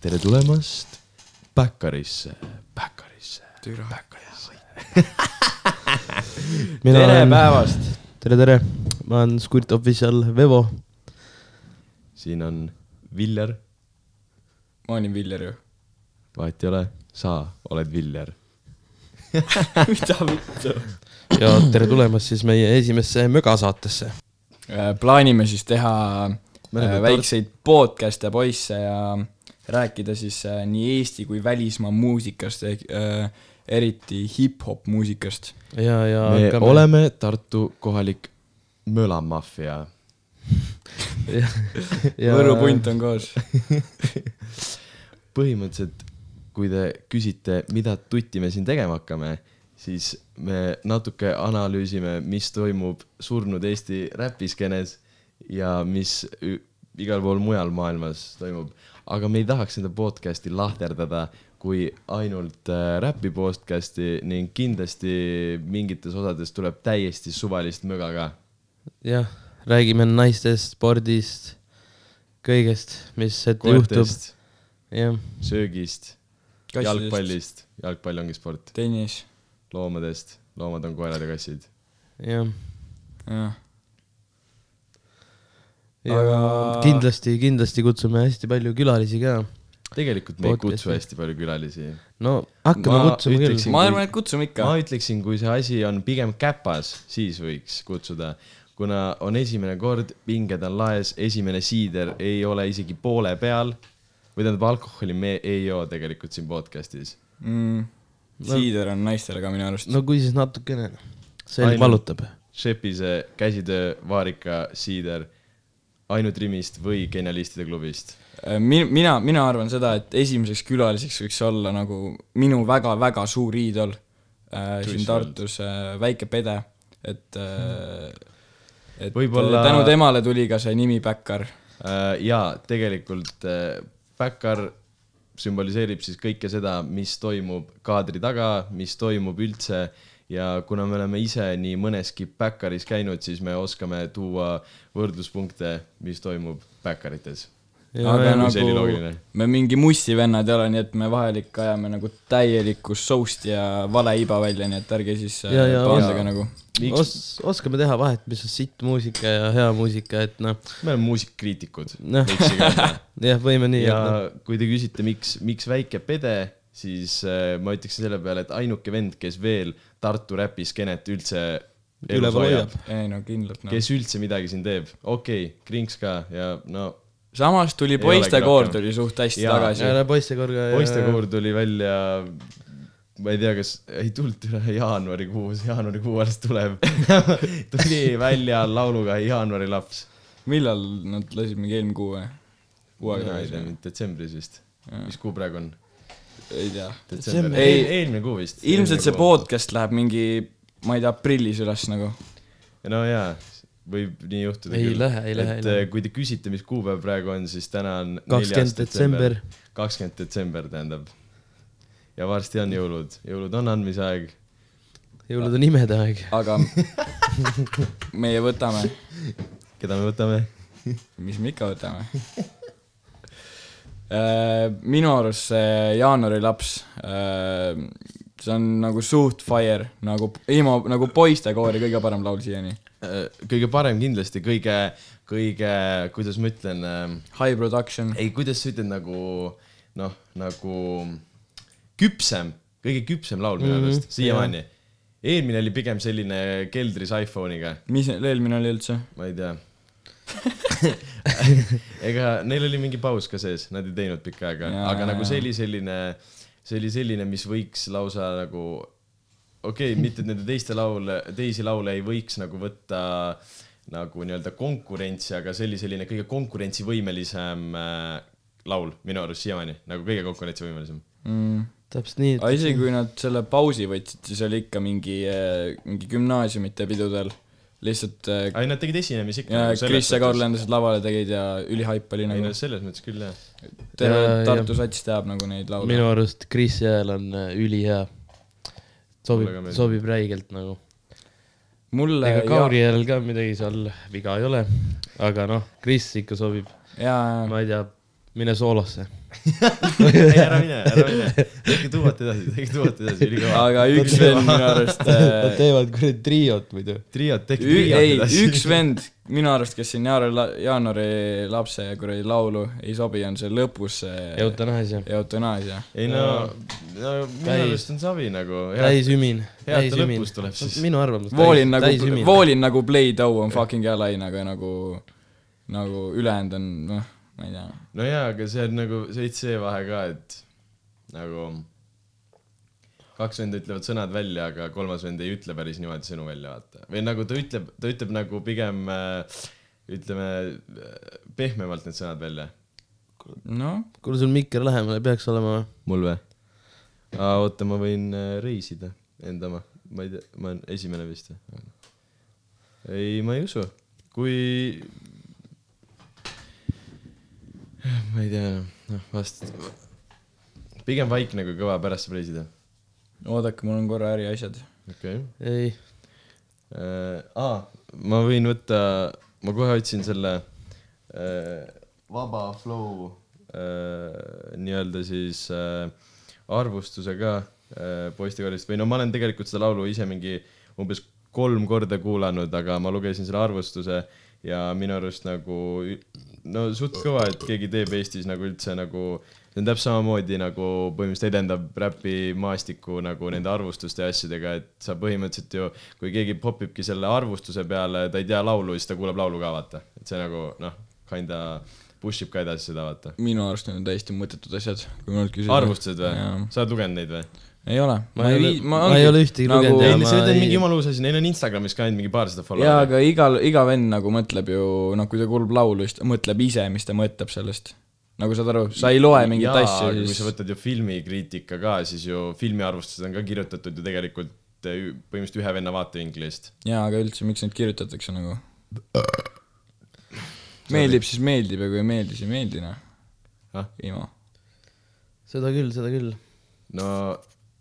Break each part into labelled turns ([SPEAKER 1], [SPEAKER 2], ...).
[SPEAKER 1] tere tulemast Baccarisse , Baccarisse ,
[SPEAKER 2] türa .
[SPEAKER 1] Baccarisse . tere päevast !
[SPEAKER 3] tere , tere , ma olen Squirt Official Vevo .
[SPEAKER 1] siin on Viljar ,
[SPEAKER 2] ma olin Viljar ju .
[SPEAKER 1] vahet ei ole , sa oled Viljar .
[SPEAKER 2] mida vittu ?
[SPEAKER 3] ja tere tulemast siis meie esimesse mögasaatesse .
[SPEAKER 2] Äh, plaanime siis teha
[SPEAKER 1] Me oleme
[SPEAKER 2] äh, väikseid podcast'e poisse ja rääkida siis äh, nii Eesti kui välismaa muusikast , eriti hip-hop muusikast .
[SPEAKER 3] ja , ja .
[SPEAKER 1] me oleme Tartu kohalik mölamaffia .
[SPEAKER 2] Võru punt on koos .
[SPEAKER 1] põhimõtteliselt , kui te küsite , mida tutti me siin tegema hakkame , siis me natuke analüüsime , mis toimub surnud Eesti räpiskenes ja mis ü- igal pool mujal maailmas toimub . aga me ei tahaks seda podcast'i lahterdada kui ainult äh, räpi podcast'i ning kindlasti mingites osades tuleb täiesti suvalist möga ka .
[SPEAKER 3] jah , räägime naistest , spordist , kõigest , mis hetkel juhtub . jah ,
[SPEAKER 1] söögist , jalgpallist , jalgpall ongi sport ,
[SPEAKER 2] tennis ,
[SPEAKER 1] loomadest , loomad on koerad ja kassid
[SPEAKER 3] jah .
[SPEAKER 2] jah .
[SPEAKER 3] aga
[SPEAKER 2] Aga-
[SPEAKER 3] kindlasti , kindlasti kutsume hästi palju külalisi ka .
[SPEAKER 1] tegelikult me ei
[SPEAKER 3] Podcasti.
[SPEAKER 1] kutsu hästi palju külalisi . no
[SPEAKER 3] no hakkame
[SPEAKER 2] Ma
[SPEAKER 3] kutsuma küll
[SPEAKER 1] ütleksin- .
[SPEAKER 2] ma arvan , et kutsume ikka
[SPEAKER 1] ma . ütleksin , kui see asi on pigem käpas , siis võiks kutsuda , kuna on esimene kord , pinged on laes , esimene siider ei ole isegi poole peal . või tähendab , alkoholi me ei joo tegelikult siin podcast'is .
[SPEAKER 2] mm, . siider on naistele ka minu arust .
[SPEAKER 3] no kui siis natukene . selg
[SPEAKER 1] Ainult-
[SPEAKER 3] valutab .
[SPEAKER 1] Šepise käsitöö vaarika siider ainult Rimist või Genialistide klubist .
[SPEAKER 2] min- , Äh, mina , mina arvan seda , et esimeseks külaliseks võiks olla nagu minu väga-väga suur iidol äh, siin
[SPEAKER 1] Truss World.
[SPEAKER 2] Tartus , väike Pede , et äh, et
[SPEAKER 1] Võib-olla-
[SPEAKER 2] Võibolla... tänu temale tuli ka see nimi Päkkar .
[SPEAKER 1] Äh, jaa , tegelikult äh, backar sümboliseerib siis kõike seda , mis toimub kaadri taga , mis toimub üldse ja kuna me oleme ise nii mõneski backaris käinud , siis me oskame tuua võrdluspunkte , mis toimub backarites .
[SPEAKER 2] aga
[SPEAKER 1] jah, see oli
[SPEAKER 2] nagu
[SPEAKER 1] loogiline.
[SPEAKER 2] me mingi mustivennad ei ole , nii et me vahel ikka ajame nagu täielikku soust ja vale iba välja , nii et ärge siis äh,
[SPEAKER 3] Ja, ja,
[SPEAKER 1] ja.
[SPEAKER 2] pahandage nagu .
[SPEAKER 1] Miks-
[SPEAKER 3] Os- , oskame teha vahet , mis on sitt muusika ja hea muusika , et noh ,
[SPEAKER 1] me oleme muusikakriitikud .
[SPEAKER 3] Noh. jah , võime nii noh.
[SPEAKER 1] ja
[SPEAKER 3] öelda .
[SPEAKER 1] kui te küsite , miks , miks väike pede , siis äh, ma ütleksin selle peale , et ainuke vend , kes veel Tartu räpiskenet üldse elus
[SPEAKER 3] Üleval hoiab.
[SPEAKER 2] ei no kindlalt noh .
[SPEAKER 1] kes üldse midagi siin teeb , okei okay, , Krinks ka ja no
[SPEAKER 2] samas tuli
[SPEAKER 1] Ei olegi
[SPEAKER 2] poistekoor
[SPEAKER 1] rohkem.
[SPEAKER 2] tuli suht hästi
[SPEAKER 1] Jaa.
[SPEAKER 2] tagasi .
[SPEAKER 3] ära
[SPEAKER 2] Äh.
[SPEAKER 3] poistekorga .
[SPEAKER 1] poistekoor tuli välja , ma ei tea , kas , ei tulnud üle jaanuarikuus , jaanuarikuu alles tuleb . tuli välja lauluga Jaanuarilaps .
[SPEAKER 2] millal nad lasid mingi eelmine kuu või ? kuu aega
[SPEAKER 1] ma ei
[SPEAKER 2] tagasi
[SPEAKER 1] tea
[SPEAKER 2] või ?,
[SPEAKER 1] detsembris vist . mis kuu praegu on ?
[SPEAKER 2] ei tea .
[SPEAKER 1] detsember ,
[SPEAKER 2] Ei.
[SPEAKER 1] ei , eelmine kuu vist .
[SPEAKER 2] ilmselt see . podcast läheb mingi , ma ei tea , aprillis üles nagu .
[SPEAKER 1] no jaa , võib nii juhtuda
[SPEAKER 3] Ei lähe, ei lähe, ei
[SPEAKER 1] et
[SPEAKER 3] lähe.
[SPEAKER 1] eh, kui te küsite , mis kuupäev praegu on , siis täna on
[SPEAKER 3] 20 detsember. .
[SPEAKER 1] kakskümmend detsember tähendab . ja varsti on jõulud , jõulud on andmise aeg
[SPEAKER 3] jõulud on imede aeg .
[SPEAKER 2] aga meie võtame ,
[SPEAKER 1] keda me võtame ?
[SPEAKER 2] mis me ikka võtame . minu arust see jaanuari laps , see on nagu suht fire , nagu ilma , nagu poistekoori kõige parem laul siiani .
[SPEAKER 1] Äh, kõige parem kindlasti , kõige , kõige , kuidas ma ütlen ,
[SPEAKER 2] High production ,
[SPEAKER 1] ei , kuidas sa ütled nagu noh , nagu küpsem , kõige küpsem laul
[SPEAKER 3] Mhm.
[SPEAKER 1] minu arust mm -hmm, siiamaani . eelmine oli pigem selline keldris iPhone'iga ,
[SPEAKER 2] mis neil eelmine oli üldse ?
[SPEAKER 1] ma ei tea . ega neil oli mingi paus ka sees , nad ei teinud pikka aega ,
[SPEAKER 2] Jaa,
[SPEAKER 1] aga
[SPEAKER 2] jaa,
[SPEAKER 1] nagu
[SPEAKER 2] jaa.
[SPEAKER 1] see oli selline , see oli selline , mis võiks lausa nagu okei okay, , mitte et nende teiste laule , teisi laule ei võiks nagu võtta nagu nii-öelda konkurentsi , aga see oli selline kõige konkurentsivõimelisem äh, laul minu arust siiamaani , nagu kõige konkurentsivõimelisem .
[SPEAKER 2] Mm.
[SPEAKER 3] täpselt nii .
[SPEAKER 2] aga isegi kui nad selle pausi võtsid , siis oli ikka mingi , mingi gümnaasiumite pidudel lihtsalt äh,
[SPEAKER 1] ei , nad tegid esinemisi ikka .
[SPEAKER 2] ja Kris ja Karl . lendasid lavale , tegid ja ülihaip oli
[SPEAKER 1] nagu ei no
[SPEAKER 2] nagu ,
[SPEAKER 1] selles mõttes küll jah .
[SPEAKER 2] terve
[SPEAKER 3] Jaa,
[SPEAKER 2] Tartu sats teab nagu neid laule .
[SPEAKER 3] minu arust Kris Jääl on äh, ülihea .
[SPEAKER 1] ka
[SPEAKER 3] sobib ,
[SPEAKER 1] meeldib.
[SPEAKER 3] sobib räigelt nagu .
[SPEAKER 2] mulle
[SPEAKER 3] ega
[SPEAKER 2] ja
[SPEAKER 3] Kauri Jääl ka midagi seal viga ei ole . aga noh , Kris ikka sobib ,
[SPEAKER 2] jaa ,
[SPEAKER 3] ma ei tea , mine soolosse .
[SPEAKER 1] ei , ära mine , ära mine . tehke tuumat edasi , tehke tuumat edasi , ülikõva .
[SPEAKER 2] aga üks vend minu arust eh,
[SPEAKER 1] Äh,
[SPEAKER 3] Nad teevad kuradi triot muidu .
[SPEAKER 1] triod , tehke
[SPEAKER 2] Ü-
[SPEAKER 1] triod
[SPEAKER 2] ei ,
[SPEAKER 1] edasi .
[SPEAKER 2] üks vend minu arust , kes siin jaanuari , jaanuari lapse kuradi laulu ei sobi , on see lõpus
[SPEAKER 1] äh,
[SPEAKER 2] see
[SPEAKER 3] eutanaasia .
[SPEAKER 2] eutanaasia .
[SPEAKER 1] ei no , no minu
[SPEAKER 3] Täis.
[SPEAKER 1] arust on savi nagu .
[SPEAKER 3] täisümin ,
[SPEAKER 1] hea, et ta
[SPEAKER 3] täisümin
[SPEAKER 1] lõpus tuleb siis. .
[SPEAKER 3] minu arvamus .
[SPEAKER 2] voolin nagu , voolin nagu Play-Doh on fucking hea laine , aga nagu , nagu ülejäänud on , noh , ma ei tea .
[SPEAKER 1] no jaa , aga see on nagu veits see vahe ka , et nagu kaks venda ütlevad sõnad välja , aga kolmas vend ei ütle päris niimoodi sõnu välja , vaata . või nagu ta ütleb , ta ütleb nagu pigem äh, ütleme äh, pehmemalt need sõnad välja .
[SPEAKER 2] noh ,
[SPEAKER 3] kuule , sul mikker lähemal ei peaks olema või ?
[SPEAKER 1] mul või ? oota , ma võin äh, reisida enda oma , ma ei tea , ma olen esimene vist või ? ei , ma ei usu , kui . ma ei tea , noh vast , pigem vaikne kui kõva , pärast saab reisida .
[SPEAKER 2] oodake , mul on korra äriasjad .
[SPEAKER 1] okei okay.
[SPEAKER 3] ei ,
[SPEAKER 1] äh, . ma võin võtta , ma kohe otsin selle äh, vaba flow äh, nii-öelda siis äh, arvustuse ka äh, poistekoolist või no ma olen tegelikult seda laulu ise mingi umbes kolm korda kuulanud , aga ma lugesin selle arvustuse ja minu arust nagu ü- no suht kõva , et keegi teeb Eestis nagu üldse nagu , see on täpselt samamoodi nagu põhimõtteliselt edendab räpi maastikku nagu nende arvustuste ja asjadega , et sa põhimõtteliselt ju , kui keegi popibki selle arvustuse peale , ta ei tea laulu , siis ta kuuleb laulu ka vaata , et see nagu noh , kinda push ib ka edasi seda vaata .
[SPEAKER 2] minu arust need on täiesti mõttetud asjad , kui minult küsida .
[SPEAKER 1] arvustused või
[SPEAKER 2] Jaa. ?
[SPEAKER 1] sa oled lugenud neid või ?
[SPEAKER 2] ei ole ,
[SPEAKER 3] Ma ei ole- ma ei ole ühtegi
[SPEAKER 2] nagu-
[SPEAKER 3] lugenud
[SPEAKER 1] ei
[SPEAKER 3] Jaa, ,
[SPEAKER 1] see
[SPEAKER 3] ma
[SPEAKER 1] on
[SPEAKER 3] ei-
[SPEAKER 1] mingi jumala uus asi , neil on Instagramis ka ainult mingi paarsada
[SPEAKER 2] jaa ,
[SPEAKER 1] follower'i .
[SPEAKER 2] aga igal , iga vend nagu mõtleb ju , noh , kui ta kuulab laulu , siis ta mõtleb ise , mis ta mõtleb sellest . nagu saad aru , sa ei loe mingeid
[SPEAKER 1] Jaa,
[SPEAKER 2] asju
[SPEAKER 1] aga , kui sa
[SPEAKER 2] siis
[SPEAKER 1] võtad ju filmikriitika ka , siis ju filmiarvustused on ka kirjutatud ju tegelikult eh, ü- põhimõtteliselt ühe venna vaatevinklist .
[SPEAKER 2] jaa , aga üldse , miks neid kirjutatakse nagu ? meeldib , siis meeldib ja kui ei meeldi , siis ei meeldi ,
[SPEAKER 1] Ah?
[SPEAKER 2] noh . Imo .
[SPEAKER 3] seda küll , seda küll .
[SPEAKER 1] no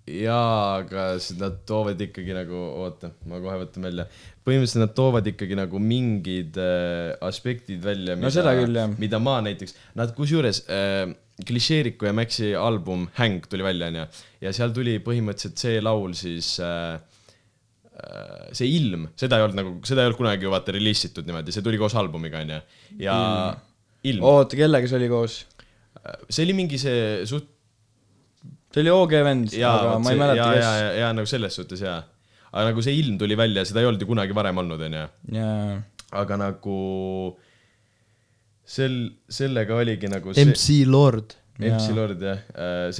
[SPEAKER 1] jaa , aga siis nad toovad ikkagi nagu , oota , ma kohe võtan välja . põhimõtteliselt nad toovad ikkagi nagu mingid äh, aspektid välja ,
[SPEAKER 2] No seda küll, jah.
[SPEAKER 1] mida ma näiteks , nad kusjuures äh, klišeeriku ja Maxi album Häng tuli välja , onju , ja seal tuli põhimõtteliselt see laul siis äh, äh, see ilm , seda ei olnud nagu , seda ei olnud kunagi ju vaata reliisitud niimoodi , see tuli koos albumiga onju ja ilm, ilm. ,
[SPEAKER 2] oota , kellega see oli koos ?
[SPEAKER 1] see oli mingi see suht
[SPEAKER 2] see oli OG vend ,
[SPEAKER 1] jaa ,
[SPEAKER 2] aga ma ei mäleta ,
[SPEAKER 1] kes .
[SPEAKER 2] kes .
[SPEAKER 1] jaa , jaa , nagu selles suhtes jaa . aga nagu see ilm tuli välja , seda ei olnud ju kunagi varem olnud , onju .
[SPEAKER 2] jaa ,
[SPEAKER 1] aga nagu sel , sellega oligi nagu see ,
[SPEAKER 3] MC Lord .
[SPEAKER 1] MC Lord jah ,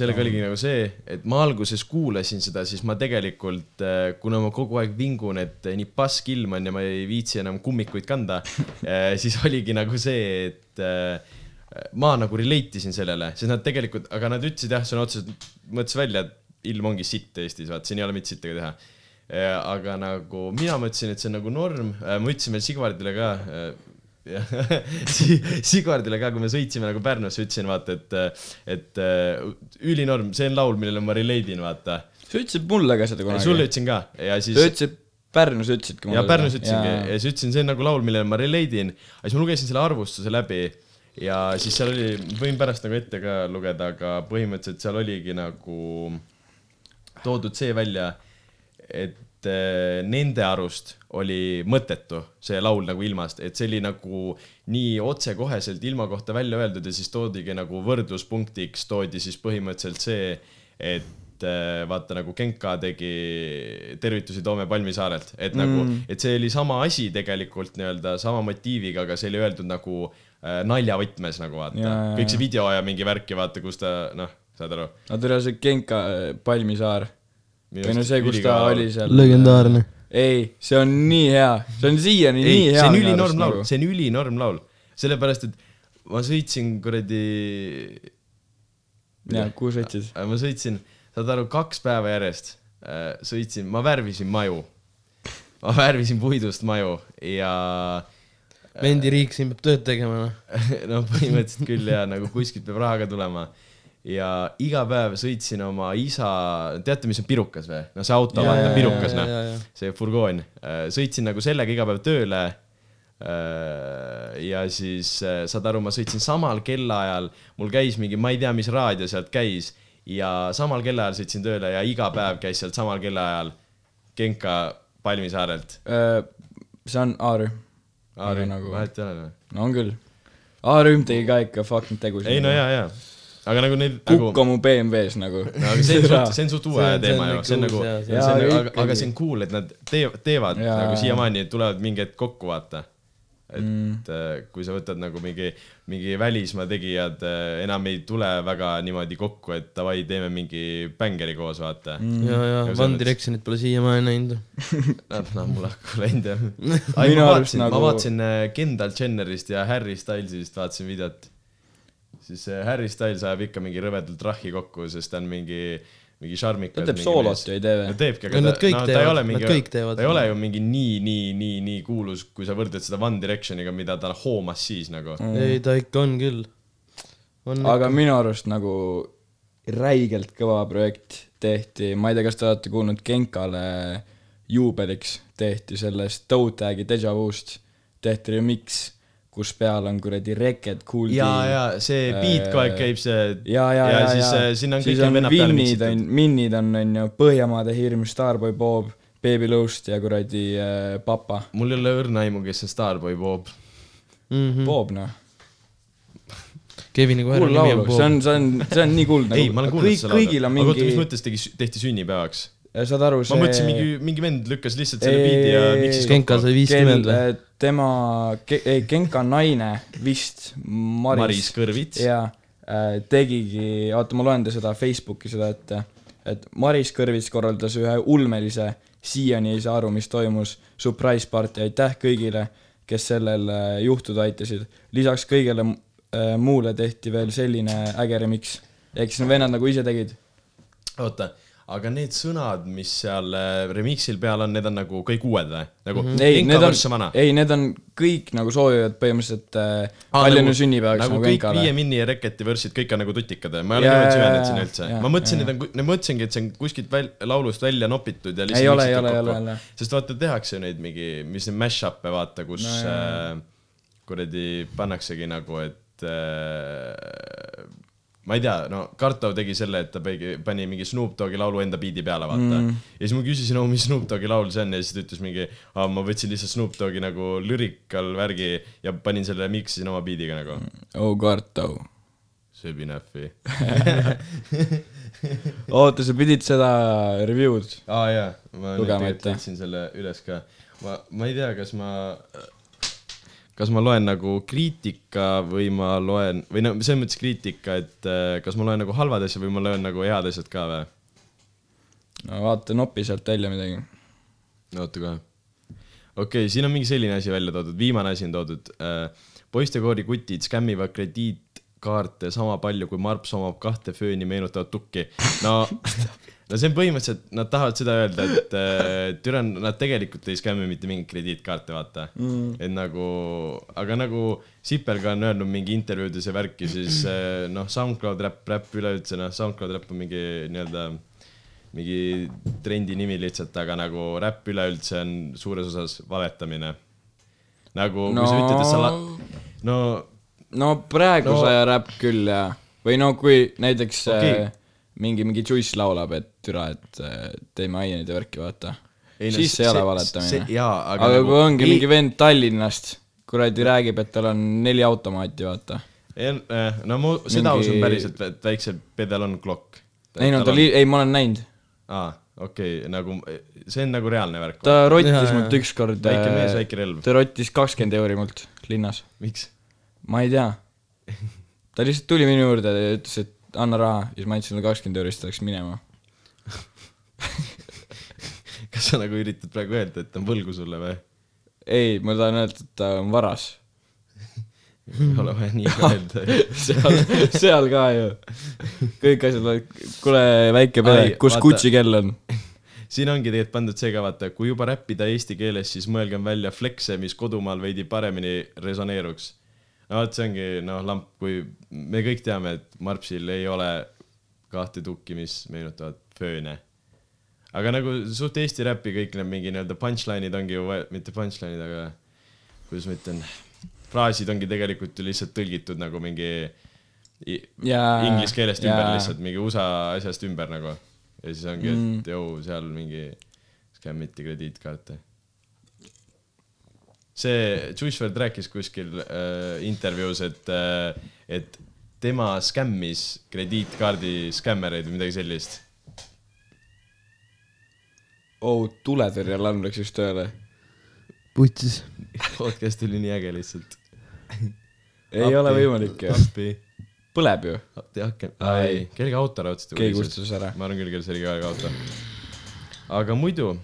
[SPEAKER 1] sellega oligi nagu see , et ma alguses kuulasin seda , siis ma tegelikult , kuna ma kogu aeg vingun , et äh, nii pask ilm on ja ma ei viitsi enam kummikuid kanda , siis oligi nagu see , et äh, ma nagu relate isin sellele , sest nad tegelikult , aga nad ütlesid jah , sõna otseses mõttes välja , et ilm ongi sitt Eestis , vaat siin ei ole mitte sittagi teha . aga nagu mina mõtlesin , et see on nagu norm , ma ütlesin veel Sigvardile ka , äh, jah , Sigvardile ka , kui me sõitsime nagu Pärnusse , ütlesin vaata , et , et äh, ülinorm , see on laul , millele ma relate in , vaata .
[SPEAKER 2] sa ütlesid mulle ka seda kunagi .
[SPEAKER 1] sulle ütlesin ka ja siis
[SPEAKER 2] sa . ütlesid , Pärnus ütlesidki
[SPEAKER 1] ja Pärnus ütlesingi ja siis ütlesin , see on nagu laul , millele ma relate in , aga siis ma lugesin selle arvustuse läbi ja siis seal oli , võin pärast nagu ette ka lugeda , aga põhimõtteliselt seal oligi nagu toodud see välja , et eh, nende arust oli mõttetu see laul nagu ilmast , et see oli nagu nii otsekoheselt ilma kohta välja öeldud ja siis toodigi nagu võrdluspunktiks toodi siis põhimõtteliselt see , et eh, vaata nagu Genka tegi tervitusi Toome Palmisaarelt , et mm. nagu , et see oli sama asi tegelikult nii-öelda sama motiiviga , aga see oli öeldud nagu äh, naljavõtmes nagu vaata
[SPEAKER 2] Jaa, jaa, ,
[SPEAKER 1] kõik see
[SPEAKER 2] jaa.
[SPEAKER 1] video ja mingi värk ja vaata , kus ta noh , saad aru .
[SPEAKER 2] no tere , see Genka äh, Palmisaar . või no see , kus ta oli seal .
[SPEAKER 3] legendaarne .
[SPEAKER 2] ei , see on nii hea , see on siiani
[SPEAKER 1] ei
[SPEAKER 2] nii , hea . nagu.
[SPEAKER 1] see on ülinorm laul , see on ülinorm laul , sellepärast et ma sõitsin kuradi ,
[SPEAKER 2] jaa , kuhu sa ütlesid ?
[SPEAKER 1] äh, ma sõitsin , saad aru , kaks päeva järjest äh, sõitsin , ma värvisin maju . ma värvisin puidust maju ja
[SPEAKER 3] vendi riik siin peab tööd tegema , noh .
[SPEAKER 1] no põhimõtteliselt küll ja nagu kuskilt peab raha ka tulema . ja iga päev sõitsin oma isa , teate , mis on pirukas või ? no see auto ,
[SPEAKER 2] Jaa,
[SPEAKER 1] vaata
[SPEAKER 2] jaa, ,
[SPEAKER 1] pirukas
[SPEAKER 3] jaa, jaa,
[SPEAKER 1] noh
[SPEAKER 3] jaa. ,
[SPEAKER 1] see furgoon . sõitsin nagu sellega iga päev tööle ja siis äh, saad aru , ma sõitsin samal kellaajal , mul käis mingi , ma ei tea , mis raadio sealt käis ja samal kellaajal sõitsin tööle ja iga päev käis sealt samal kellaajal Genka Palmisaarelt .
[SPEAKER 2] Äh, see on A-rühm .
[SPEAKER 1] Nagu...
[SPEAKER 2] nagu ,
[SPEAKER 1] vahet ei ole noh. või ?
[SPEAKER 2] no on küll . A-rühm tegi ka ikka fucking tegusid .
[SPEAKER 1] ei no jaa , jaa . aga nagu neid nagu ,
[SPEAKER 2] kukk mu BMW-s nagu .
[SPEAKER 1] no, aga see on suht , see on suht uue
[SPEAKER 3] See on- see
[SPEAKER 1] teema
[SPEAKER 3] on
[SPEAKER 1] ju ,
[SPEAKER 3] ikka
[SPEAKER 1] see on
[SPEAKER 3] uus
[SPEAKER 1] nagu ,
[SPEAKER 3] jaa,
[SPEAKER 2] on-
[SPEAKER 3] see
[SPEAKER 1] aga,
[SPEAKER 2] jaa,
[SPEAKER 1] aga, aga see on cool , et nad teevad , teevad
[SPEAKER 2] Jaa.
[SPEAKER 1] jaa. nagu siiamaani tulevad mingi hetk kokku , vaata . et mm. kui sa võtad nagu mingi , mingi välismaa tegijad äh, enam ei tule väga niimoodi kokku , et davai , teeme mingi bängeri koos , vaata mm. .
[SPEAKER 3] ja , ja
[SPEAKER 1] Ja
[SPEAKER 3] One
[SPEAKER 1] selles-
[SPEAKER 3] Directionit pole siiamaani näinud .
[SPEAKER 1] Nad , noh , mul hakkab läinud jah .
[SPEAKER 2] Minu
[SPEAKER 1] ma
[SPEAKER 2] arust
[SPEAKER 1] vaatasin nagu... ,
[SPEAKER 2] nagu-
[SPEAKER 1] ma vaatasin äh, Kendall Jennerist ja Harry Stylesist vaatasin videot . siis äh, Harry Styles ajab ikka mingi rõvedalt rahhi kokku , sest ta on mingi , mingi šarmikas .
[SPEAKER 2] ta teeb soolot ju , ei tee
[SPEAKER 1] no
[SPEAKER 2] või ?
[SPEAKER 1] teebki , aga
[SPEAKER 3] No
[SPEAKER 1] ta,
[SPEAKER 3] nad kõik
[SPEAKER 1] no, ta ei
[SPEAKER 3] teevad,
[SPEAKER 1] ole
[SPEAKER 3] nad
[SPEAKER 1] mingi ,
[SPEAKER 3] kõik teevad
[SPEAKER 1] ta ei ole ju mingi nii , nii , nii , nii kuulus , kui sa võrdled seda One Directioniga , mida ta hoomas siis nagu mm. .
[SPEAKER 3] ei , ta ikka on küll . on
[SPEAKER 2] aga minu arust nagu räigelt kõva projekt tehti , ma ei tea , kas te olete kuulnud Genkale juubeliks tehti sellest Toe-tag'i Deja Vu'st tehti remix , kus peal on kuradi Reked , Kool
[SPEAKER 1] ja , ja see beat kogu aeg käib see
[SPEAKER 2] ja , ja , ja ,
[SPEAKER 1] Äh, ja
[SPEAKER 2] ja
[SPEAKER 1] siis, äh, sinna on
[SPEAKER 2] siis
[SPEAKER 1] kõik
[SPEAKER 2] on
[SPEAKER 1] vennad peale
[SPEAKER 2] Vinnid on
[SPEAKER 1] miksitud. ,
[SPEAKER 2] Minnid on , on ju , Põhjamaade hirm , Starboy Bob , Baby Lost ja kuradi äh, Papa
[SPEAKER 1] mul ei ole õrna aimu , kes see Starboy Bob .
[SPEAKER 3] mm
[SPEAKER 2] mm. ,
[SPEAKER 3] -hmm.
[SPEAKER 2] Bob noh .
[SPEAKER 3] Kevini koera
[SPEAKER 2] hull
[SPEAKER 3] nimi on
[SPEAKER 2] laul , see
[SPEAKER 3] Bob .
[SPEAKER 2] on , see on , see on nii kuldne .
[SPEAKER 1] ei , ma olen kuulnud seda laulu .
[SPEAKER 2] kõigil
[SPEAKER 1] Nagu aga mingi...
[SPEAKER 2] on
[SPEAKER 1] oota , mis
[SPEAKER 2] mingi ,
[SPEAKER 1] mõttes tegi , tehti sünnipäevaks ?
[SPEAKER 2] saad aru ,
[SPEAKER 1] ma
[SPEAKER 2] see
[SPEAKER 1] mõtlesin , mingi , mingi vend lükkas lihtsalt selle beat'i ja
[SPEAKER 2] Ei,
[SPEAKER 1] miksis
[SPEAKER 3] Genka sai viiskümmend või ?
[SPEAKER 2] kel- tema , ei , Genka naine vist , Maris,
[SPEAKER 1] Maris Kõrvits .
[SPEAKER 2] jaa , tegigi , oota , ma loen ta seda Facebooki seda ette , et Maris Kõrvits korraldas ühe ulmelise , siiani ei saa aru , mis toimus , surprise party , aitäh kõigile , kes sellel äh, juhtuda aitasid . lisaks kõigele mu- äh, muule tehti veel selline äge remix , ehk siis need vennad nagu ise tegid .
[SPEAKER 1] oota , aga need sõnad , mis seal äh, remix'il peal on , need on nagu kõik uued või ? nagu mm
[SPEAKER 2] ei ,
[SPEAKER 1] -hmm.
[SPEAKER 2] need
[SPEAKER 1] Genka
[SPEAKER 2] on
[SPEAKER 1] versus , vana ?
[SPEAKER 2] ei , need on kõik nagu soovivad põhimõtteliselt äh, palju nagu, sünnipäevaks
[SPEAKER 1] nagu
[SPEAKER 2] nagu
[SPEAKER 1] kõik
[SPEAKER 2] Genkale
[SPEAKER 1] viie . mini ja Reketi võrsid , kõik on nagu tutikad ja ma ei ole
[SPEAKER 2] Jaa,
[SPEAKER 1] niimoodi
[SPEAKER 2] jaa,
[SPEAKER 1] süvenenud
[SPEAKER 2] jaa,
[SPEAKER 1] sinna üldse
[SPEAKER 2] jaa, .
[SPEAKER 1] ma mõtlesin , et on , mõtlesingi , et see on kuskilt väl, laulust välja nopitud ja
[SPEAKER 2] ei ole ,
[SPEAKER 1] miksitud
[SPEAKER 2] ei ole , ei ole ,
[SPEAKER 1] kokku.
[SPEAKER 2] ei ole .
[SPEAKER 1] sest vaata , tehakse ju neid mingi , mis need mash-up'e vaata , kus
[SPEAKER 2] No
[SPEAKER 1] no,
[SPEAKER 2] jaa,
[SPEAKER 1] äh, kuradi pannaksegi nagu , et äh, ma ei tea , no Kartov tegi selle , et ta pegi, pani mingi Snoop Dogi laulu enda biidi peale , vaata mm. . ja siis ma küsisin , oh mis Snoop Dogi laul see on ja siis ta ütles mingi , ma võtsin lihtsalt Snoop Dogi nagu lürikal värgi ja panin selle , miksisin oma biidiga nagu mm. .
[SPEAKER 2] oh , Kartov
[SPEAKER 1] sööbi näffi .
[SPEAKER 2] oota , sa pidid seda review'd ?
[SPEAKER 1] aa ah, jaa , ma nüüd
[SPEAKER 2] Lugema
[SPEAKER 1] tegelikult
[SPEAKER 2] ette.
[SPEAKER 1] leidsin selle üles ka . ma , ma ei tea , kas ma , kas ma loen nagu kriitika või ma loen , või no selles mõttes kriitika , et äh, kas ma loen nagu halvad asjad või ma loen nagu head asjad ka või ?
[SPEAKER 2] no vaata , nopi sealt välja midagi .
[SPEAKER 1] oota kohe . okei okay, , siin on mingi selline asi välja toodud , viimane asi on toodud äh, . poistekoori kutid skämmivad krediitkaarte sama palju , kui Marps omab kahte fööni meenutavat tukki . no , no see on põhimõtteliselt , nad tahavad seda öelda , et äh, türa , nad tegelikult ei skämmi mitte mingeid krediitkaarte , vaata mm. . et nagu , aga nagu Sipelga on öelnud mingi intervjuudes ja värki , siis äh, noh , SoundCloud räpp , räpp üleüldse , noh , SoundCloud räpp on mingi nii-öelda mingi trendi nimi lihtsalt , aga nagu räpp üleüldse on suures osas valetamine . nagu no. , kui sa ütled , et sa la- , no
[SPEAKER 2] no praeguse
[SPEAKER 1] No-
[SPEAKER 2] no. aja räpp küll ja , või no kui näiteks okay.
[SPEAKER 1] Okei.
[SPEAKER 2] äh, mingi , mingi Juice laulab , et türa , et äh, teeme aineid ja värki , vaata .
[SPEAKER 1] Ei no
[SPEAKER 2] siis
[SPEAKER 1] see-
[SPEAKER 2] see ei ole
[SPEAKER 1] see- see-
[SPEAKER 2] valetamine .
[SPEAKER 1] jaa, aga
[SPEAKER 2] aga
[SPEAKER 1] nagu-
[SPEAKER 2] kui ongi
[SPEAKER 1] ei-
[SPEAKER 2] ei... mingi vend Tallinnast , kuradi räägib , et tal on neli automaati , vaata .
[SPEAKER 1] en, , eh, no mu , seda
[SPEAKER 2] Mingi-
[SPEAKER 1] mingi... usun päriselt , et väiksel pedel on klokk .
[SPEAKER 2] ei no ta li- , ei ma olen näinud .
[SPEAKER 1] aa , okei okay, , nagu see on nagu reaalne värk .
[SPEAKER 2] ta rottis
[SPEAKER 3] jaa.
[SPEAKER 2] mult ükskord .
[SPEAKER 1] väike mees , väike relv .
[SPEAKER 2] ta rottis kakskümmend euri mult linnas
[SPEAKER 1] miks ?
[SPEAKER 2] ma ei tea . ta lihtsalt tuli minu juurde ja ütles , et anna raha ja siis ma andsin talle kakskümmend eurot , siis ta läks minema .
[SPEAKER 1] kas sa nagu üritad praegu öelda , et ta on võlgu sulle või ?
[SPEAKER 2] ei , ma tahan öelda , et ta on varas .
[SPEAKER 1] ei ole vaja nii öelda .
[SPEAKER 2] seal , seal ka ju . kõik asjad olid , kuule , väike pere
[SPEAKER 1] Ai, ,
[SPEAKER 2] kus
[SPEAKER 1] vaata-
[SPEAKER 2] Gucci kell on ?
[SPEAKER 1] siin ongi tegelikult pandud see ka vaata , kui juba räppida eesti keeles , siis mõelgem välja flekse , mis kodumaal veidi paremini resoneeruks . no vot , see ongi noh , lamp , kui me kõik teame , et Marpsil ei ole kahte tukki , mis meenutavad fööne . aga nagu suht Eesti räppi kõik need mingi nii-öelda punchline'id ongi ju , mitte punchline'id , aga kuidas ma ütlen , fraasid ongi tegelikult ju lihtsalt tõlgitud nagu mingi i-
[SPEAKER 2] Jaa,
[SPEAKER 1] inglise keelest ümber
[SPEAKER 2] jaa.
[SPEAKER 1] lihtsalt , mingi USA asjast ümber nagu . ja siis ongi ,
[SPEAKER 2] Mm.
[SPEAKER 1] et jõu , seal mingi skämmiti krediitkaarte . see Juiceword rääkis kuskil äh, intervjuus , et äh, , et tema skämmis krediitkaardi skämmereid või midagi sellist
[SPEAKER 2] oh , tuletõrjealarm läks just tööle .
[SPEAKER 3] putsis .
[SPEAKER 1] podcast oli nii äge lihtsalt .
[SPEAKER 2] ei ole võimalik ju .
[SPEAKER 1] appi ,
[SPEAKER 2] põleb ju .
[SPEAKER 1] appi aken , ei , kellegi auto raudselt .
[SPEAKER 2] Keegi kustutas ära.
[SPEAKER 1] ma arvan küll , kellel see oli ka auto . aga muidu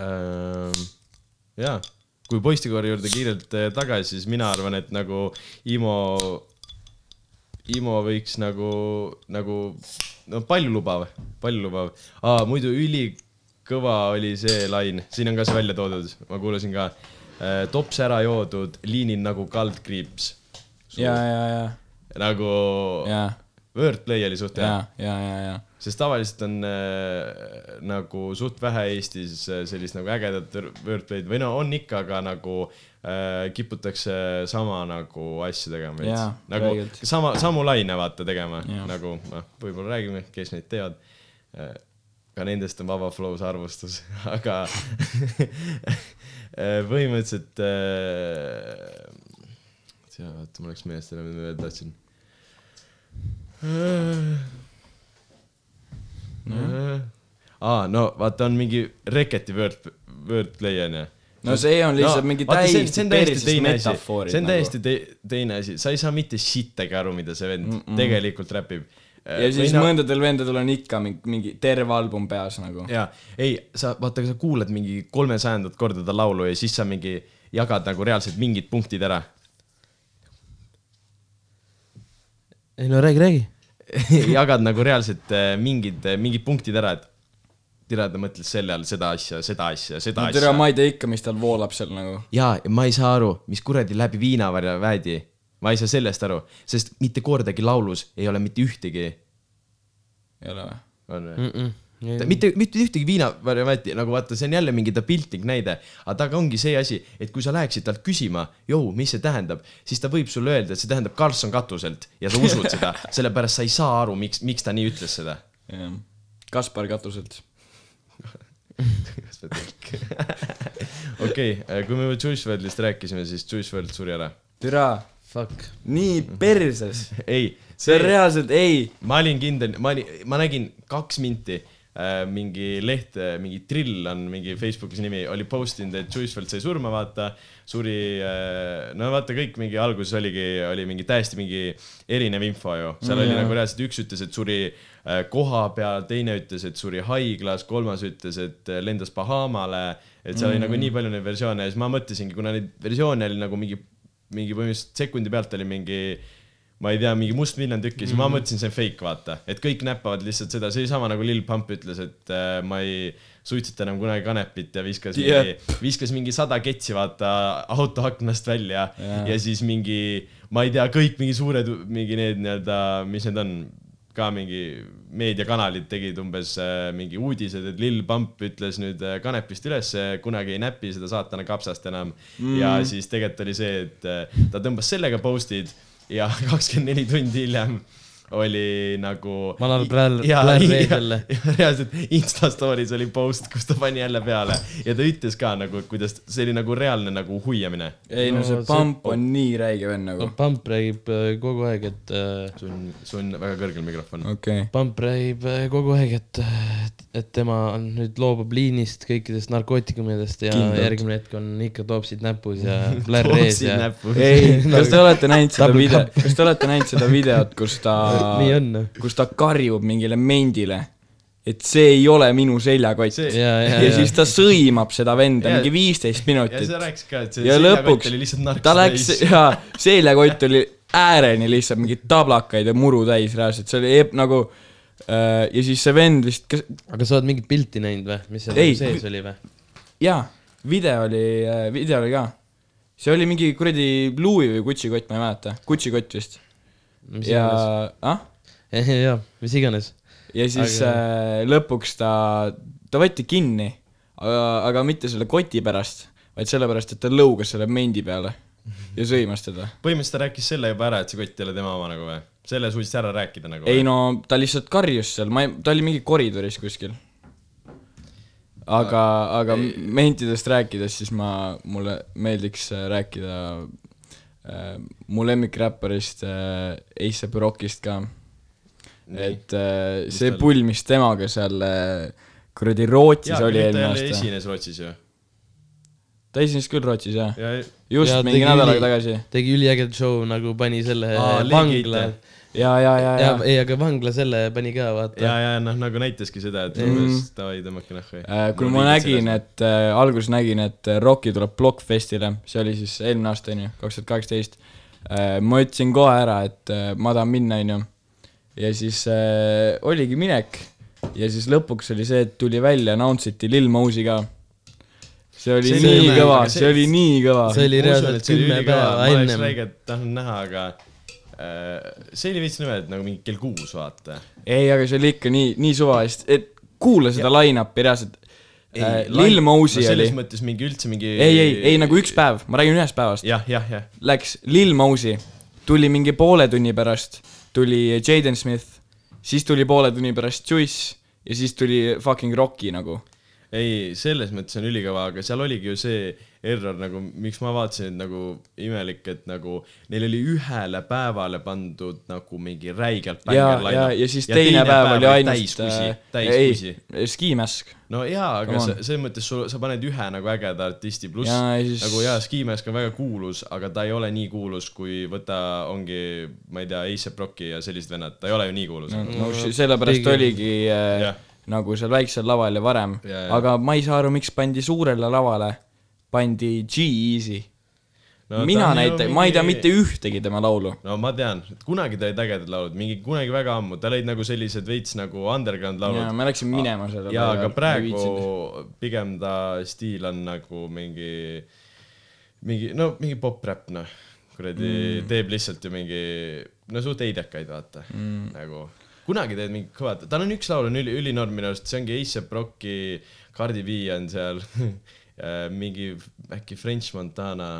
[SPEAKER 1] ähm, . jaa , kui poistekoori juurde kiirelt äh, tagasi , siis mina arvan , et nagu Imo , Imo võiks nagu , nagu no paljulubav , paljulubav . aa , muidu ülikõva oli see lain , siin on ka see välja toodud , ma kuulasin ka . tops ära joodud , liinil nagu kaldkriips .
[SPEAKER 2] ja , ja , ja ,
[SPEAKER 1] nagu
[SPEAKER 2] ja ,
[SPEAKER 1] wordplay oli suht hea
[SPEAKER 2] ja , ja , ja , ja .
[SPEAKER 1] sest tavaliselt on äh, nagu suht vähe Eestis äh, sellist nagu ägedat r- wordplay'd või no on ikka , aga nagu äh, kiputakse sama nagu asju tegema veits
[SPEAKER 2] Jaa, .
[SPEAKER 1] nagu
[SPEAKER 2] räigelt.
[SPEAKER 1] sama , samu laine vaata tegema
[SPEAKER 2] Jaa.
[SPEAKER 1] nagu noh , võib-olla räägime , kes neid teevad äh, . ka nendest on Vaba Flows arvustus , aga äh, põhimõtteliselt äh, . oota , mul läks meelest ära , mida ma veel tahtsin aa , no vaata , on mingi Reketi Word , noh. Wordplay onju .
[SPEAKER 2] no see on lihtsalt mingi täiesti perses metafoorid . nagu.
[SPEAKER 1] see on täiesti te- , teine asi , sa ei saa mitte sittagi aru , mida see vend mm -mm. tegelikult räpib .
[SPEAKER 2] ja siis mõndadel vendadel on ikka mingi , mingi terve album peas nagu .
[SPEAKER 1] jaa , ei , sa vaata , sa kuulad mingi kolmesajandat korda ta laulu ja siis sa mingi jagad nagu reaalselt mingid punktid ära
[SPEAKER 3] ei no räägi , räägi .
[SPEAKER 1] jagad nagu reaalselt eh, mingid , mingid punktid ära , et tere , ta mõtles selle all seda asja , seda asja , seda
[SPEAKER 2] no
[SPEAKER 1] asja .
[SPEAKER 2] tere , ma ei tea ikka , mis tal voolab seal nagu .
[SPEAKER 1] jaa , ja ma ei saa aru , mis kuradi läbi viinavarja väedi . ma ei saa sellest aru , sest mitte kordagi laulus ei ole mitte ühtegi .
[SPEAKER 2] ei ole või ?
[SPEAKER 1] on
[SPEAKER 2] Mm.
[SPEAKER 1] või ? mitte , mitte ühtegi viinavarja väeti , nagu vaata , see on jälle mingi ta piltlik näide , aga taga ongi see asi , et kui sa läheksid talt küsima , jõu , mis see tähendab , siis ta võib sulle öelda , et see tähendab Karlsson katuselt ja sa usud seda , sellepärast sa ei saa aru , miks , miks ta nii ütles seda .
[SPEAKER 2] jah . Kaspar Katuselt .
[SPEAKER 1] okei , kui me Juice WRLDist rääkisime , siis Juice WRLD suri ära .
[SPEAKER 2] türa ,
[SPEAKER 3] Fuck .
[SPEAKER 2] nii perses .
[SPEAKER 1] ei ,
[SPEAKER 2] see on reaalselt , ei
[SPEAKER 1] ma olin kindel , ma olin , ma nägin kaks minti äh, mingi leht , mingi Trill on mingi Facebookis nimi , oli postinud , et Juicefeld sai surma , vaata , suri äh, , no vaata kõik mingi alguses oligi , oli mingi täiesti mingi erinev info ju , seal mm, oli nagu reaalselt üks ütles , et suri äh, koha peal , teine ütles , et suri haiglas , kolmas ütles , et äh, lendas Bahamale , et seal mm. oli nagu nii palju neid versioone ja siis ma mõtlesingi , kuna neid versioone oli nagu mingi , mingi põhimõtteliselt sekundi pealt oli mingi ma ei tea , mingi mustmiljon tükki , siis mm. ma mõtlesin , see on fake , vaata , et kõik näppavad lihtsalt seda , see oli sama nagu Lil Pump ütles , et äh, ma ei suitseta enam kunagi kanepit ja viskas yeah. mingi , viskas mingi sada ketsi , vaata , auto aknast välja yeah. ja siis mingi , ma ei tea , kõik mingi suured , mingi need nii-öelda , mis need on , ka mingi meediakanalid tegid umbes äh, mingi uudised , et Lil Pump ütles nüüd äh, kanepist ülesse , kunagi ei näpi seda saatana kapsast enam mm. . ja siis tegelikult oli see , et äh, ta tõmbas sellega post'id ja kakskümmend neli tundi hiljem oli nagu .
[SPEAKER 3] Vanar Blair- Blair reedel.
[SPEAKER 1] reaalselt Insta story's oli post , kus ta pani jälle peale ja ta ütles ka nagu , kuidas see oli nagu reaalne nagu huiamine .
[SPEAKER 2] ei no
[SPEAKER 3] No
[SPEAKER 2] see
[SPEAKER 3] see-
[SPEAKER 2] Pamp on nii räige vend nagu
[SPEAKER 3] no . Pamp räägib äh, kogu aeg , et äh, ,
[SPEAKER 1] sul on , sul on väga kõrgel mikrofon .
[SPEAKER 2] okei .
[SPEAKER 3] Pamp räägib äh, kogu aeg , et , et tema on nüüd loobub liinist kõikidest narkootikumidest ja
[SPEAKER 2] Kindlalt.
[SPEAKER 3] Kindlalt. järgmine hetk on ikka toopsid näpus ja plärr ees ja .
[SPEAKER 2] ei , kas te olete näinud seda
[SPEAKER 3] Double
[SPEAKER 2] videot , kas te olete näinud seda videot , kus ta
[SPEAKER 3] nii on .
[SPEAKER 2] kus ta karjub mingile mendile , et see ei ole minu seljakott .
[SPEAKER 1] See-
[SPEAKER 3] ja , ja ,
[SPEAKER 2] ja siis ta sõimab seda venda
[SPEAKER 1] Jaa.
[SPEAKER 2] mingi viisteist
[SPEAKER 1] ja
[SPEAKER 2] minutit
[SPEAKER 1] sa . rääkisid ka , et see
[SPEAKER 2] ja
[SPEAKER 1] seljakott
[SPEAKER 2] lõpuks
[SPEAKER 1] oli lihtsalt
[SPEAKER 2] ta
[SPEAKER 1] narkos
[SPEAKER 2] läks
[SPEAKER 1] täis .
[SPEAKER 2] ja seljakott oli ääreni lihtsalt mingeid tablakaid ja muru täis reaalselt , see oli eb- nagu äh, ja siis see vend vist , kas ,
[SPEAKER 3] aga sa oled mingit pilti näinud või , mis seal
[SPEAKER 2] Ei.
[SPEAKER 3] sees oli või ?
[SPEAKER 2] jaa , video oli , video oli ka . see oli mingi kuradi Louis või Gucci kott , ma ei mäleta , Gucci kott vist .
[SPEAKER 3] mis
[SPEAKER 2] ja
[SPEAKER 3] iganes ,,
[SPEAKER 2] ah ,
[SPEAKER 3] jaa , mis iganes .
[SPEAKER 2] ja siis
[SPEAKER 3] Aga-
[SPEAKER 2] aga... äh, lõpuks ta , ta võeti kinni , aga , aga mitte selle koti pärast , vaid sellepärast , et ta lõugas selle mendi peale ja sõimas teda .
[SPEAKER 1] põhimõtteliselt ta rääkis selle juba ära , et see kott ei ole tema oma nagu või ? selle suutis ära rääkida nagu
[SPEAKER 2] ei ? no ta lihtsalt karjus seal , ma ei , ta oli mingi koridoris kuskil . aga , aga mentidest rääkides , siis ma , mulle meeldiks äh, rääkida äh, mu lemmikräpparist äh, A$AP Rockist ka . et äh, see
[SPEAKER 1] tal-
[SPEAKER 2] pull , mis temaga seal äh, kuradi Rootsis
[SPEAKER 1] jaa ,
[SPEAKER 2] oli
[SPEAKER 1] nüüd ta
[SPEAKER 2] eelmine
[SPEAKER 1] jälle
[SPEAKER 2] aasta .
[SPEAKER 1] esines Rootsis ju .
[SPEAKER 2] ta esines küll Rootsis jah ,
[SPEAKER 1] ja ,
[SPEAKER 2] just
[SPEAKER 3] Ja
[SPEAKER 2] ja, mingi
[SPEAKER 3] tegi
[SPEAKER 2] nädal
[SPEAKER 3] üli-
[SPEAKER 2] aega tagasi .
[SPEAKER 3] tegi üliägeda show nagu pani selle
[SPEAKER 1] Aa,
[SPEAKER 3] vangla
[SPEAKER 1] Legite.
[SPEAKER 2] ja , ja , ja ,
[SPEAKER 3] ja
[SPEAKER 2] ja,
[SPEAKER 3] ei , aga vangla selle pani ka vaata
[SPEAKER 1] ja , ja noh , nagu näitaski seda , et umbes davai , tõmmake nahku .
[SPEAKER 2] Mm. Äh, kui ma nägin ,, et äh, alguses nägin , et äh, Rocki tuleb Blockfestile , see oli siis eelmine aasta onju , kaks tuhat kaheksateist . ma ütlesin kohe ära , et äh, ma tahan minna onju . ja siis äh, oligi minek ja siis lõpuks oli see , et tuli välja , announce iti Lil Mosey ka . see oli
[SPEAKER 1] See oli
[SPEAKER 2] see nii
[SPEAKER 1] imeline,
[SPEAKER 2] kõva ,
[SPEAKER 1] aga see-
[SPEAKER 2] see oli nii kõva .
[SPEAKER 3] see oli reaalselt kümme päeva
[SPEAKER 1] ma oleks
[SPEAKER 3] ennem.
[SPEAKER 1] väiget tahtnud näha , aga äh, see oli veits niimoodi , et nagu mingi kell kuus , vaata .
[SPEAKER 2] ei , aga see oli ikka nii , nii suvalist , et kuula seda line-up'i reaalselt . Lil Mosey oli
[SPEAKER 1] Äh, selles , mõttes mingi üldse mingi .
[SPEAKER 2] ei , ei , ei nagu üks päev , ma räägin ühest päevast .
[SPEAKER 1] jah , jah , jah .
[SPEAKER 2] läks Lil Mosey , tuli mingi poole tunni pärast , tuli Jaden Smith , siis tuli poole tunni pärast Juice ja siis tuli fucking Rocki nagu .
[SPEAKER 1] ei , selles mõttes on ülikõva , aga seal oligi ju see error nagu , miks ma vaatasin , et nagu imelik , et nagu neil oli ühele päevale pandud nagu mingi räigelt
[SPEAKER 2] ja , ja , ja siis teine, teine päev, päev oli ainult äh,
[SPEAKER 1] täis kusi , täis kusi
[SPEAKER 2] ei ,. Ski Mask .
[SPEAKER 1] no jaa ,
[SPEAKER 2] Come
[SPEAKER 1] aga
[SPEAKER 2] on.
[SPEAKER 1] sa, selles mõttes sul , sa paned ühe nagu ägeda artisti , pluss
[SPEAKER 2] Jaa, ja
[SPEAKER 1] ja,
[SPEAKER 2] siis-
[SPEAKER 1] siis... nagu jaa , Skimask on väga kuulus , aga ta ei ole nii kuulus , kui võta , ongi , ma ei tea , A$AP Rocki ja sellised vennad , ta ei ole ju nii kuulus no. .
[SPEAKER 2] no sh- sellepärast
[SPEAKER 3] pigem.
[SPEAKER 2] oligi äh,
[SPEAKER 1] Jah.
[SPEAKER 2] nagu seal väiksel laval ja varem ,
[SPEAKER 1] Ja, ja.
[SPEAKER 2] aga ma ei saa aru , miks pandi suurele lavale , pandi G-Eazy
[SPEAKER 1] No
[SPEAKER 2] no, .
[SPEAKER 1] ta
[SPEAKER 2] mina
[SPEAKER 1] on ju
[SPEAKER 2] näite- mingi... , ma ei tea
[SPEAKER 1] mingi-
[SPEAKER 2] mitte ühtegi tema laulu .
[SPEAKER 1] no ma tean , kunagi ta olid ägedad laulud , mingi kunagi väga ammu , tal olid nagu sellised veits nagu underground laulud
[SPEAKER 2] ja
[SPEAKER 1] ja,
[SPEAKER 2] me läksime minema sellele .
[SPEAKER 1] ja aga praegu pigem ta stiil on nagu mingi , mingi no mingi pop-räpp noh , kuradi mm. teeb lihtsalt ju mingi no suht heidekaid vaata mm. nagu kunagi teed mingit kõvat , tal on üks laul on üli , ülinoor minu arust , see ongi A$AP Rocki , Cardi B on seal mingi äkki French Montana ,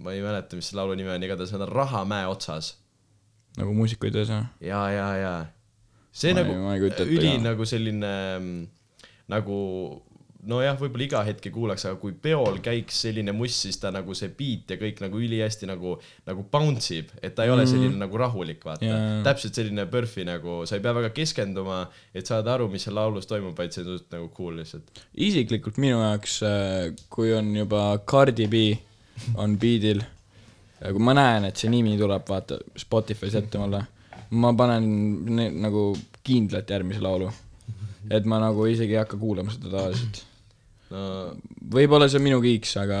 [SPEAKER 1] ma ei mäleta , mis selle laulu nimi on , igatahes nad on Rahamäe otsas
[SPEAKER 2] nagu muusikuid ühesõnaga .
[SPEAKER 1] ja , ja , ja see ma
[SPEAKER 2] Ma ei-
[SPEAKER 1] nagu
[SPEAKER 2] ma ei kujuta
[SPEAKER 1] ei,
[SPEAKER 2] ette
[SPEAKER 1] üli
[SPEAKER 2] ka.
[SPEAKER 1] nagu selline mm, nagu nojah , võib-olla iga hetk ei kuulaks , aga kui peol käiks selline must , siis ta nagu see beat ja kõik nagu ülihästi nagu , nagu bounce ib , et ta ei ole selline nagu rahulik , vaata
[SPEAKER 2] Mhm. Jaa,
[SPEAKER 1] yeah.
[SPEAKER 2] jaa. .
[SPEAKER 1] täpselt selline PERFi nagu , sa ei pea väga keskenduma , et saada aru , mis seal laulus toimub , vaid see on suht nagu cool lihtsalt .
[SPEAKER 2] isiklikult minu jaoks , kui on juba Cardi B on beat'il , kui ma näen , et see nimi tuleb , vaata , Spotify's ette mulle , ma panen ne, nagu kindlalt järgmise laulu . et ma nagu isegi ei hakka kuulama seda tavaliselt .
[SPEAKER 1] no
[SPEAKER 2] võib-olla see on minu kiiks , aga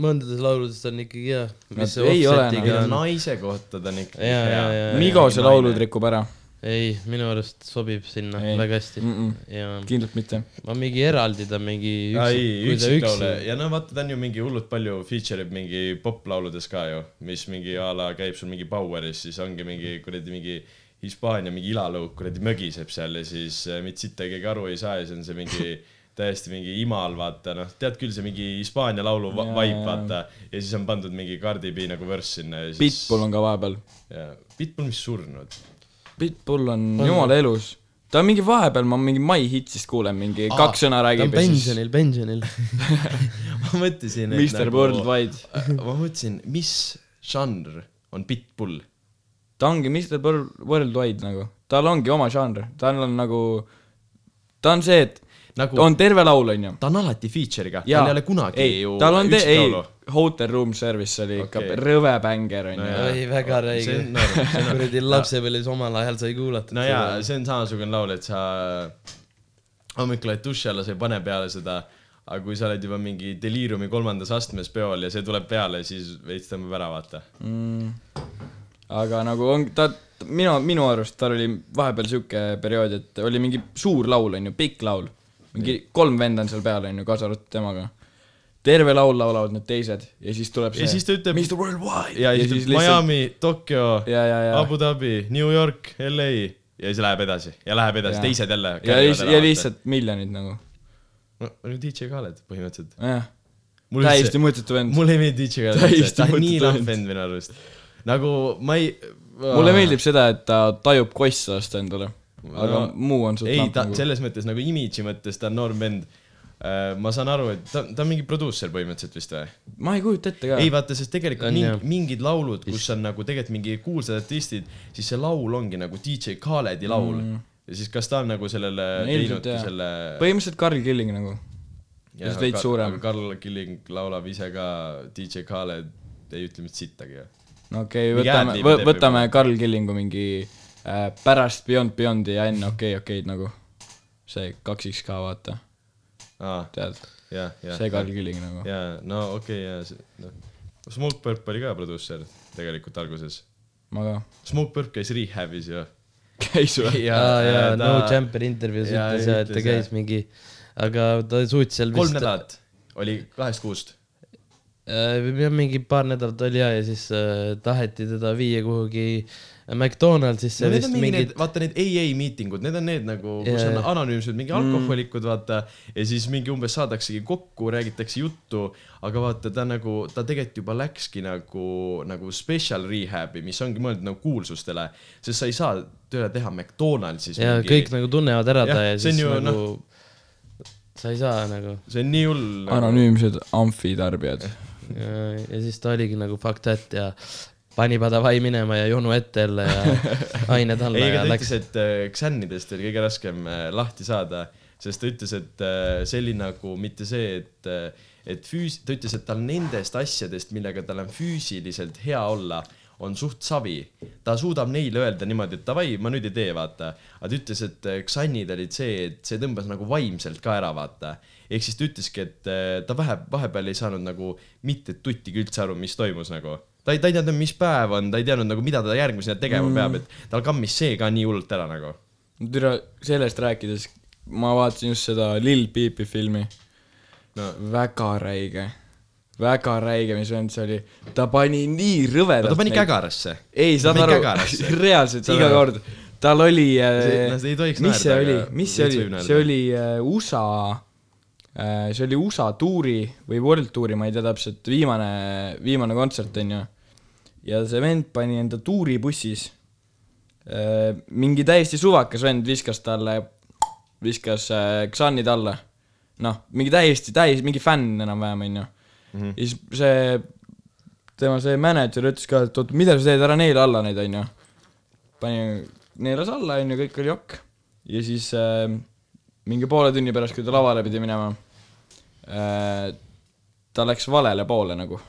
[SPEAKER 3] mõndades lauludes on ikkagi hea , mis see
[SPEAKER 2] Nad ei ole
[SPEAKER 1] ei nagu- no
[SPEAKER 2] Jaa. enam-
[SPEAKER 3] offset'iga on
[SPEAKER 1] naise kohta ta on ikka
[SPEAKER 3] Jaa, jaa, jaa.
[SPEAKER 2] Migose laulud rikub ära ,
[SPEAKER 3] ei , minu arust sobib sinna
[SPEAKER 2] Ei.
[SPEAKER 3] väga hästi
[SPEAKER 2] Mm-mm.
[SPEAKER 3] ja
[SPEAKER 2] kindlalt mitte .
[SPEAKER 3] ma mingi eraldi ta
[SPEAKER 1] ei ,
[SPEAKER 3] mingi üksi , kui ta
[SPEAKER 1] üksiklaule
[SPEAKER 3] üksi
[SPEAKER 1] ja no vaata , ta on ju mingi hullult palju feature ib mingi poplauludes ka ju , mis mingi a la käib sul mingi Poweris , siis ongi mingi kuradi mingi Hispaania mingi ilalõuk kuradi mögiseb seal ja siis äh, mitte sitta keegi aru ei saa ja siis on see mingi täiesti mingi imal , vaata noh , tead küll see mingi Hispaania laulu va-
[SPEAKER 2] Jaa.
[SPEAKER 1] vibe , vaata , ja siis on pandud mingi Cardi B nagu värss sinna ja siis
[SPEAKER 2] Pitbull on ka vahepeal .
[SPEAKER 1] jaa. Pitbull , mis surnud .
[SPEAKER 2] Pitbull on jumala elus . ta on mingi vahepeal , ma mingi My Hitsist kuulen , mingi Aa, kaks sõna
[SPEAKER 3] ta on
[SPEAKER 2] räägib ja siis
[SPEAKER 3] pensionil , pensionil
[SPEAKER 1] ma mõtlesin , et nagu-
[SPEAKER 2] Mr Worldwide .
[SPEAKER 1] ma mõtlesin , mis žanr on Pitbull
[SPEAKER 2] ta ongi Mr World- Worldwide nagu , tal ongi oma žanr , tal on nagu , ta on see , et
[SPEAKER 1] Nagu-
[SPEAKER 2] on terve laul , onju .
[SPEAKER 1] ta on alati feature'iga , tal ei ole kunagi
[SPEAKER 2] ei,
[SPEAKER 1] ju
[SPEAKER 2] tal on te- , ei
[SPEAKER 1] üksiklaulu .,
[SPEAKER 2] Hotel Room Service oli ikka
[SPEAKER 1] Okei.
[SPEAKER 2] okay. rõve bänger , onju
[SPEAKER 1] Jaa.
[SPEAKER 3] oi , väga
[SPEAKER 1] See
[SPEAKER 3] räige
[SPEAKER 1] on norm, see on norm.
[SPEAKER 3] kuradi lapsepõlves omal ajal sai kuulata
[SPEAKER 1] no jaa , see on samasugune laul , et sa hommikul oled duši alla , sa ei pane peale seda , aga kui sa oled juba mingi deliiriumi kolmandas astmes peol ja see tuleb peale , siis veits tõmbab ära , vaata .
[SPEAKER 2] mm. . aga nagu on ta , minu , minu arust tal oli vahepeal sihuke periood , et oli mingi suur laul , onju , pikk laul . mingi kolm venda on seal peal , onju , kaasa arvatud temaga . terve laul laulavad need teised ja siis tuleb see
[SPEAKER 1] ja siis ta ütleb
[SPEAKER 2] Mr Worldwide
[SPEAKER 1] ja siis ütleb Miami , Tokyo ,
[SPEAKER 2] ja , ja , ja
[SPEAKER 1] Abu Dhabi , New York , LA ja siis läheb edasi ja läheb edasi ,
[SPEAKER 2] Jaa.
[SPEAKER 1] teised jälle .
[SPEAKER 2] ja, liis- ja lihtsalt miljonid nagu ,
[SPEAKER 1] no , no DJ ka oled põhimõtteliselt .
[SPEAKER 2] jah .
[SPEAKER 1] mul
[SPEAKER 2] täiesti mõttetu vend .
[SPEAKER 1] mulle ei meeldi Ichigo .
[SPEAKER 2] Täiesti
[SPEAKER 1] ta on nii
[SPEAKER 2] mõttetu
[SPEAKER 1] lahv
[SPEAKER 2] vend.
[SPEAKER 1] vend minu arust . nagu ma ei .
[SPEAKER 2] mulle meeldib seda , et ta tajub kossast endale . aga
[SPEAKER 1] No,
[SPEAKER 2] muu on suht
[SPEAKER 1] ei , ta selles mõttes nagu imidži mõttes ta on noorm vend . ma saan aru , et ta , ta on mingi produusser põhimõtteliselt vist või ?
[SPEAKER 2] ma ei kujuta ette
[SPEAKER 1] ei
[SPEAKER 2] ka .
[SPEAKER 1] vaata , sest tegelikult
[SPEAKER 3] On,
[SPEAKER 1] mingi,
[SPEAKER 3] jah.
[SPEAKER 1] mingid laulud , kus on nagu tegelikult mingi kuulsad artistid , siis see laul ongi nagu DJ Khaledi laul mm. . ja siis kas ta on nagu sellele
[SPEAKER 2] No ilmselt
[SPEAKER 1] teinud ka
[SPEAKER 2] jaa.
[SPEAKER 1] selle .
[SPEAKER 2] põhimõtteliselt Carl Killing nagu . just veits suurem.
[SPEAKER 1] Karl Killing laulab ise ka , DJ Khaled ei ütle mitte sittagi ju .
[SPEAKER 2] no okei okay, ,
[SPEAKER 1] Mingi
[SPEAKER 2] võtame
[SPEAKER 1] ad-libi , teeb
[SPEAKER 2] võtame Carl Killingu mingi äh, pärast Beyond Beyondi ja enne Okei okay, Okeid nagu . see kaks X ka vaata ,
[SPEAKER 1] aa ,
[SPEAKER 2] tead ,
[SPEAKER 1] jah , jah .
[SPEAKER 2] see Carl Killing nagu .
[SPEAKER 1] jaa , no okei okay, , jaa , noh . Smoke Purp oli ka produusser tegelikult alguses .
[SPEAKER 2] ma ka .
[SPEAKER 1] Smoke Purp käis Rehab'is ju .
[SPEAKER 2] käis või ?
[SPEAKER 3] jaa , jaa , No Jumper intervjuus
[SPEAKER 1] jaa,
[SPEAKER 3] ütles ja et ta
[SPEAKER 1] ütles,
[SPEAKER 3] käis
[SPEAKER 1] jah.
[SPEAKER 3] mingi , aga ta suutis seal
[SPEAKER 1] kolm
[SPEAKER 3] vist ,
[SPEAKER 1] nädalat oli kahest kuust .
[SPEAKER 3] jah , Äh, mingi paar nädalat oli ja , ja siis äh, taheti teda viia kuhugi McDonaldsisse
[SPEAKER 1] no
[SPEAKER 3] no,
[SPEAKER 1] need on
[SPEAKER 3] vist
[SPEAKER 1] mingi need
[SPEAKER 3] mingit ,,
[SPEAKER 1] vaata need AA miitingud , need on need nagu , kus
[SPEAKER 3] Jaa, Mm.
[SPEAKER 1] on
[SPEAKER 3] jaa.
[SPEAKER 1] anonüümsed mingi alkohoolikud , vaata , ja siis mingi umbes saadaksegi kokku , räägitakse juttu , aga vaata , ta nagu , ta tegelikult juba läkski nagu , nagu special rehab'i , mis ongi mõeldud nagu kuulsustele , sest sa ei saa tööle teha McDonaldsis
[SPEAKER 3] ja
[SPEAKER 1] mingi
[SPEAKER 3] kõik . nagu tunnevad ära ta
[SPEAKER 1] Jah,
[SPEAKER 3] ja
[SPEAKER 1] see on
[SPEAKER 3] siis
[SPEAKER 1] ju, noh.
[SPEAKER 3] ju, nagu no. sa ei saa nagu
[SPEAKER 1] see on nii hull nagu. .
[SPEAKER 2] anonüümsed amfitarbijad .
[SPEAKER 3] ja, Äh, ja siis ta oligi nagu fuck that ja pani padavai minema ja jonu ette jälle ja ained alla
[SPEAKER 1] ei , aga
[SPEAKER 3] ja
[SPEAKER 1] ta
[SPEAKER 3] läks
[SPEAKER 1] ütles , et äh, Xännidest oli kõige raskem äh, lahti saada , sest ta ütles , et äh, see oli nagu mitte see , et äh, , et füüs- , ta ütles , et tal nendest asjadest , millega tal on füüsiliselt hea olla , on suht savi . ta suudab neile öelda niimoodi , et davai , ma nüüd ei tee , vaata . aga ta ütles , et äh, Xännid olid see , et see tõmbas nagu vaimselt ka ära , vaata . ehk siis ta ütleski , et äh, ta vahe , vahepeal ei saanud nagu mitte tuttigi üldse aru , mis toimus nagu ta ei , ta ei teadnud , mis päev on , ta ei teadnud nagu , mida ta järgmisena tegema mm. peab , et tal kammis see ka nii hullult ära nagu .
[SPEAKER 2] türa , sellest rääkides , ma vaatasin just seda Lil Peepi filmi
[SPEAKER 1] no
[SPEAKER 2] väga räige , väga räige , mis vend see oli , ta pani nii
[SPEAKER 1] no
[SPEAKER 2] rõvedalt
[SPEAKER 1] ta pani
[SPEAKER 2] neid-
[SPEAKER 1] kägarasse .
[SPEAKER 2] ei , saad
[SPEAKER 1] pani
[SPEAKER 2] aru
[SPEAKER 1] kägarasse. ,
[SPEAKER 2] reaalselt
[SPEAKER 1] Saad
[SPEAKER 2] iga
[SPEAKER 1] aru?
[SPEAKER 2] kord , tal oli äh,
[SPEAKER 1] See- no see ei tohiks
[SPEAKER 2] mis see
[SPEAKER 1] naerda,
[SPEAKER 2] oli
[SPEAKER 1] aga ,
[SPEAKER 2] mis see
[SPEAKER 1] veits võib
[SPEAKER 2] oli ,
[SPEAKER 1] naerda.
[SPEAKER 2] see oli äh, USA äh, , see oli USA tuuri või World Tuuri , ma ei tea täpselt , viimane , viimane kontsert on ju . ja see vend pani enda tuuribussis äh, mingi täiesti suvakas vend viskas talle , viskas äh, Xanid alla . noh , mingi täiesti täis , mingi fänn enam-vähem , on ju .
[SPEAKER 1] Mhm.
[SPEAKER 2] ja siis see , tema see mänedžer ütles ka , et oot , mida sa teed , ära neela alla neid , on ju . pani , neelas alla , on ju , kõik oli jokk . ja siis äh, mingi poole tunni pärast , kui ta lavale pidi minema äh, , ta läks valele poole nagu ,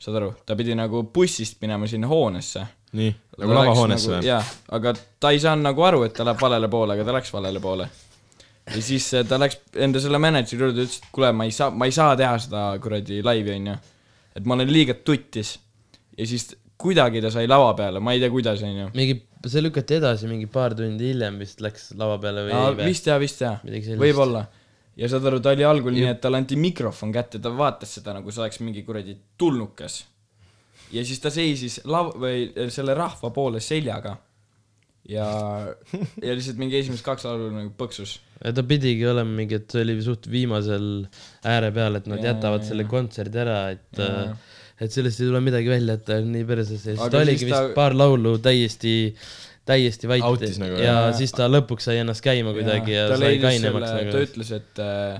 [SPEAKER 2] saad aru , ta pidi nagu bussist minema sinna hoonesse
[SPEAKER 1] nii ,
[SPEAKER 2] Ta
[SPEAKER 1] nagu
[SPEAKER 2] läks
[SPEAKER 1] lavahoonesse
[SPEAKER 2] nagu,
[SPEAKER 1] või ?
[SPEAKER 2] jah , aga ta ei saanud nagu aru , et ta läheb valele poole , aga ta läks valele poole . ja siis eh, ta läks enda selle mänedžeri juurde , ütles , et kuule , ma ei saa , ma ei saa teha seda kuradi laivi , onju . et ma olen liiga tuttis . ja siis kuidagi ta sai lava peale , ma ei tea , kuidas , onju .
[SPEAKER 3] mingi , see lükati edasi mingi paar tundi hiljem vist läks lava peale või ei või ?
[SPEAKER 2] vist jah , vist jah
[SPEAKER 3] Midagi , sellist.
[SPEAKER 2] võib-olla . ja saad aru , ta oli algul nii , et talle anti mikrofon kätte , ta vaatas seda nagu see oleks mingi kuradi tulnukas . ja siis ta seisis lav- , või äh, selle rahva poole seljaga ja , ja lihtsalt mingi esimesed kaks laulu nagu põksus .
[SPEAKER 3] ta pidigi olema mingi , et see oli suht viimasel ääre peal , et nad
[SPEAKER 2] Jaa,
[SPEAKER 3] ja, jätavad
[SPEAKER 2] jaa,
[SPEAKER 3] ja, selle kontserdi ära , et
[SPEAKER 2] Jaa.
[SPEAKER 3] ja. et sellest ei tule midagi välja , et ta on nii perses ja siis
[SPEAKER 2] Aga
[SPEAKER 3] ta
[SPEAKER 2] siis
[SPEAKER 3] oligi vist
[SPEAKER 2] ta-
[SPEAKER 3] ta... paar laulu täiesti , täiesti vait
[SPEAKER 1] Outis nagu,
[SPEAKER 3] ja, ja
[SPEAKER 2] jah.
[SPEAKER 3] siis ta lõpuks sai ennast käima kuidagi ja, ja sai kainemaks
[SPEAKER 2] ta
[SPEAKER 3] nagu .
[SPEAKER 2] ütles , et äh,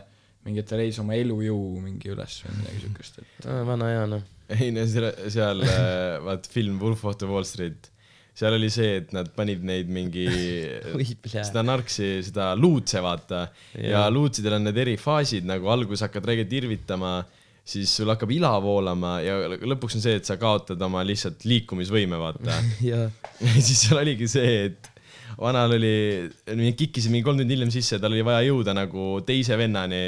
[SPEAKER 2] mingi , et ta leidis oma elujõu mingi üles või midagi siukest , et
[SPEAKER 3] Ah, vana hea noh .
[SPEAKER 1] ei no seal , seal äh, vaat film Wolf of the Wall Street , seal oli see , et nad panid neid mingi
[SPEAKER 3] Oi, plää.
[SPEAKER 1] seda narksi , seda luutse vaata ja luutsidel on need erifaasid nagu alguses hakkad räigelt irvitama , siis sul hakkab ila voolama ja lõpuks on see , et sa kaotad oma lihtsalt liikumisvõime , vaata
[SPEAKER 3] ja ,
[SPEAKER 1] ja siis seal oligi see , et vanal oli , kikkisin mingi kolm tundi hiljem sisse , tal oli vaja jõuda nagu teise vennani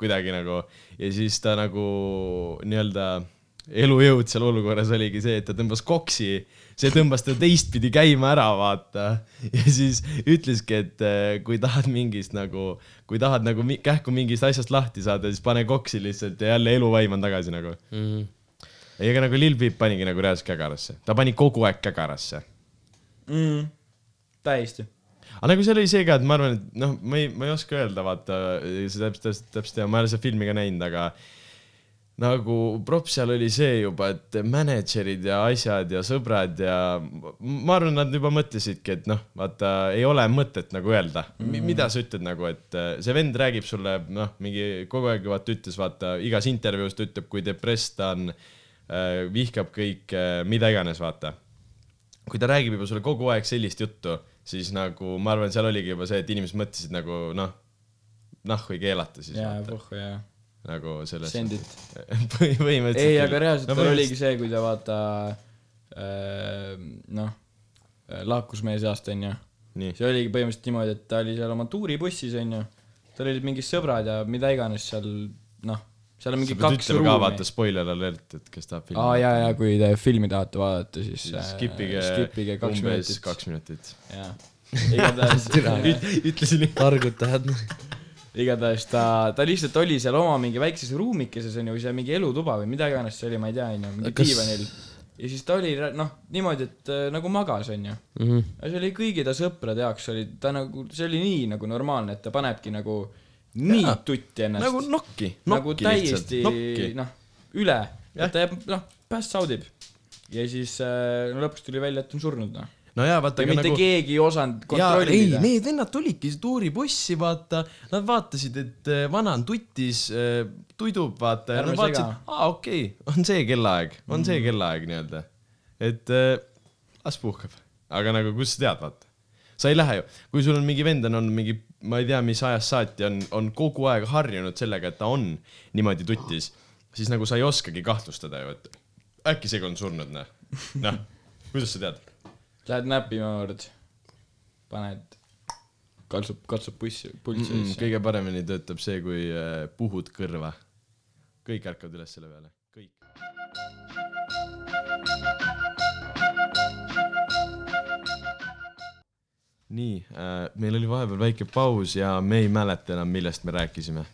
[SPEAKER 1] kuidagi nagu ja siis ta nagu nii-öelda elujõud seal olukorras oligi see , et ta tõmbas koksi , see tõmbas ta teistpidi käima ära , vaata . ja siis ütleski , et eh, kui tahad mingist nagu , kui tahad nagu mi- kähku mingist asjast lahti saada , siis pane koksi lihtsalt ja jälle eluvaim on tagasi nagu .
[SPEAKER 3] mm.
[SPEAKER 1] ei , aga nagu Lil Peep panigi nagu reaalselt kägarasse , ta pani kogu aeg kägarasse
[SPEAKER 2] mm, täiesti .
[SPEAKER 1] aga nagu seal oli see ka , et ma arvan , et noh , ma ei , ma ei oska öelda , vaata , see täpselt , täpselt , täpselt , ma ei ole seda filmi ka näinud , aga nagu props seal oli see juba , et mänedžerid ja asjad ja sõbrad ja m- ma arvan , nad juba mõtlesidki , et noh , vaata ei ole mõtet nagu öelda mm. , mida sa ütled nagu , et äh, see vend räägib sulle noh , mingi kogu aeg vaata ütles , vaata igas intervjuus ta ütleb , kui depress ta on , vihkab kõike , mida iganes , vaata kui ta räägib juba sulle kogu aeg sellist juttu , siis nagu ma arvan , seal oligi juba see , et inimesed mõtlesid nagu noh , nahku ei keelata siis
[SPEAKER 2] jaa ,
[SPEAKER 1] vaata ,
[SPEAKER 2] puhku jaa .
[SPEAKER 1] nagu selles .
[SPEAKER 2] sendid .
[SPEAKER 1] põhimõtteliselt .
[SPEAKER 2] ei , aga reaalselt tal oligi . see , kui ta vaata äh, noh , lahkus meie seast , onju .
[SPEAKER 1] Nii.
[SPEAKER 2] see oligi põhimõtteliselt niimoodi , et ta oli seal oma tuuribussis , onju . tal olid mingid sõbrad ja mida iganes seal , noh , seal
[SPEAKER 1] sa
[SPEAKER 2] on mingi
[SPEAKER 1] pead
[SPEAKER 2] kaks
[SPEAKER 1] ütlema ka vaata
[SPEAKER 2] ruumi .
[SPEAKER 1] spoiler alert , et kes tahab filmi
[SPEAKER 2] aa , jaa , jaa , kui te filmi tahate vaadata , siis äh,
[SPEAKER 1] Siis skipige,
[SPEAKER 2] skipige kaks
[SPEAKER 1] umbes
[SPEAKER 2] minutit .
[SPEAKER 1] kaks minutit .
[SPEAKER 2] jaa . igatahes ,
[SPEAKER 1] ütlesin nii .
[SPEAKER 3] targud noh. tahad .
[SPEAKER 2] igatahes ta , ta lihtsalt oli seal oma mingi väikses ruumikeses onju , või seal mingi elutuba või mida iganes see oli , ma ei tea onju , mingi
[SPEAKER 3] Kas-
[SPEAKER 2] diivanil . ja siis ta oli ra- noh , niimoodi , et äh, nagu magas onju .
[SPEAKER 1] Mhm.
[SPEAKER 2] aga see oli kõigi ta sõprade jaoks oli ta nagu , see oli nii nagu normaalne , et ta panebki nagu nii
[SPEAKER 1] Jaa.
[SPEAKER 2] tutti ennast .
[SPEAKER 1] nagu nokki ,
[SPEAKER 2] nagu
[SPEAKER 1] nokki lihtsalt ,
[SPEAKER 2] täiesti
[SPEAKER 1] nokki .
[SPEAKER 2] noh , üle .
[SPEAKER 1] Jah.
[SPEAKER 2] ta jääb noh , pass out ib . ja siis äh, no lõpuks tuli välja , et on surnud noh .
[SPEAKER 1] no jaa , vaata ,
[SPEAKER 2] ja
[SPEAKER 1] aga
[SPEAKER 2] mitte
[SPEAKER 1] nagu
[SPEAKER 2] nagu... keegi ei osanud
[SPEAKER 1] jaa , ei ,
[SPEAKER 2] kontrollida .
[SPEAKER 1] need vennad tulidki tuuribussi , vaata , nad vaatasid , et eh, vana on tutis , tuidub , vaata , ja
[SPEAKER 2] Ärme
[SPEAKER 1] nad vaatasid
[SPEAKER 2] sega. , Mm.
[SPEAKER 1] aa , okei okay, , on see kellaaeg , on see kellaaeg nii-öelda . et eh, las puhkab , aga nagu kust sa tead , vaata . sa ei lähe ju , kui sul on mingi vend on olnud mingi , ma ei tea , mis ajast saati on , on kogu aeg harjunud sellega , et ta on niimoodi tutis , siis nagu sa ei oskagi kahtlustada ju , et äkki seekord on surnud , noh . noh , kuidas sa tead ?
[SPEAKER 2] Lähed näppima kord , paned , kaltsub , katsub bussi , pulssi
[SPEAKER 1] mm ,
[SPEAKER 2] mm
[SPEAKER 1] -mm,
[SPEAKER 2] -mm,
[SPEAKER 1] kõige paremini töötab see , kui äh, puhud kõrva . kõik ärkavad üles selle peale , kõik . nii äh, , meil oli vahepeal väike paus ja me ei mäleta enam , millest me rääkisime ,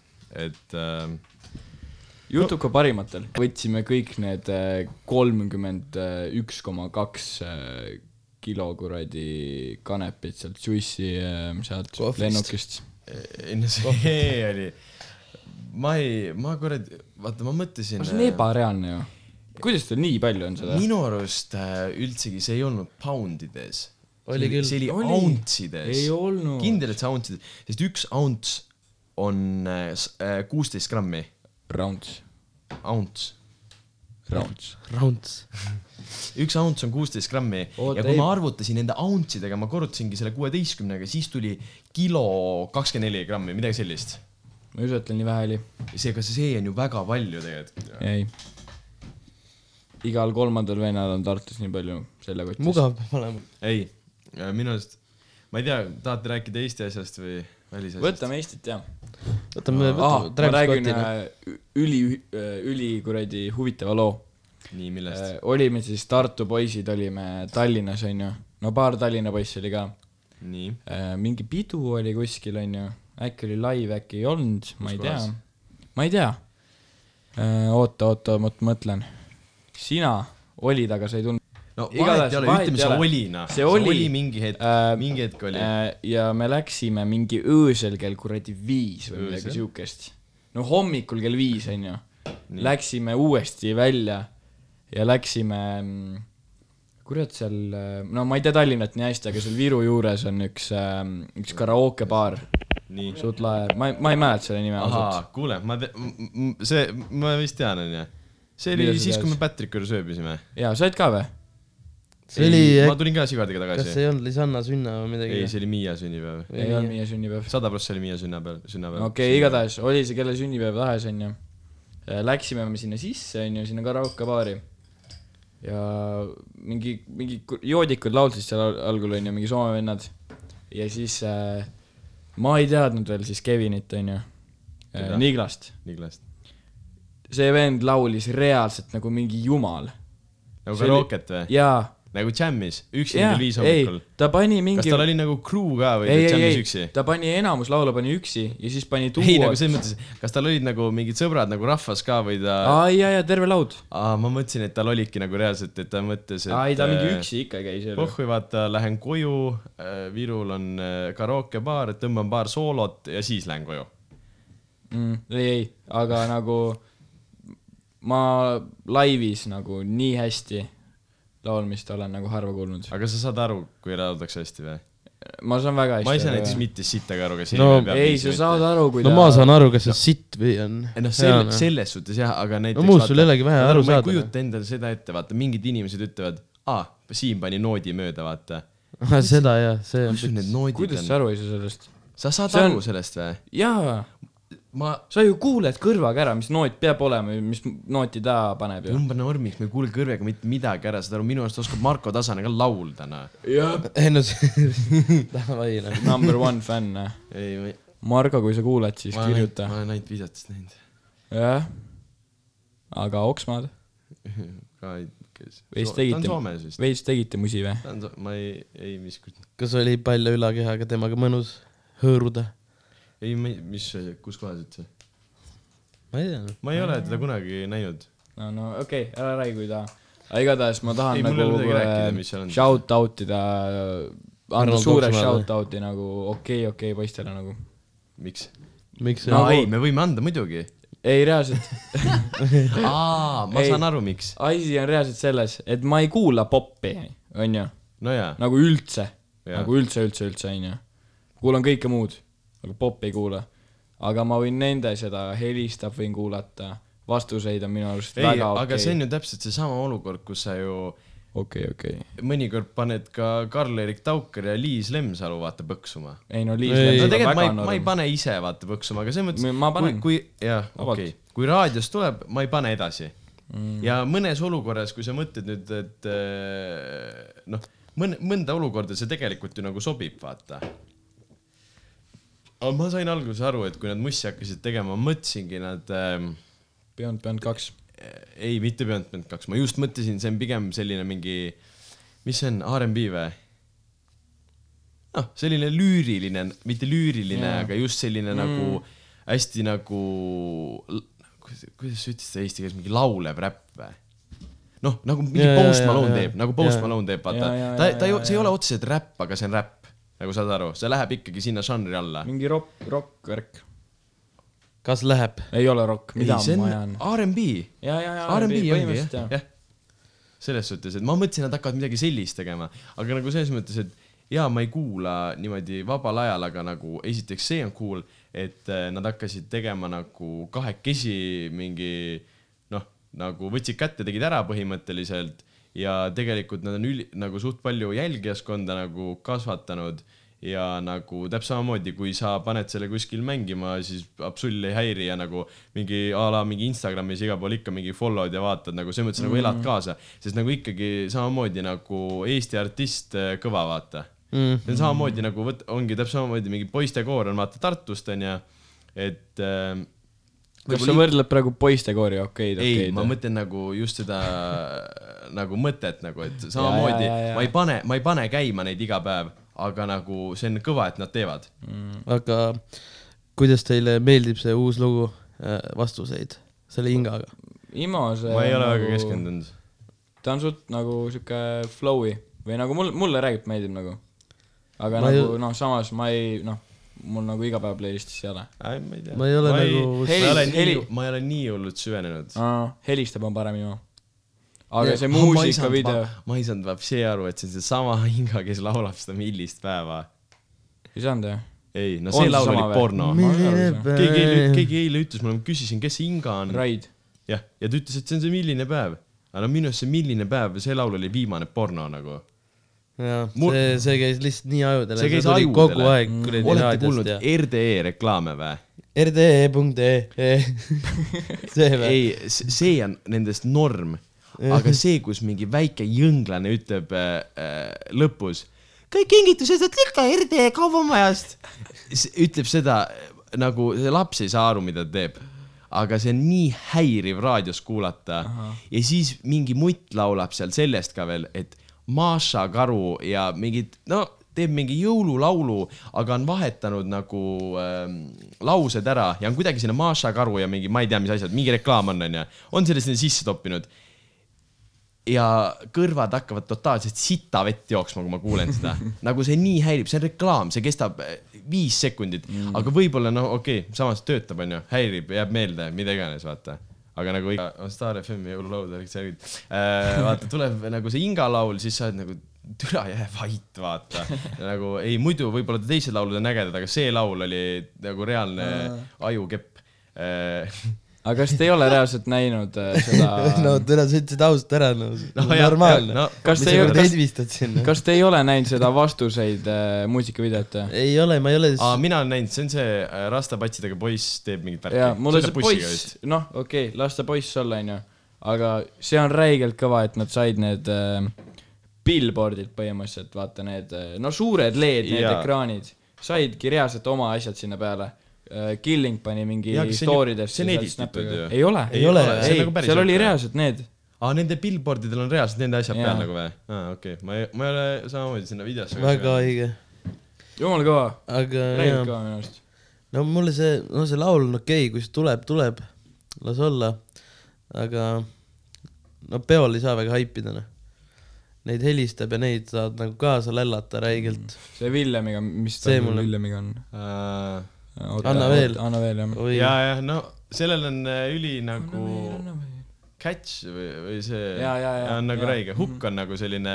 [SPEAKER 1] et äh,
[SPEAKER 2] siis . jutuka parimatel võtsime kõik need äh, kolmkümmend äh, üks koma kaks kilo kuradi kanepit sealt Suissi äh, sealt
[SPEAKER 3] Kohvist.
[SPEAKER 2] lennukist .
[SPEAKER 1] enne see oli , ma ei , ma kuradi , vaata , ma mõtlesin .
[SPEAKER 2] see on ebareaalne ju . kuidas teil nii palju on seda ?
[SPEAKER 1] minu arust äh, üldsegi see ei olnud poundides .
[SPEAKER 3] Oli küll.
[SPEAKER 1] see oli
[SPEAKER 2] Oli.
[SPEAKER 1] auntsides .
[SPEAKER 2] Ei olnud.
[SPEAKER 1] kindel , et see auntsides , sest üks aunts on äh, kuusteist grammi .
[SPEAKER 2] Rounds ,
[SPEAKER 1] Aunts ,
[SPEAKER 2] rounds .
[SPEAKER 3] Rounds .
[SPEAKER 1] üks aunts on kuusteist grammi
[SPEAKER 2] Oota,
[SPEAKER 1] ja kui ma
[SPEAKER 2] ei-
[SPEAKER 1] arvutasin nende auntsidega , ma korrutasingi selle kuueteistkümnega , siis tuli kilo kakskümmend neli grammi , midagi sellist .
[SPEAKER 2] ma ei usu , et teil nii vähe oli .
[SPEAKER 1] seega see on ju väga palju tegelikult .
[SPEAKER 2] ei . igal kolmandal vennal on Tartus nii palju selle kotis .
[SPEAKER 3] mugav peab olema .
[SPEAKER 1] ei , minu arust , ma ei tea , tahate rääkida Eesti asjast või välisasjast ?
[SPEAKER 2] võtame Eestit ja
[SPEAKER 3] võtame , noh.
[SPEAKER 2] ah,
[SPEAKER 3] võtame
[SPEAKER 2] ma . räägin . äh, üli , üli kuradi huvitava loo .
[SPEAKER 1] nii , millest ?
[SPEAKER 2] olime siis Tartu poisid , olime Tallinnas , onju . no paar Tallinna poissi oli ka .
[SPEAKER 1] nii ,
[SPEAKER 2] mingi pidu oli kuskil , onju . äkki oli live , äkki ei olnud , ma ei
[SPEAKER 1] Kus
[SPEAKER 2] tea
[SPEAKER 1] kohas? .
[SPEAKER 2] ma ei tea . oota , oota , ma mõtlen . sina olid , aga sa ei tundnud .
[SPEAKER 1] no
[SPEAKER 2] Igatahes
[SPEAKER 1] vahet ei ole ,
[SPEAKER 2] vahet
[SPEAKER 1] ütleme see
[SPEAKER 2] ei ole.
[SPEAKER 1] oli noh ,
[SPEAKER 2] See oli.
[SPEAKER 1] mingi hetk
[SPEAKER 2] Äh,
[SPEAKER 1] äh, , mingi hetk oli äh, .
[SPEAKER 2] Äh, ja me läksime mingi öösel kell kuradi viis või midagi
[SPEAKER 1] Öösel?
[SPEAKER 2] siukest . no hommikul kell viis onju . Läksime uuesti välja ja läksime , kurat seal , no ma ei tea Tallinnat nii hästi , aga seal Viru juures on üks , üks karookebaar ,
[SPEAKER 1] nii ,
[SPEAKER 2] suht lahe , ma ei , ma ei mäleta selle nime
[SPEAKER 1] ahaa
[SPEAKER 2] ausalt .,
[SPEAKER 1] kuule , ma , see , ma vist tean , onju . see oli
[SPEAKER 2] Mida sa
[SPEAKER 1] siis , kui
[SPEAKER 2] tead?
[SPEAKER 1] me Patrick juures ööbisime .
[SPEAKER 2] jaa , sa olid ka või ?
[SPEAKER 3] see oli ,
[SPEAKER 1] ma tulin ka Sigardiga
[SPEAKER 3] kas see
[SPEAKER 1] tagasi .
[SPEAKER 3] ei olnud Lisanna sünna või midagi ?
[SPEAKER 1] ei , see oli Miia sünnipäev .
[SPEAKER 2] ei olnud meie sünnipäev .
[SPEAKER 1] sada prossa oli Miia sünnapäev , sünnapäev .
[SPEAKER 2] okei okay, ,. igatahes oli see kelle sünnipäev tahes , onju . Läksime me sinna sisse , onju , sinna karaokebaari . ja mingi , mingi ku- joodikud laulsid seal al- algul , onju , mingi Soome vennad . ja siis äh, ma ei teadnud veel siis Kevinit , onju äh,
[SPEAKER 1] Keda? ,
[SPEAKER 2] Niglast .
[SPEAKER 1] Niglast .
[SPEAKER 2] see vend laulis reaalselt nagu mingi jumal .
[SPEAKER 1] nagu
[SPEAKER 2] See oli-
[SPEAKER 1] karooket või ?
[SPEAKER 2] jaa ,
[SPEAKER 1] nagu jam'is , üksi
[SPEAKER 2] jaa
[SPEAKER 1] kell , viis
[SPEAKER 2] ei
[SPEAKER 1] hommikul .,
[SPEAKER 2] ta pani
[SPEAKER 1] kas
[SPEAKER 2] mingi
[SPEAKER 1] tal oli nagu crew ka või
[SPEAKER 2] ei ,
[SPEAKER 1] ta
[SPEAKER 2] ei ,
[SPEAKER 1] jam'is
[SPEAKER 2] ei
[SPEAKER 1] üksi ?,
[SPEAKER 2] ta pani enamus laule pani üksi ja siis pani duo .
[SPEAKER 1] ei , nagu selles mõttes , kas tal olid nagu mingid sõbrad nagu rahvas ka või ta ?
[SPEAKER 2] aa , jaa , jaa , terve laud .
[SPEAKER 1] aa , ma mõtlesin , et tal olidki nagu reaalselt , et ta mõtles , et
[SPEAKER 2] aa , ei ta mingi
[SPEAKER 1] äh,
[SPEAKER 2] üksi ikka käis ju .
[SPEAKER 1] pohhui , vaata , lähen koju , Virul on äh, karookebaar , tõmban paar soolot ja siis lähen koju .
[SPEAKER 2] mm, . ei , ei , aga nagu ma laivis nagu nii hästi laulmist olen nagu harva kuulnud .
[SPEAKER 1] aga sa saad aru , kui lauldakse hästi või ?
[SPEAKER 2] ma saan väga hästi
[SPEAKER 1] ma ei saa näiteks . mitte sittagi aru , kas
[SPEAKER 3] No
[SPEAKER 1] inimene peab
[SPEAKER 2] ei , sa saad aru , kui
[SPEAKER 3] no ma saan aru , kas see sitt või on .
[SPEAKER 1] ei noh , sel- , selles suhtes jah , aga näiteks
[SPEAKER 3] muust sul ei olegi vähe
[SPEAKER 1] ma
[SPEAKER 3] aru
[SPEAKER 1] ma ei
[SPEAKER 3] saada.
[SPEAKER 1] kujuta endale seda ette , vaata mingid inimesed ütlevad , aa , Siim pani noodi mööda , vaata .
[SPEAKER 3] Ah, seda jah , see on
[SPEAKER 1] mis sul need noodid
[SPEAKER 2] kuidas
[SPEAKER 1] on ?
[SPEAKER 2] sa aru ei saa sellest ?
[SPEAKER 1] sa saad
[SPEAKER 2] See on-
[SPEAKER 1] aru sellest või ?
[SPEAKER 2] jaa ,
[SPEAKER 1] ma ,
[SPEAKER 2] sa ju kuuled kõrvaga ära , mis noot peab olema ja mis nooti ta paneb ju .
[SPEAKER 1] tõmba normiks , ma ei kuule kõrvega mitte midagi ära , saad aru , minu arust oskab Marko Tasane ka laulda , noh .
[SPEAKER 2] jah .
[SPEAKER 3] ei no see , davai noh .
[SPEAKER 2] Number one fänn .
[SPEAKER 1] ei , ma ei .
[SPEAKER 2] Margo , kui sa kuuled , siis
[SPEAKER 1] ma
[SPEAKER 2] kirjuta .
[SPEAKER 1] olen ainult viisatust näinud .
[SPEAKER 2] jah . aga Oksmaad ,
[SPEAKER 1] ka ei , kes .
[SPEAKER 2] Või siis
[SPEAKER 1] ta on
[SPEAKER 2] tegite-
[SPEAKER 1] Soomes vist .
[SPEAKER 2] veits tegite musi või ?
[SPEAKER 1] ta on so- , ma ei , ei miskit .
[SPEAKER 3] kas oli palja ülakehaga temaga mõnus hõõruda ?
[SPEAKER 1] ei , mis , kus kohas üldse ?
[SPEAKER 3] ma ei tea .
[SPEAKER 1] ma ei ole teda kunagi näinud .
[SPEAKER 2] no , no okei okay, , ära räägi , kui ta . aga igatahes ma tahan
[SPEAKER 1] Ei,
[SPEAKER 2] ei,
[SPEAKER 1] mul ei ole
[SPEAKER 2] nagu
[SPEAKER 1] midagi rääkida, mis seal on.
[SPEAKER 2] shout out ida , anda
[SPEAKER 3] Arnold
[SPEAKER 2] suure
[SPEAKER 3] Oksmaale.
[SPEAKER 2] shout out'i nagu okei , okei poistele nagu .
[SPEAKER 1] miks ?
[SPEAKER 3] miks see
[SPEAKER 1] no
[SPEAKER 3] no, ?
[SPEAKER 1] ei , me võime anda muidugi .
[SPEAKER 2] ei , reaalselt ,
[SPEAKER 1] aa , ma
[SPEAKER 2] Ei.
[SPEAKER 1] saan aru , miks .
[SPEAKER 2] asi on reaalselt selles , et ma ei kuula poppi , onju ,
[SPEAKER 1] nojaa ,
[SPEAKER 2] nagu üldse ,
[SPEAKER 1] Jaa.
[SPEAKER 2] nagu üldse , üldse , üldse , onju . kuulan kõike muud , aga poppi ei kuula . aga ma võin nende seda , helistab , võin kuulata , vastuseid on minu arust
[SPEAKER 1] ei ,
[SPEAKER 2] väga
[SPEAKER 1] aga see
[SPEAKER 2] okei .
[SPEAKER 1] on ju täpselt seesama olukord , kus sa ju
[SPEAKER 2] okei , okei .
[SPEAKER 1] mõnikord paned ka Karl-Erik Taukar ja Liis Lemsalu , vaata , põksuma .
[SPEAKER 2] ei no
[SPEAKER 3] Ei.
[SPEAKER 1] no
[SPEAKER 2] Liis .
[SPEAKER 1] tegelikult ma ei , ma ei pane ise , vaata , põksuma , aga selles mõttes
[SPEAKER 2] Ma panen.
[SPEAKER 1] kui , kui , jah ,
[SPEAKER 2] Vabalt.
[SPEAKER 1] okei okay. . kui raadios tuleb , ma ei pane edasi mm. . ja mõnes olukorras , kui sa mõtled nüüd , et eh, noh , mõne , mõnda olukorda see tegelikult ju nagu sobib , vaata . aga ma sain alguses aru , et kui nad mussi hakkasid tegema , ma mõtlesingi nad ähm,
[SPEAKER 2] Beyond , Beyond kaks .
[SPEAKER 1] Äh, ei , mitte Beyond kaks , ma just mõtlesin , see on pigem selline mingi , mis see on , RMB või ? noh , selline lüüriline , mitte lüüriline yeah. , aga just selline mm. nagu hästi nagu , kuidas kuidas sa ütlesid seda eesti keeles , mingi laulev räpp või ? noh , nagu mingi
[SPEAKER 3] Jaa,
[SPEAKER 1] yeah,
[SPEAKER 3] jaa,
[SPEAKER 1] Post
[SPEAKER 3] jaa,
[SPEAKER 1] Malone yeah,
[SPEAKER 3] jaa.
[SPEAKER 1] teeb yeah. , nagu Post
[SPEAKER 3] Jaa.
[SPEAKER 1] yeah. Malone teeb , vaata
[SPEAKER 2] Jaa,
[SPEAKER 1] yeah, .
[SPEAKER 2] jaa,
[SPEAKER 1] Yeah, ta
[SPEAKER 2] jaa, ,
[SPEAKER 1] ta ju
[SPEAKER 2] jaa, ,
[SPEAKER 1] see ei ole otseselt räpp , aga see on räpp . nagu saad aru , see läheb ikkagi sinna žanri alla .
[SPEAKER 2] mingi rock , rock-värk .
[SPEAKER 3] kas läheb ?
[SPEAKER 2] ei ole rock ,
[SPEAKER 1] ei
[SPEAKER 2] mida ,
[SPEAKER 1] see
[SPEAKER 2] ma
[SPEAKER 1] on
[SPEAKER 2] ajan .
[SPEAKER 1] RMB
[SPEAKER 2] ja , ja , ja
[SPEAKER 1] R&B ongi jah , jah . selles suhtes , et ma mõtlesin , nad hakkavad midagi sellist tegema , aga nagu selles mõttes , et jaa , ma ei kuula niimoodi vabal ajal , aga nagu esiteks see on cool , et eh, nad hakkasid tegema nagu kahekesi mingi noh , nagu võtsid kätte , tegid ära põhimõtteliselt ja tegelikult nad on üli, nagu suht palju jälgijaskonda nagu kasvatanud ja nagu täpselt samamoodi , kui sa paned selle kuskil mängima , siis absoluutselt ei häiri ja nagu mingi a la mingi Instagramis igal pool ikka mingi follow'd ja vaatad nagu selles mõttes
[SPEAKER 2] Mhm.
[SPEAKER 1] mm. nagu elad kaasa , sest nagu ikkagi samamoodi nagu Eesti artist äh, kõva vaata mm. .
[SPEAKER 2] Mhm.
[SPEAKER 1] see on samamoodi nagu võt- , ongi täpselt samamoodi mingi poistekoor on vaata Tartust onju , et äh,
[SPEAKER 2] kas sa võrdled praegu poistekoori okeid ,
[SPEAKER 1] ei ,
[SPEAKER 2] okeid
[SPEAKER 1] ma ? mõtlen nagu just seda nagu mõtet nagu , et samamoodi
[SPEAKER 2] ja, ja.
[SPEAKER 1] ma ei pane , ma ei pane käima neid iga päev , aga nagu see on kõva , et nad teevad .
[SPEAKER 3] aga kuidas teile meeldib see uus lugu äh, Vastuseid selle hingaga ?
[SPEAKER 2] Imo see
[SPEAKER 1] ma ei ole
[SPEAKER 2] nagu-
[SPEAKER 1] väga keskendunud .
[SPEAKER 2] ta on suht nagu siuke flow'i või nagu mul , mulle räägib , meeldib nagu . aga
[SPEAKER 3] Ma
[SPEAKER 2] ma
[SPEAKER 3] ei-
[SPEAKER 2] nagu noh , samas ma ei noh , mul nagu iga päev playlist'is ei ole .
[SPEAKER 1] ma ei tea .
[SPEAKER 3] Ma ei ole nagu-
[SPEAKER 1] ma ei ole nii
[SPEAKER 2] Heli- ,
[SPEAKER 1] ma ei ole nii hullult süvenenud .
[SPEAKER 2] helistab on parem Imo . aga see muusikavideo ,
[SPEAKER 1] ma ei saanud vapsi aru , et see on seesama hinga , kes laulab seda millist päeva .
[SPEAKER 2] ei saanud jah ?
[SPEAKER 1] ei , no
[SPEAKER 2] On
[SPEAKER 1] see
[SPEAKER 2] see
[SPEAKER 1] laul
[SPEAKER 2] sama
[SPEAKER 1] oli
[SPEAKER 2] või?
[SPEAKER 1] porno .
[SPEAKER 2] Ma ei aru,
[SPEAKER 1] keegi eile , keegi eile ütles mulle , ma küsisin , kes see hinga on .
[SPEAKER 2] Raid .
[SPEAKER 1] jah , ja ta ütles , et see on see milline päev . aga no minu arust see milline päev , see laul oli viimane porno nagu
[SPEAKER 3] jah ,
[SPEAKER 1] Mul-
[SPEAKER 3] see , see käis lihtsalt nii ajudele .
[SPEAKER 1] see käis ajudele .
[SPEAKER 3] kogu aeg
[SPEAKER 2] Mm.
[SPEAKER 3] kuradi
[SPEAKER 1] olete
[SPEAKER 3] raadiost
[SPEAKER 1] kuulnud
[SPEAKER 3] ja
[SPEAKER 1] RDE reklaame või ?
[SPEAKER 3] rde.ee E. see või ?
[SPEAKER 1] ei , see on nendest norm , aga see , kus mingi väike jõnglane ütleb äh, äh, lõpus , kõik kingitused saad lükka RDE kaubamajast , ütleb seda äh, nagu see laps ei saa aru , mida ta teeb aga see on nii häiriv raadios kuulata Aha. ja siis mingi mutt laulab seal sellest ka veel , et Maša Karu ja mingid , no teeb mingi jõululaulu , aga on vahetanud nagu ähm, laused ära ja on kuidagi sinna Maša Karu ja mingi , ma ei tea , mis asjad , mingi reklaam on , onju , on selle sinna sisse toppinud . ja kõrvad hakkavad totaalselt sita vett jooksma , kui ma kuulen seda , nagu see nii häirib , see on reklaam , see kestab äh, viis sekundit mm. , aga võib-olla no okei okay, , samas töötab , onju , häirib , jääb meelde , mida iganes , vaata . aga nagu ikka , on Star FM-i jõululaud , oleks see nüüd äh, . vaata , tuleb nagu see Inga laul , siis sa oled nagu , türa jää vait , vaata . nagu ei , muidu võib-olla teised laulud on ägedad , aga see laul oli nagu reaalne ajukepp äh, .
[SPEAKER 2] aga kas te ei ole reaalselt näinud äh, seda
[SPEAKER 3] no täna sa ütlesid ausalt ära , no, no normaalne no, .
[SPEAKER 2] Kas
[SPEAKER 3] mis
[SPEAKER 2] te ei-
[SPEAKER 3] sa kuradi
[SPEAKER 2] kas-
[SPEAKER 3] edvistad sinna ?
[SPEAKER 2] kas te ei ole näinud seda vastuseid äh, muusikavideot ?
[SPEAKER 3] ei ole , ma ei ole
[SPEAKER 1] aa , mina olen näinud , see on see äh, rastapatsidega poiss teeb mingit värki .
[SPEAKER 2] jaa , mul on see poiss , noh , okei okay, , las ta poiss olla , onju . aga see on räigelt kõva , et nad said need äh, billboardid põhimõtteliselt , vaata need , no suured LED , need
[SPEAKER 1] Jaa.
[SPEAKER 2] ekraanid , saidki reaalselt oma asjad sinna peale . Killing pani mingi
[SPEAKER 1] Jaa, aga see on ju-
[SPEAKER 2] story desse .
[SPEAKER 1] see on edititud ju.
[SPEAKER 2] ei ole ,
[SPEAKER 3] Ei ole,
[SPEAKER 1] on
[SPEAKER 3] see
[SPEAKER 2] ei
[SPEAKER 1] nagu , päris
[SPEAKER 2] seal oli
[SPEAKER 1] õige.
[SPEAKER 2] reaalselt need .
[SPEAKER 1] aa , nende billboardidel on reaalselt nende asjad
[SPEAKER 2] Jaa.
[SPEAKER 1] peal nagu või ? aa , okei okay. , ma ei , ma ei ole samamoodi sinna videosse .
[SPEAKER 3] väga õige ,
[SPEAKER 2] jumala kõva ,
[SPEAKER 3] aga
[SPEAKER 2] räigelt
[SPEAKER 3] jah ,
[SPEAKER 2] kõva minu arust .
[SPEAKER 3] no mulle see , no see laul on okei okay, , kui see tuleb , tuleb , las olla , aga no peol ei saa väga haipida , noh . Neid helistab ja neid saad nagu kaasa lällata räigelt .
[SPEAKER 2] see Villemiga , mis ta
[SPEAKER 3] See mulle-
[SPEAKER 2] Villemiga on ?
[SPEAKER 1] äh, .
[SPEAKER 3] Anna veel.
[SPEAKER 2] anna veel , jah .
[SPEAKER 3] oi ,
[SPEAKER 1] Mm. ja , ja no sellel on äh, üli nagu catch või , või see
[SPEAKER 2] Jaa, jaa, jaa,
[SPEAKER 1] on nagu
[SPEAKER 2] jaa. Mhm.
[SPEAKER 1] räige , hukk on nagu selline ,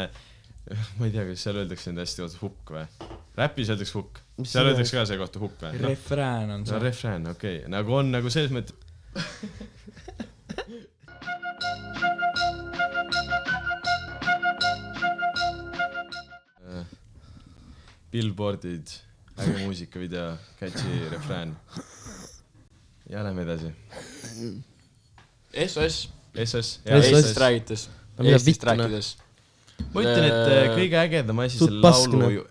[SPEAKER 1] ma ei tea , kas seal öeldakse nüüd hästi otse hukk või ? räpis öeldakse hukk ,
[SPEAKER 3] Mis
[SPEAKER 1] seal
[SPEAKER 3] see
[SPEAKER 1] öeldakse ka see kohta hukk või ?
[SPEAKER 2] refrään on
[SPEAKER 1] see on
[SPEAKER 2] see .
[SPEAKER 1] refrään , okei okay. , nagu on nagu selles mõttes . Billboardid , äge muusikavideo , catchy refrään . ja lähme edasi .
[SPEAKER 2] SOS
[SPEAKER 1] SS .
[SPEAKER 3] SOS.
[SPEAKER 2] Eestist räägides
[SPEAKER 3] No mida ,
[SPEAKER 2] Eestist
[SPEAKER 3] vittu, noh.
[SPEAKER 2] rääkides .
[SPEAKER 1] ma ütlen , et äh, kõige ägedam asi
[SPEAKER 3] Suht
[SPEAKER 1] selle
[SPEAKER 3] pask,
[SPEAKER 1] laulu
[SPEAKER 3] noh.
[SPEAKER 1] ju... .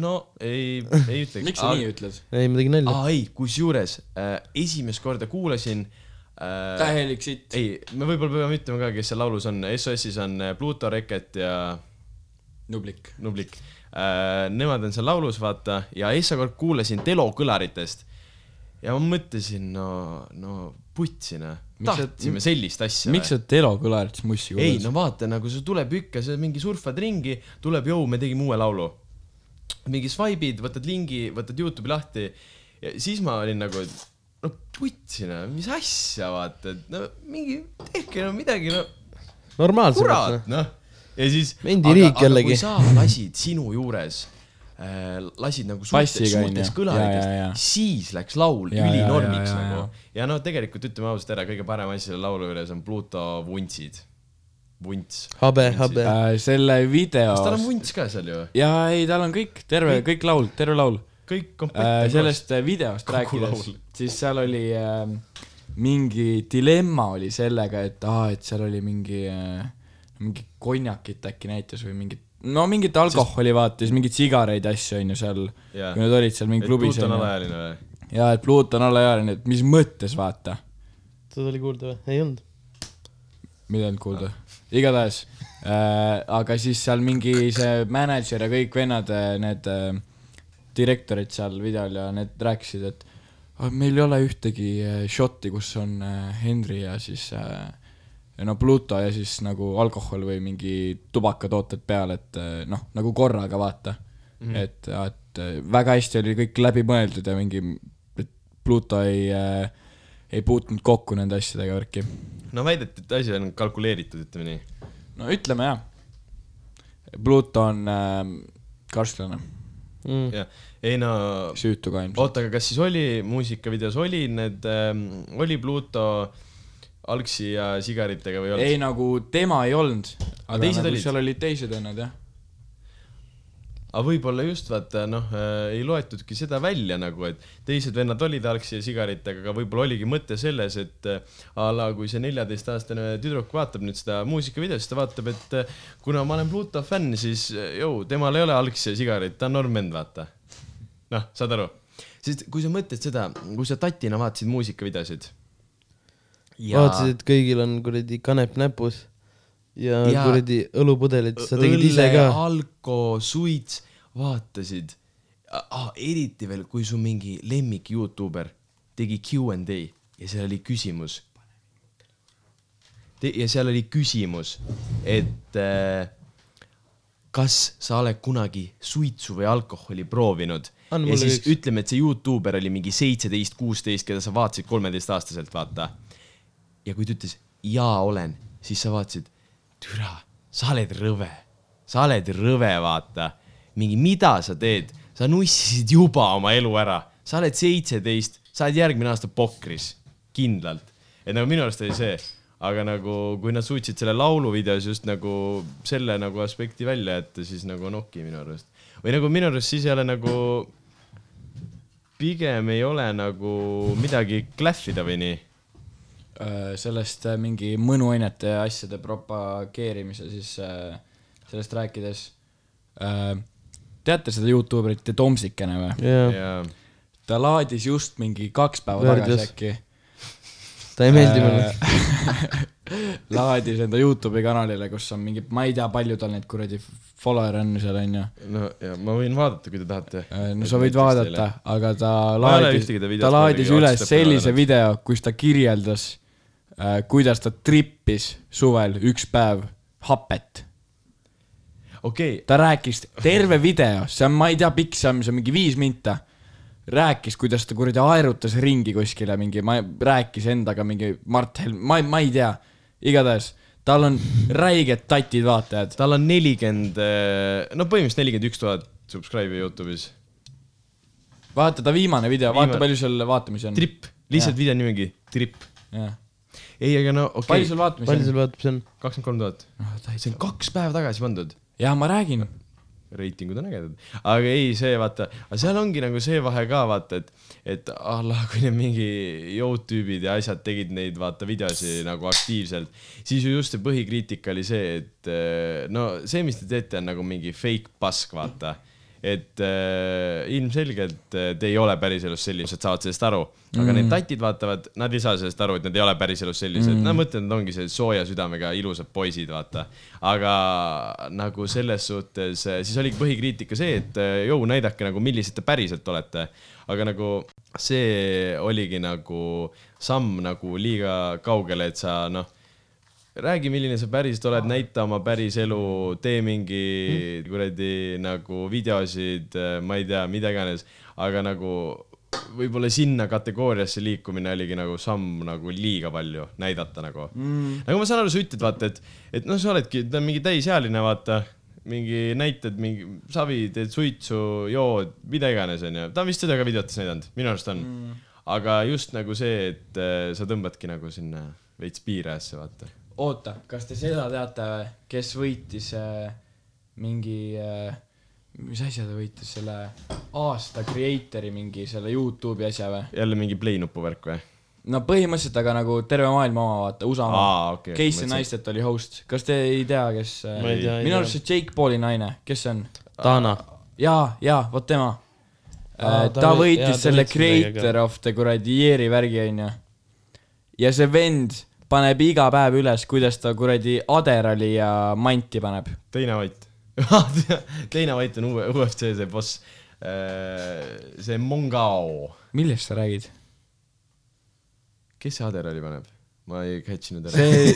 [SPEAKER 1] no ei , ei ütleks .
[SPEAKER 2] miks sa nii ütled ?
[SPEAKER 3] ei ma tegin nalja .
[SPEAKER 1] aa ei , kusjuures äh, esimest korda kuulasin äh, .
[SPEAKER 2] täielik sitt .
[SPEAKER 1] ei , me võib-olla peame ütlema ka , kes seal laulus on , SOS-is on äh, Pluto Reket ja
[SPEAKER 2] nublik .
[SPEAKER 1] Nublik äh, . Nemad on seal laulus , vaata , ja esimene kord kuulasin Telo kõlaritest . ja ma mõtlesin , no , no putsina ,
[SPEAKER 2] Miks sa-
[SPEAKER 1] tahtsime sellist asja .
[SPEAKER 2] miks sa Telo Kõlarit mussi
[SPEAKER 1] ei ,
[SPEAKER 2] kuulad ?
[SPEAKER 1] no vaata nagu sul tuleb ikka , sa mingi surfad ringi , tuleb jõu , me tegime uue laulu . mingi swipe'id , võtad lingi , võtad Youtube'i lahti ja siis ma olin nagu , et no putsina , mis asja vaata , et no mingi tehke no midagi , no
[SPEAKER 3] normaalselt ,
[SPEAKER 1] kurat noh . ja siis .
[SPEAKER 3] Mendi riik jällegi.
[SPEAKER 1] kui sa lasid sinu juures äh, lasid nagu suhtes ,
[SPEAKER 2] Bassiga, onju.
[SPEAKER 1] suhtes
[SPEAKER 2] Ja, ja, ja.
[SPEAKER 1] kõlaritest , siis läks laul
[SPEAKER 2] Ja, ja,
[SPEAKER 1] ülinormiks
[SPEAKER 2] ja, ja,
[SPEAKER 1] nagu . ja no tegelikult ütleme ausalt ära , kõige parem asi selle laulu juures on Pluto vuntsid . vunts .
[SPEAKER 3] habe , habe .
[SPEAKER 2] Äh, selle video
[SPEAKER 1] kas tal on . vunts ka seal ju ?
[SPEAKER 2] jaa , ei , tal on kõik , terve , kõik laul , terve laul .
[SPEAKER 1] kõik
[SPEAKER 2] Äh,
[SPEAKER 1] komplekt .
[SPEAKER 2] sellest äh, videost
[SPEAKER 1] Kogu
[SPEAKER 2] rääkides
[SPEAKER 1] laul. ,
[SPEAKER 2] siis seal oli äh, mingi dilemma oli sellega , et aa , et seal oli mingi äh, , mingi konjakit äkki näitas või mingit , no mingit alkoholi vaata , siis mingeid sigareid , asju on ju seal ,
[SPEAKER 1] Jaa.
[SPEAKER 2] kui nad olid seal mingi
[SPEAKER 1] et
[SPEAKER 2] klubis .
[SPEAKER 1] Pluto on alaealine või ?
[SPEAKER 2] jaa , et Pluto on alaealine , et mis mõttes , vaata .
[SPEAKER 3] seda oli kuulda või ? ei olnud .
[SPEAKER 2] mida nüüd kuulda . igatahes äh, , aga siis seal mingi see mänedžer ja kõik vennad , need äh, direktorid seal videol ja need rääkisid , et "Ah, meil ei ole ühtegi äh, šotti , kus on äh, Henry ja siis äh, ja no Pluto ja siis nagu alkohol või mingi tubakatooted peal , et äh, noh , nagu korraga vaata mm . -hmm. et , et äh, väga hästi oli kõik läbimõeldud ja mingi , et Pluto ei äh, , ei puutunud kokku nende asjadega värki
[SPEAKER 1] no väideti , et asi on kalkuleeritud , ütleme nii .
[SPEAKER 2] no ütleme jah . Pluto on äh, karstlane ,
[SPEAKER 3] Mm.
[SPEAKER 1] jah , ei no
[SPEAKER 2] süütu ka ilmselt .
[SPEAKER 1] oota , aga kas siis oli , muusikavideos oli need ähm, , oli Pluto algsi ja sigaritega või ei olnud ?
[SPEAKER 2] ei nagu tema ei olnud , aga
[SPEAKER 1] teised
[SPEAKER 2] nagu
[SPEAKER 1] olid?
[SPEAKER 2] seal olid teised vennad jah .
[SPEAKER 1] aga võib-olla just vaata noh äh, , ei loetudki seda välja nagu , et teised vennad olid algsi ja sigaritega , aga võib-olla oligi mõte selles , et äh, a la kui see neljateistaastane tüdruk vaatab nüüd seda muusikavideot , siis ta vaatab , et äh, kuna ma olen Pluto fänn , siis äh, jõu , temal ei ole algsi ja sigarit , ta on normend , vaata . noh , saad aru ? sest kui sa mõtled seda , kui sa tatina vaatasid muusikavideosid
[SPEAKER 3] vaatasid , et kõigil on kuradi kanep näpus ja, ja.
[SPEAKER 1] Jaa.
[SPEAKER 3] kuradi õlupudelid , sa tegid ise ka .
[SPEAKER 1] alko , suits , vaatasid ah, . eriti veel , kui su mingi lemmik Youtuber tegi Q and A ja seal oli küsimus . ja seal oli küsimus , et äh, kas sa oled kunagi suitsu või alkoholi proovinud ?
[SPEAKER 3] Anna
[SPEAKER 1] ja
[SPEAKER 3] mulle
[SPEAKER 1] siis
[SPEAKER 3] üks.
[SPEAKER 1] ütleme , et see Youtuber oli mingi seitseteist , kuusteist , keda sa vaatasid kolmeteistaastaselt , vaata . ja kui ta ütles jaa olen , siis sa vaatasid , türa , sa oled rõve , sa oled rõve , vaata . mingi , mida sa teed , sa nussisid juba oma elu ära , sa oled seitseteist , sa oled järgmine aasta pokris , kindlalt . et nagu minu arust oli see , aga nagu kui nad suutsid selle lauluvideos just nagu selle nagu aspekti välja jätta , siis nagu on okei minu arust . või nagu minu arust siis ei ole nagu pigem ei ole nagu midagi klähvida või nii .
[SPEAKER 2] Öö, sellest äh, mingi mõnuainete ja asjade propageerimise siis äh, sellest rääkides . teate seda Youtuberit The Tomsikene või ?
[SPEAKER 3] jah ,
[SPEAKER 1] ja
[SPEAKER 2] ta laadis just mingi kaks päeva
[SPEAKER 3] Värdjas.
[SPEAKER 2] tagasi äkki .
[SPEAKER 3] ta ei meeldi mulle .
[SPEAKER 2] Äh, laadis enda Youtube'i kanalile , kus on mingi , ma ei tea , palju tal neid kuradi follower'e on seal onju .
[SPEAKER 1] no ja ma võin vaadata , kui te tahate .
[SPEAKER 2] Äh, no sa võid vaadata , aga ta
[SPEAKER 1] Ma ei ole
[SPEAKER 2] laadis
[SPEAKER 1] ühtegi ta , videost
[SPEAKER 2] ta laadis
[SPEAKER 1] muidugi
[SPEAKER 2] üles
[SPEAKER 1] otseselt
[SPEAKER 2] sellise
[SPEAKER 1] vaadanud.
[SPEAKER 2] video , kus ta kirjeldas , kuidas ta trippis suvel üks päev hapet
[SPEAKER 1] okei okay, ,
[SPEAKER 2] ta rääkis terve video , see on , ma ei tea , pikk see on , see on mingi viis minta . rääkis , kuidas ta kuradi aerutas ringi kuskile mingi , ma , rääkis endaga mingi Mart Helme , ma , ma ei tea . igatahes tal on räiged tatid vaatajad .
[SPEAKER 1] tal on nelikümmend , no põhimõtteliselt nelikümmend üks tuhat subscribe'i Youtube'is .
[SPEAKER 2] vaata ta viimane video , vaata
[SPEAKER 1] Viimane-
[SPEAKER 2] palju seal vaatamisi on .
[SPEAKER 1] tripp , lihtsalt video nimi ongi tripp . ei , aga no okei
[SPEAKER 2] palju
[SPEAKER 1] okay. ,
[SPEAKER 2] sul Ah,
[SPEAKER 3] palju
[SPEAKER 2] vaatamisi on ?
[SPEAKER 3] sul vaatab , see on ?
[SPEAKER 1] kakskümmend kolm tuhat . see on kaks päeva tagasi pandud .
[SPEAKER 2] jaa , ma räägin .
[SPEAKER 1] reitingud on ägedad , aga ei , see vaata , aga seal ongi nagu see vahe ka vaata , et , et a la kui need mingi jõutüübid ja asjad tegid neid vaata videosi nagu aktiivselt , siis ju just see põhikriitika oli see , et eh, no see , mis te teete , on nagu mingi fake pask , vaata . et äh, ilmselgelt eh, te ei ole päriselus sellised , saavad sellest aru , aga mm. need tatid vaatavad , nad ei saa sellest aru , et nad ei ole päriselus sellised mm. , nad mõtlevad , nad ongi sellised sooja südamega ilusad poisid , vaata . aga nagu selles suhtes , siis oligi põhikriitika see , et eh, jõu , näidake nagu , millised te päriselt olete . aga nagu see oligi nagu samm nagu liiga kaugele , et sa noh , räägi , milline sa päriselt oled , näita oma päris elu , tee mingi kuradi nagu videosid , ma ei tea , mida iganes , aga nagu võib-olla sinna kategooriasse liikumine oligi nagu samm nagu liiga palju näidata nagu mm. . nagu ma saan aru , sa ütled , vaata , et , et noh , sa oledki , ta on mingi täisealine , vaata , mingi näited , mingi savi , teed suitsu , jood , mida iganes , onju . ta on vist seda ka videotes näidanud , minu arust on mm. . aga just nagu see , et äh, sa tõmbadki nagu sinna veits piirajasse , vaata
[SPEAKER 2] oota , kas te seda teate või , kes võitis äh, mingi äh, , mis asja ta võitis , selle aasta creator'i mingi selle Youtube'i asja või ?
[SPEAKER 1] jälle mingi play nupu värk või ?
[SPEAKER 2] no põhimõtteliselt , aga nagu terve maailma oma , vaata , USA oma
[SPEAKER 1] Aa, okei, okei, ma
[SPEAKER 2] Casey
[SPEAKER 1] mõtlesin-
[SPEAKER 2] Neistat oli host , kas te ei tea , kes äh,
[SPEAKER 3] Ma ei tea, ei
[SPEAKER 2] minu
[SPEAKER 3] tea.
[SPEAKER 2] arust see Jake Pauli naine , kes see on ?
[SPEAKER 3] Dana .
[SPEAKER 2] jaa , jaa , vot tema
[SPEAKER 3] Aa,
[SPEAKER 2] äh, .
[SPEAKER 3] ta
[SPEAKER 2] ta
[SPEAKER 3] või- jaa,
[SPEAKER 2] võitis
[SPEAKER 3] ta
[SPEAKER 2] selle
[SPEAKER 3] võitis midagi, aga-
[SPEAKER 2] Creator of the kuradi year'i värgi , onju . ja see vend paneb iga päev üles , kuidas ta kuradi aderali ja manti paneb .
[SPEAKER 1] Teina Vait Teina Vait on uue , UFC see boss , see Mongao .
[SPEAKER 2] millest sa räägid ?
[SPEAKER 1] kes see Aderali paneb ? ma ei catch inud ära .
[SPEAKER 2] see ,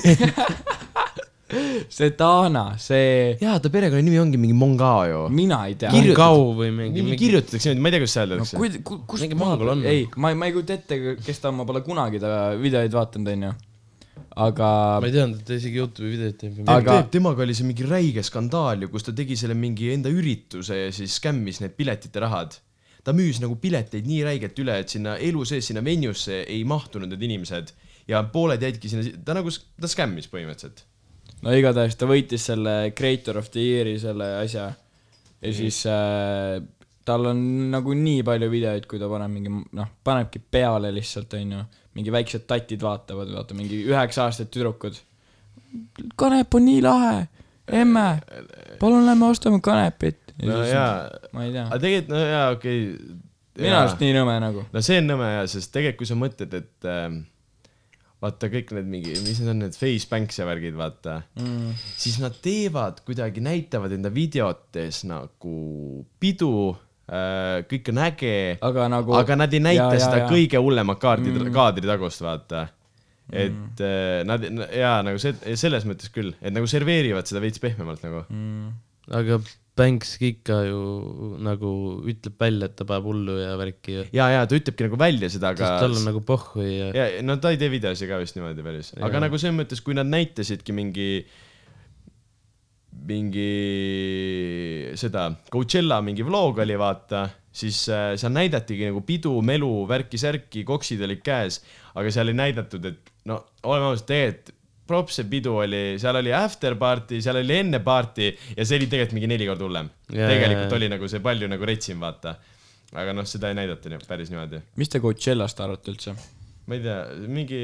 [SPEAKER 2] see Dana , see ,
[SPEAKER 1] jaa , ta perekonnanimi ongi mingi Mongao ju .
[SPEAKER 2] mina ei tea .
[SPEAKER 1] Kirjutad-
[SPEAKER 3] Kau või mingi ,
[SPEAKER 1] mingi
[SPEAKER 3] mingi .
[SPEAKER 1] kirjutatakse niimoodi , ma ei tea , kuidas see
[SPEAKER 2] no
[SPEAKER 1] öeldakse .
[SPEAKER 2] kuid- ku- , kust
[SPEAKER 3] Mingi
[SPEAKER 2] ma
[SPEAKER 3] mongol on.
[SPEAKER 2] ei , ma , ma ei kujuta ette , kes ta on , ma pole kunagi ta videoid vaadanud , onju . aga
[SPEAKER 3] ma ei teadnud , et ta isegi Youtube'i videot teeb .
[SPEAKER 2] Aga-
[SPEAKER 1] aga... temaga oli see mingi räige skandaal ju , kus ta tegi selle mingi enda ürituse ja siis skämmis need piletite rahad . ta müüs nagu pileteid nii räigelt üle , et sinna elu sees , sinna venue'sse ei mahtunud need inimesed ja pooled jäidki sinna , ta nagu , ta skämmis põhimõtteliselt .
[SPEAKER 2] no igatahes ta võitis selle Creator of the Year'i selle asja ja siis äh, tal on nagu nii palju videoid , kui ta paneb mingi noh , panebki peale lihtsalt onju , mingi väiksed tatid vaatavad , vaata mingi üheksa aastased tüdrukud . kanep on nii lahe , emme , palun lähme ostame kanepit .
[SPEAKER 1] no jaa ,
[SPEAKER 2] ma ei tea
[SPEAKER 1] aga , tegelikult no jaa , okei okay. .
[SPEAKER 2] minu arust nii nõme nagu .
[SPEAKER 1] no see on nõme jaa , sest tegelikult kui sa mõtled , et ähm, vaata kõik need mingi , mis need on , need Facebanks ja värgid , vaata
[SPEAKER 2] Mm.
[SPEAKER 1] siis nad teevad kuidagi , näitavad enda videotes nagu pidu , kõik on äge ,
[SPEAKER 2] aga nagu
[SPEAKER 1] aga nad ei näita
[SPEAKER 2] jaa,
[SPEAKER 1] ja,
[SPEAKER 2] jaa,
[SPEAKER 1] seda ja,
[SPEAKER 2] jaa.
[SPEAKER 1] kõige hullemat kaardi mm. , kaadritagust , vaata . et mm. nad n- jaa , nagu see , selles mõttes küll , et nagu serveerivad seda veits pehmemalt nagu mm. .
[SPEAKER 3] aga Banks ikka ju nagu ütleb välja , et ta paneb hullu ja värki ja
[SPEAKER 1] ja , ja ta ütlebki nagu välja seda ,
[SPEAKER 3] sest
[SPEAKER 1] aga .
[SPEAKER 3] tal on nagu pohhu ja, ja.
[SPEAKER 1] ja no ta ei tee videosi ka vist niimoodi päris , aga
[SPEAKER 3] Jaa.
[SPEAKER 1] nagu selles mõttes , kui nad näitasidki mingi , mingi seda Coachella mingi vlog oli vaata , siis äh, seal näidatigi nagu pidu , melu , värki-särki , koksid olid käes , aga seal ei näidatud , et no oleme ausad , tegelikult props see pidu oli , seal oli after party , seal oli enne party ja see oli tegelikult mingi neli korda hullem .
[SPEAKER 3] Jaa,
[SPEAKER 1] tegelikult
[SPEAKER 3] jaa.
[SPEAKER 1] oli nagu see palju nagu retsim , vaata . aga noh , seda ei näidata nii- päris niimoodi
[SPEAKER 2] mis te Coachellast arvate üldse ?
[SPEAKER 1] ma ei tea , mingi ,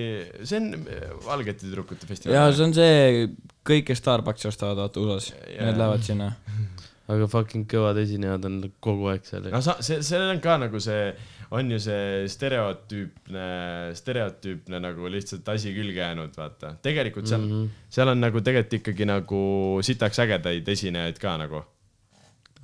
[SPEAKER 1] see on valgete tüdrukute
[SPEAKER 2] jaa ,
[SPEAKER 1] festival .
[SPEAKER 2] see on see , kõik , kes Starbucksi ostavad , vaata USA-s ,
[SPEAKER 1] Jaa.
[SPEAKER 2] need lähevad sinna .
[SPEAKER 3] aga fucking kõvad esinejad on kogu aeg seal
[SPEAKER 1] no sa , see , sellel on ka nagu see , on ju see stereotüüpne , stereotüüpne nagu lihtsalt asi külge jäänud , vaata . tegelikult seal mm , -hmm. seal on nagu tegelikult ikkagi nagu sitaks ägedaid esinejaid ka nagu .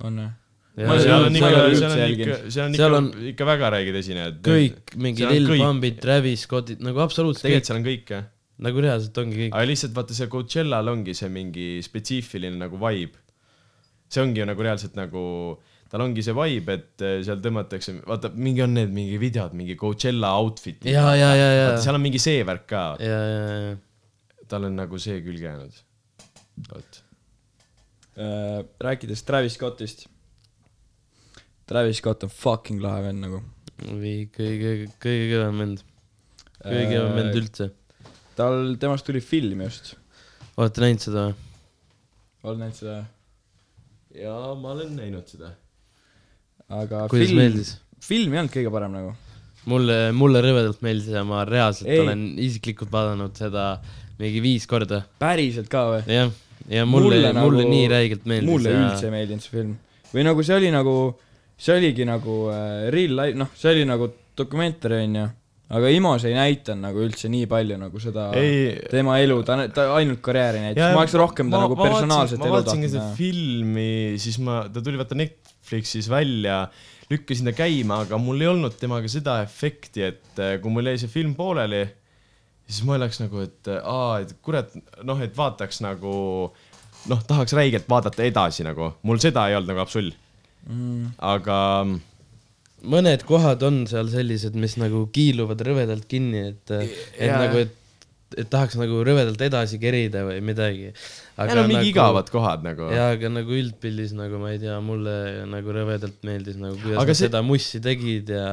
[SPEAKER 2] on jah ?
[SPEAKER 1] seal
[SPEAKER 2] Ma
[SPEAKER 1] on
[SPEAKER 2] ei ole-
[SPEAKER 1] ikka
[SPEAKER 2] ma ei ole ,
[SPEAKER 1] seal on
[SPEAKER 2] üldse
[SPEAKER 1] ikka , seal on
[SPEAKER 3] Seal
[SPEAKER 1] ikka
[SPEAKER 3] on- ,
[SPEAKER 1] ikka väga räiged esinejad .
[SPEAKER 3] kõik mingid
[SPEAKER 1] seal on
[SPEAKER 3] Lil
[SPEAKER 1] kõik.
[SPEAKER 3] Pumbid , Travis Scottid , nagu absoluutselt kõik ,
[SPEAKER 1] tegelikult seal on kõik , jah .
[SPEAKER 3] nagu reaalselt ongi kõik .
[SPEAKER 1] aga lihtsalt vaata , see Coachellal ongi see mingi spetsiifiline nagu vibe . see ongi ju nagu reaalselt nagu , tal ongi see vibe , et eh, seal tõmmatakse , vaata , mingi on need mingi videod , mingi Coachella outfit .
[SPEAKER 3] ja , ja , ja , ja , ja ,
[SPEAKER 1] seal on mingi see värk ka ,
[SPEAKER 3] ja , ja ,
[SPEAKER 1] tal on nagu see külge jäänud . vot .
[SPEAKER 2] Äh, rääkides Travis Scottist . Travis Scott on fucking lahe vend nagu .
[SPEAKER 3] või kõige , kõige kõvem vend , kõige kõvem vend . üldse .
[SPEAKER 2] tal , temast tuli film just .
[SPEAKER 3] olete näinud seda või ?
[SPEAKER 2] oled näinud seda ?
[SPEAKER 1] ja ma olen näinud seda .
[SPEAKER 2] aga
[SPEAKER 3] kuidas
[SPEAKER 2] film ,
[SPEAKER 3] meeldis ?
[SPEAKER 2] film ei olnud kõige parem nagu .
[SPEAKER 3] mulle , mulle rõvedalt meeldis ja ma reaalselt
[SPEAKER 2] Ei.
[SPEAKER 3] ei. olen isiklikult vaadanud seda mingi viis korda ,
[SPEAKER 2] päriselt ka või ?
[SPEAKER 3] jah . ja mulle , mulle,
[SPEAKER 2] nagu-
[SPEAKER 3] mulle nii räigelt meeldis .
[SPEAKER 2] mulle
[SPEAKER 3] ja...
[SPEAKER 2] üldse ei meeldinud see film . või nagu see oli nagu , see oligi nagu äh, real life , noh , see oli nagu dokumentaar , onju . aga IMO-s ei näidanud nagu üldse nii palju nagu seda
[SPEAKER 1] ei ,
[SPEAKER 2] tema elu , ta , ta ainult karjääri näitas , ma oleks rohkem ta nagu personaalset
[SPEAKER 1] ma
[SPEAKER 2] elu
[SPEAKER 1] vaatasin ka
[SPEAKER 2] tahtnud
[SPEAKER 1] seda
[SPEAKER 2] näha .
[SPEAKER 1] filmi , siis ma , ta tuli vaata Netflixis välja , lükkasin ta käima , aga mul ei olnud temaga seda efekti , et eh, kui mul jäi see film pooleli , siis ma oleks nagu , et eh, aa , et kurat , noh , et vaataks nagu noh , tahaks räigelt vaadata edasi nagu , mul seda ei olnud nagu absol mm. . aga
[SPEAKER 3] mõned kohad on seal sellised , mis nagu kiiluvad rõvedalt kinni , et , et
[SPEAKER 1] Jaa.
[SPEAKER 3] nagu , et , et tahaks nagu rõvedalt edasi kerida või midagi .
[SPEAKER 1] aga need on mingi nagu... igavad kohad nagu .
[SPEAKER 3] jaa , aga nagu üldpildis nagu ma ei tea , mulle nagu rõvedalt meeldis nagu kuidas
[SPEAKER 1] Aga
[SPEAKER 3] nad
[SPEAKER 1] see-
[SPEAKER 3] see... seda mussi tegid ja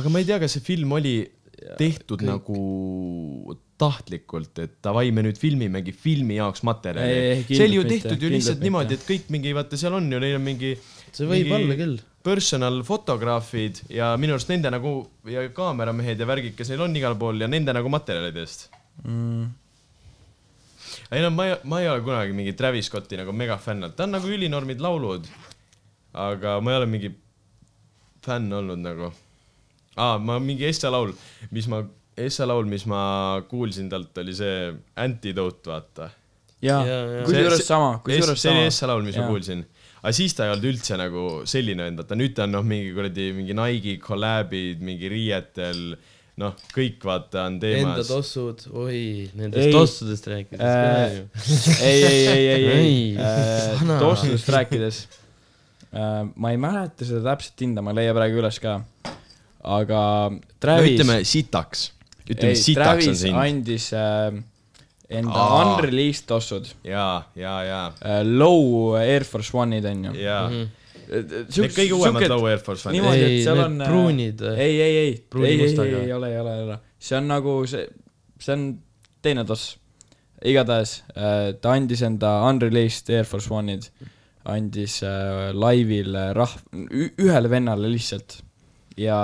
[SPEAKER 1] aga ma ei tea , kas see film oli tehtud kõik. nagu tahtlikult , et davai , me nüüd filmimegi filmi jaoks
[SPEAKER 2] Ei, ei,
[SPEAKER 1] materjali
[SPEAKER 2] ei, . kindlalt
[SPEAKER 1] see oli ju
[SPEAKER 2] mitte,
[SPEAKER 1] tehtud ju
[SPEAKER 2] kindlalt
[SPEAKER 1] lihtsalt
[SPEAKER 2] mitte.
[SPEAKER 1] niimoodi , et kõik mingi , vaata , seal on ju , neil on mingi .
[SPEAKER 3] see võib mingi... olla . küll .
[SPEAKER 1] personal fotograafid ja minu arust nende nagu ja kaameramehed ja värgid , kes neil on igal pool ja nende nagu materjalide eest .
[SPEAKER 2] Mm.
[SPEAKER 1] ei no ma ei , ma ei ole kunagi mingi Travis Scotti nagu megafänn olnud , ta on nagu ülinormid laulud . aga ma ei ole mingi fänn olnud nagu . aa , ma mingi Essa laul , mis ma , Essa laul , mis ma kuulsin talt , oli see Antidote , vaata .
[SPEAKER 2] jaa ,
[SPEAKER 3] Jaa, jaa.
[SPEAKER 2] kusjuures sama , kusjuures
[SPEAKER 1] see oli
[SPEAKER 2] sama .
[SPEAKER 1] Essa laul , mis
[SPEAKER 2] Jaa.
[SPEAKER 1] ma kuulsin . aga siis ta ei olnud üldse nagu selline vend , vaata nüüd ta on noh , mingi kuradi mingi Nike'i kolläbid , mingi riietel , noh , kõik vaata on
[SPEAKER 3] Enda
[SPEAKER 1] teemas .
[SPEAKER 3] tossud , oi ,
[SPEAKER 2] Ei.
[SPEAKER 3] nendest tossudest rääkides
[SPEAKER 2] Äh,
[SPEAKER 3] äh... ju .
[SPEAKER 2] ei , ei , ei , ei , ei
[SPEAKER 3] Ei, , sana.
[SPEAKER 2] toastudest rääkides äh, . ma ei mäleta seda täpset hinda , ma ei leia praegu üles ka . aga Travis .
[SPEAKER 1] ütleme sitaks , ütleme
[SPEAKER 2] ei ,
[SPEAKER 1] sitaks on
[SPEAKER 2] Travis
[SPEAKER 1] see hind .
[SPEAKER 2] andis äh, enda
[SPEAKER 1] Aa.
[SPEAKER 2] unreleased ossud
[SPEAKER 1] jaa , jaa , jaa ,
[SPEAKER 2] äh, , low Air Force One'id onju .
[SPEAKER 1] jaa . Need kõige uuemad Low Air Force fännid .
[SPEAKER 2] niimoodi ,
[SPEAKER 3] Ei,
[SPEAKER 2] et seal
[SPEAKER 3] need
[SPEAKER 2] on .
[SPEAKER 3] pruunid,
[SPEAKER 2] ei ,
[SPEAKER 3] äh,
[SPEAKER 2] ei , ei , ei ,
[SPEAKER 3] pruuni
[SPEAKER 2] ei , ei ,
[SPEAKER 3] mustaga.
[SPEAKER 2] ei ole , ei ole , ei ole , see on nagu see , see on teine toss . igatahes äh, ta andis enda unreleased Air Force One'id , andis äh, laivil rahv- , ühele vennale lihtsalt ja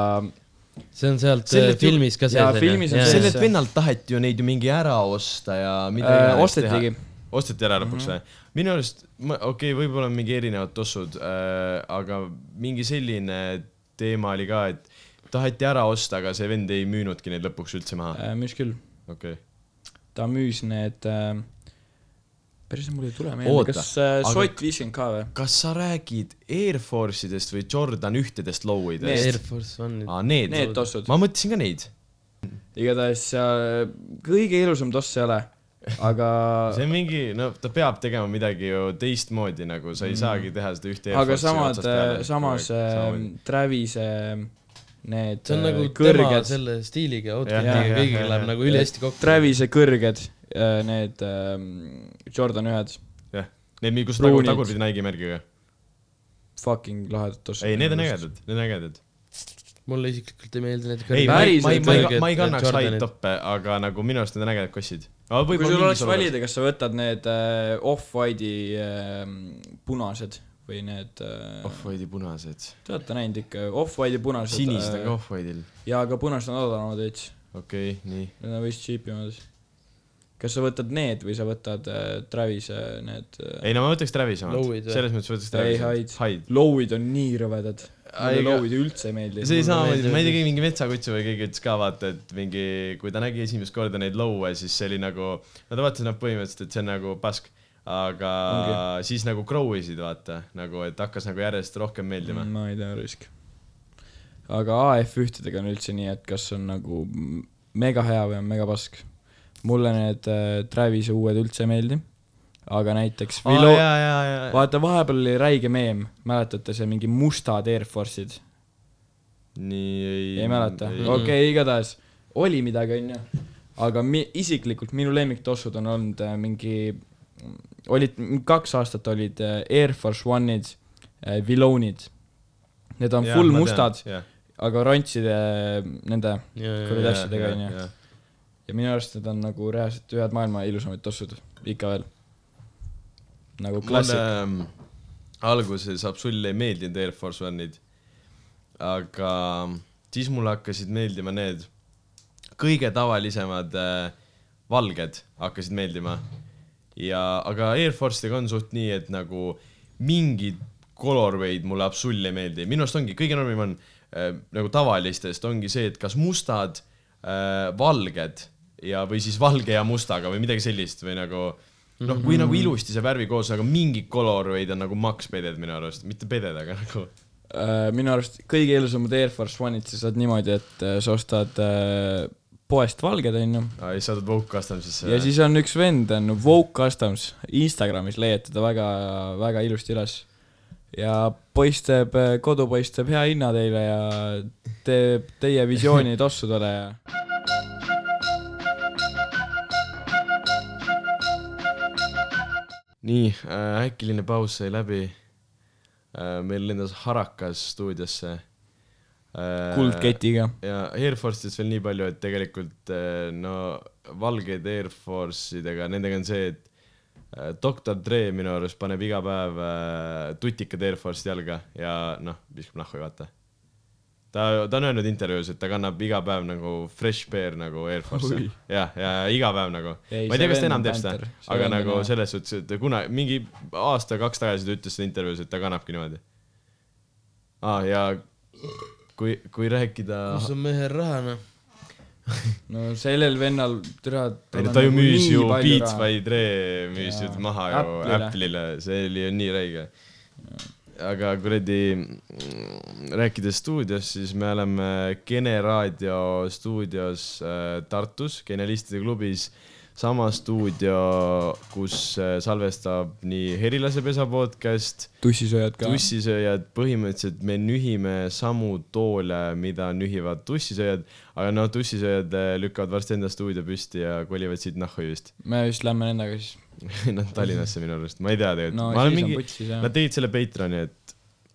[SPEAKER 3] see on sealt
[SPEAKER 1] Selle
[SPEAKER 3] äh,
[SPEAKER 1] ju-
[SPEAKER 3] filmis ka
[SPEAKER 2] jaa,
[SPEAKER 3] sees .
[SPEAKER 2] filmis on sees.
[SPEAKER 1] sellelt
[SPEAKER 2] see-
[SPEAKER 1] vennalt taheti ju neid ju mingi ära osta ja mida
[SPEAKER 2] äh,
[SPEAKER 1] iganes teha.
[SPEAKER 2] ostetigi .
[SPEAKER 1] osteti ära lõpuks või mm -hmm. ? minu arust , okei okay, , võib-olla on mingi erinevad tossud äh, , aga mingi selline teema oli ka , et taheti ära osta , aga see vend ei müünudki neid lõpuks üldse maha .
[SPEAKER 2] äh, müüs küll ,
[SPEAKER 1] okei okay. .
[SPEAKER 2] ta müüs need äh, , päriselt mul ei tule meelde ,
[SPEAKER 1] Oota,
[SPEAKER 2] kas äh,
[SPEAKER 1] aga-
[SPEAKER 2] Sott viiskümmend ka või ?
[SPEAKER 1] kas sa räägid Air Force idest või Jordan ühtedest
[SPEAKER 2] Need.
[SPEAKER 1] low-idest ?
[SPEAKER 3] Air Force One'id .
[SPEAKER 1] aa , need,
[SPEAKER 2] Need tossud.
[SPEAKER 1] ma mõtlesin ka neid .
[SPEAKER 2] igatahes seal kõige ilusam toss ei ole , aga
[SPEAKER 1] see on mingi , no ta peab tegema midagi ju teistmoodi nagu , sa ei saagi teha seda ühte
[SPEAKER 2] Mm. aga
[SPEAKER 1] effortsi
[SPEAKER 2] samad eh, äh,
[SPEAKER 1] otsast , peale
[SPEAKER 2] samas
[SPEAKER 1] kogu aeg samamoodi.
[SPEAKER 2] äh, Travis'e need
[SPEAKER 3] see on nagu
[SPEAKER 2] äh,
[SPEAKER 3] kõrged... tema
[SPEAKER 2] kõrged ,
[SPEAKER 3] selle stiiliga ,
[SPEAKER 1] Jah,
[SPEAKER 3] outfit'iga
[SPEAKER 1] jah,
[SPEAKER 3] kõigiga
[SPEAKER 1] jah,
[SPEAKER 3] läheb
[SPEAKER 1] jah.
[SPEAKER 3] nagu ülihästi kokku .
[SPEAKER 2] Travis'e kõrged äh, need äh, Jordan ühed ,
[SPEAKER 1] jah , need , kus tagu,
[SPEAKER 2] pruunid.
[SPEAKER 1] tagurpidi Nike'i märgiga .
[SPEAKER 2] fucking lahedad tossud .
[SPEAKER 1] ei , need on . ägedad , need on ägedad .
[SPEAKER 3] mulle isiklikult ei meeldi need
[SPEAKER 1] ei , ma ei ,
[SPEAKER 2] päriselt
[SPEAKER 1] ma ei , ma ei ,
[SPEAKER 3] kõrged
[SPEAKER 2] äh,
[SPEAKER 1] ma ei kannaks high
[SPEAKER 3] Jordanid.
[SPEAKER 1] top'e , aga nagu minu arust need on ägedad kossid .
[SPEAKER 2] kui sul oleks valida , kas sa võtad need äh, off-white'i äh, punased või need äh, oh. ,
[SPEAKER 1] Off-White'i punased .
[SPEAKER 2] te olete näinud ikka , off-white'i äh, punased .
[SPEAKER 1] sinised on ka . Off-White'il .
[SPEAKER 2] jaa , aga punased on odavamad veits ,
[SPEAKER 1] okei okay, , nii .
[SPEAKER 2] need on vist cheap imad . kas sa võtad need või sa võtad äh, Travis'e need äh,
[SPEAKER 1] ei no ma võtaks Travis omad
[SPEAKER 3] Low'id , või?
[SPEAKER 1] selles mõttes võtaks
[SPEAKER 2] Ei,
[SPEAKER 1] Travis . Hyde .
[SPEAKER 2] low'id on nii rõvedad . mulle
[SPEAKER 1] Ai, aga-
[SPEAKER 2] low'id üldse ei meeldi .
[SPEAKER 1] see oli
[SPEAKER 3] mulle
[SPEAKER 1] samamoodi ,
[SPEAKER 3] meeldib
[SPEAKER 1] ma ei tea , mingi metsakutsu või keegi ütles ka vaata , et mingi , kui ta nägi esimest korda neid lõue , siis see oli nagu , no ta vaatas nad põhimõtteliselt , et see on nagu pask , aga Ongi. siis nagu grow isid vaata , nagu et hakkas nagu järjest rohkem meeldima mm. .
[SPEAKER 2] ma ei tea , risk . aga AF1-tega on üldse nii , et kas on nagu m- mega hea või on mega pask . mulle need äh, Travis'e uued üldse ei meeldi , aga näiteks
[SPEAKER 1] aa
[SPEAKER 2] Vilo-
[SPEAKER 1] jaa , jaa , jaa ,
[SPEAKER 2] vaata , vahepeal oli räige meem , mäletate see mingi mustad Air Force'id ?
[SPEAKER 1] nii ei .
[SPEAKER 2] ei mäleta , okei okay, , igatahes oli midagi , onju . aga mi- , isiklikult minu lemmiktossud on olnud äh, mingi , olid m- kaks aastat olid äh, Air Force One'id , Vilonid . Need on ja, full mustad , aga rontside äh, nende kuradi asjadega onju . ja minu arust need on nagu reaalselt ühed maailma ilusamad tossud , ikka veel . nagu
[SPEAKER 1] mulle
[SPEAKER 2] klassik .
[SPEAKER 1] ähm, alguses absoluutselt ei meeldinud Air Force One'id , aga siis mulle hakkasid meeldima need kõige tavalisemad äh, valged hakkasid meeldima . ja , aga Air Force'idega on suht nii , et nagu mingid colorway'd mulle absoluutselt ei meeldi , minu arust ongi , kõige normim on äh, nagu tavalistest ongi see , et kas mustad äh, , valged ja , või siis valge ja mustaga või midagi sellist või nagu noh , kui nagu ilusti see värvi koos , aga mingid colorway'd on nagu maks peded minu arust , mitte peded , aga nagu
[SPEAKER 2] Äh, minu arust kõige ilusamad Air Force One'id sa saad niimoodi , et äh, sa ostad äh, poest valged , onju .
[SPEAKER 1] Aa, ei saadud Vogue Customsisse .
[SPEAKER 2] ja siis on üks vend , on Vogue Customs , Instagramis leiad teda väga , väga ilusti üles . ja poiss teeb , kodupoiss teeb hea hinna teile ja teeb teie visiooni tossudele ja
[SPEAKER 1] nii äh, , äkiline paus sai läbi äh, . meil lendas harakas stuudiosse äh, .
[SPEAKER 2] kuldketiga .
[SPEAKER 1] ja Air Force'ist veel nii palju , et tegelikult äh, no valgeid Air Force idega , nendega on see , et äh, doktor Dre minu arust paneb iga päev äh, tutikad Air Force'i jalga ja noh , viskab nahku ja vaata . ta , ta on öelnud intervjuus , et ta kannab iga päev nagu fresh pair nagu Air Force'i
[SPEAKER 2] Oi. .
[SPEAKER 1] ja , ja iga päev nagu .
[SPEAKER 2] Ei,
[SPEAKER 1] ma ei tea , kas
[SPEAKER 2] see
[SPEAKER 1] ta enam
[SPEAKER 2] vend on
[SPEAKER 1] teeb seda
[SPEAKER 2] panter. , See
[SPEAKER 1] aga
[SPEAKER 2] vend on
[SPEAKER 1] nagu
[SPEAKER 2] hea.
[SPEAKER 1] selles suhtes , et ta kuna mingi aasta-kaks tagasi ta ütles seda intervjuus , et ta kannabki niimoodi . aa , ja kui , kui rääkida .
[SPEAKER 3] kus on mehel raha noh ,
[SPEAKER 2] no sellel vennal , türa . nagu
[SPEAKER 1] ei no ta ju müüs ju Beats by Dre müüs ju
[SPEAKER 2] Jaa.
[SPEAKER 1] maha ju
[SPEAKER 2] Apple'ile.
[SPEAKER 1] Apple'ile , see oli ju nii räige . aga kuradi , rääkides stuudiost , siis me oleme Kene raadio stuudios äh, Tartus , Genialistide klubis , sama stuudio , kus äh, salvestab nii Herilase pesa podcast ,
[SPEAKER 2] tussisööjad ka .
[SPEAKER 1] tussisööjad , põhimõtteliselt me nühime samu toole , mida nühivad tussisööjad , aga noh , tussisööjad äh, lükkavad varsti enda stuudio püsti ja kolivad siit nahku vist .
[SPEAKER 2] me vist lähme nendega siis .
[SPEAKER 1] Nad Tallinnasse minu arust , ma ei tea tegelikult
[SPEAKER 2] no
[SPEAKER 1] no, , ma olen
[SPEAKER 2] siis on
[SPEAKER 1] mingi ,
[SPEAKER 2] putsis jah
[SPEAKER 1] nad . tegid selle Patreoni , et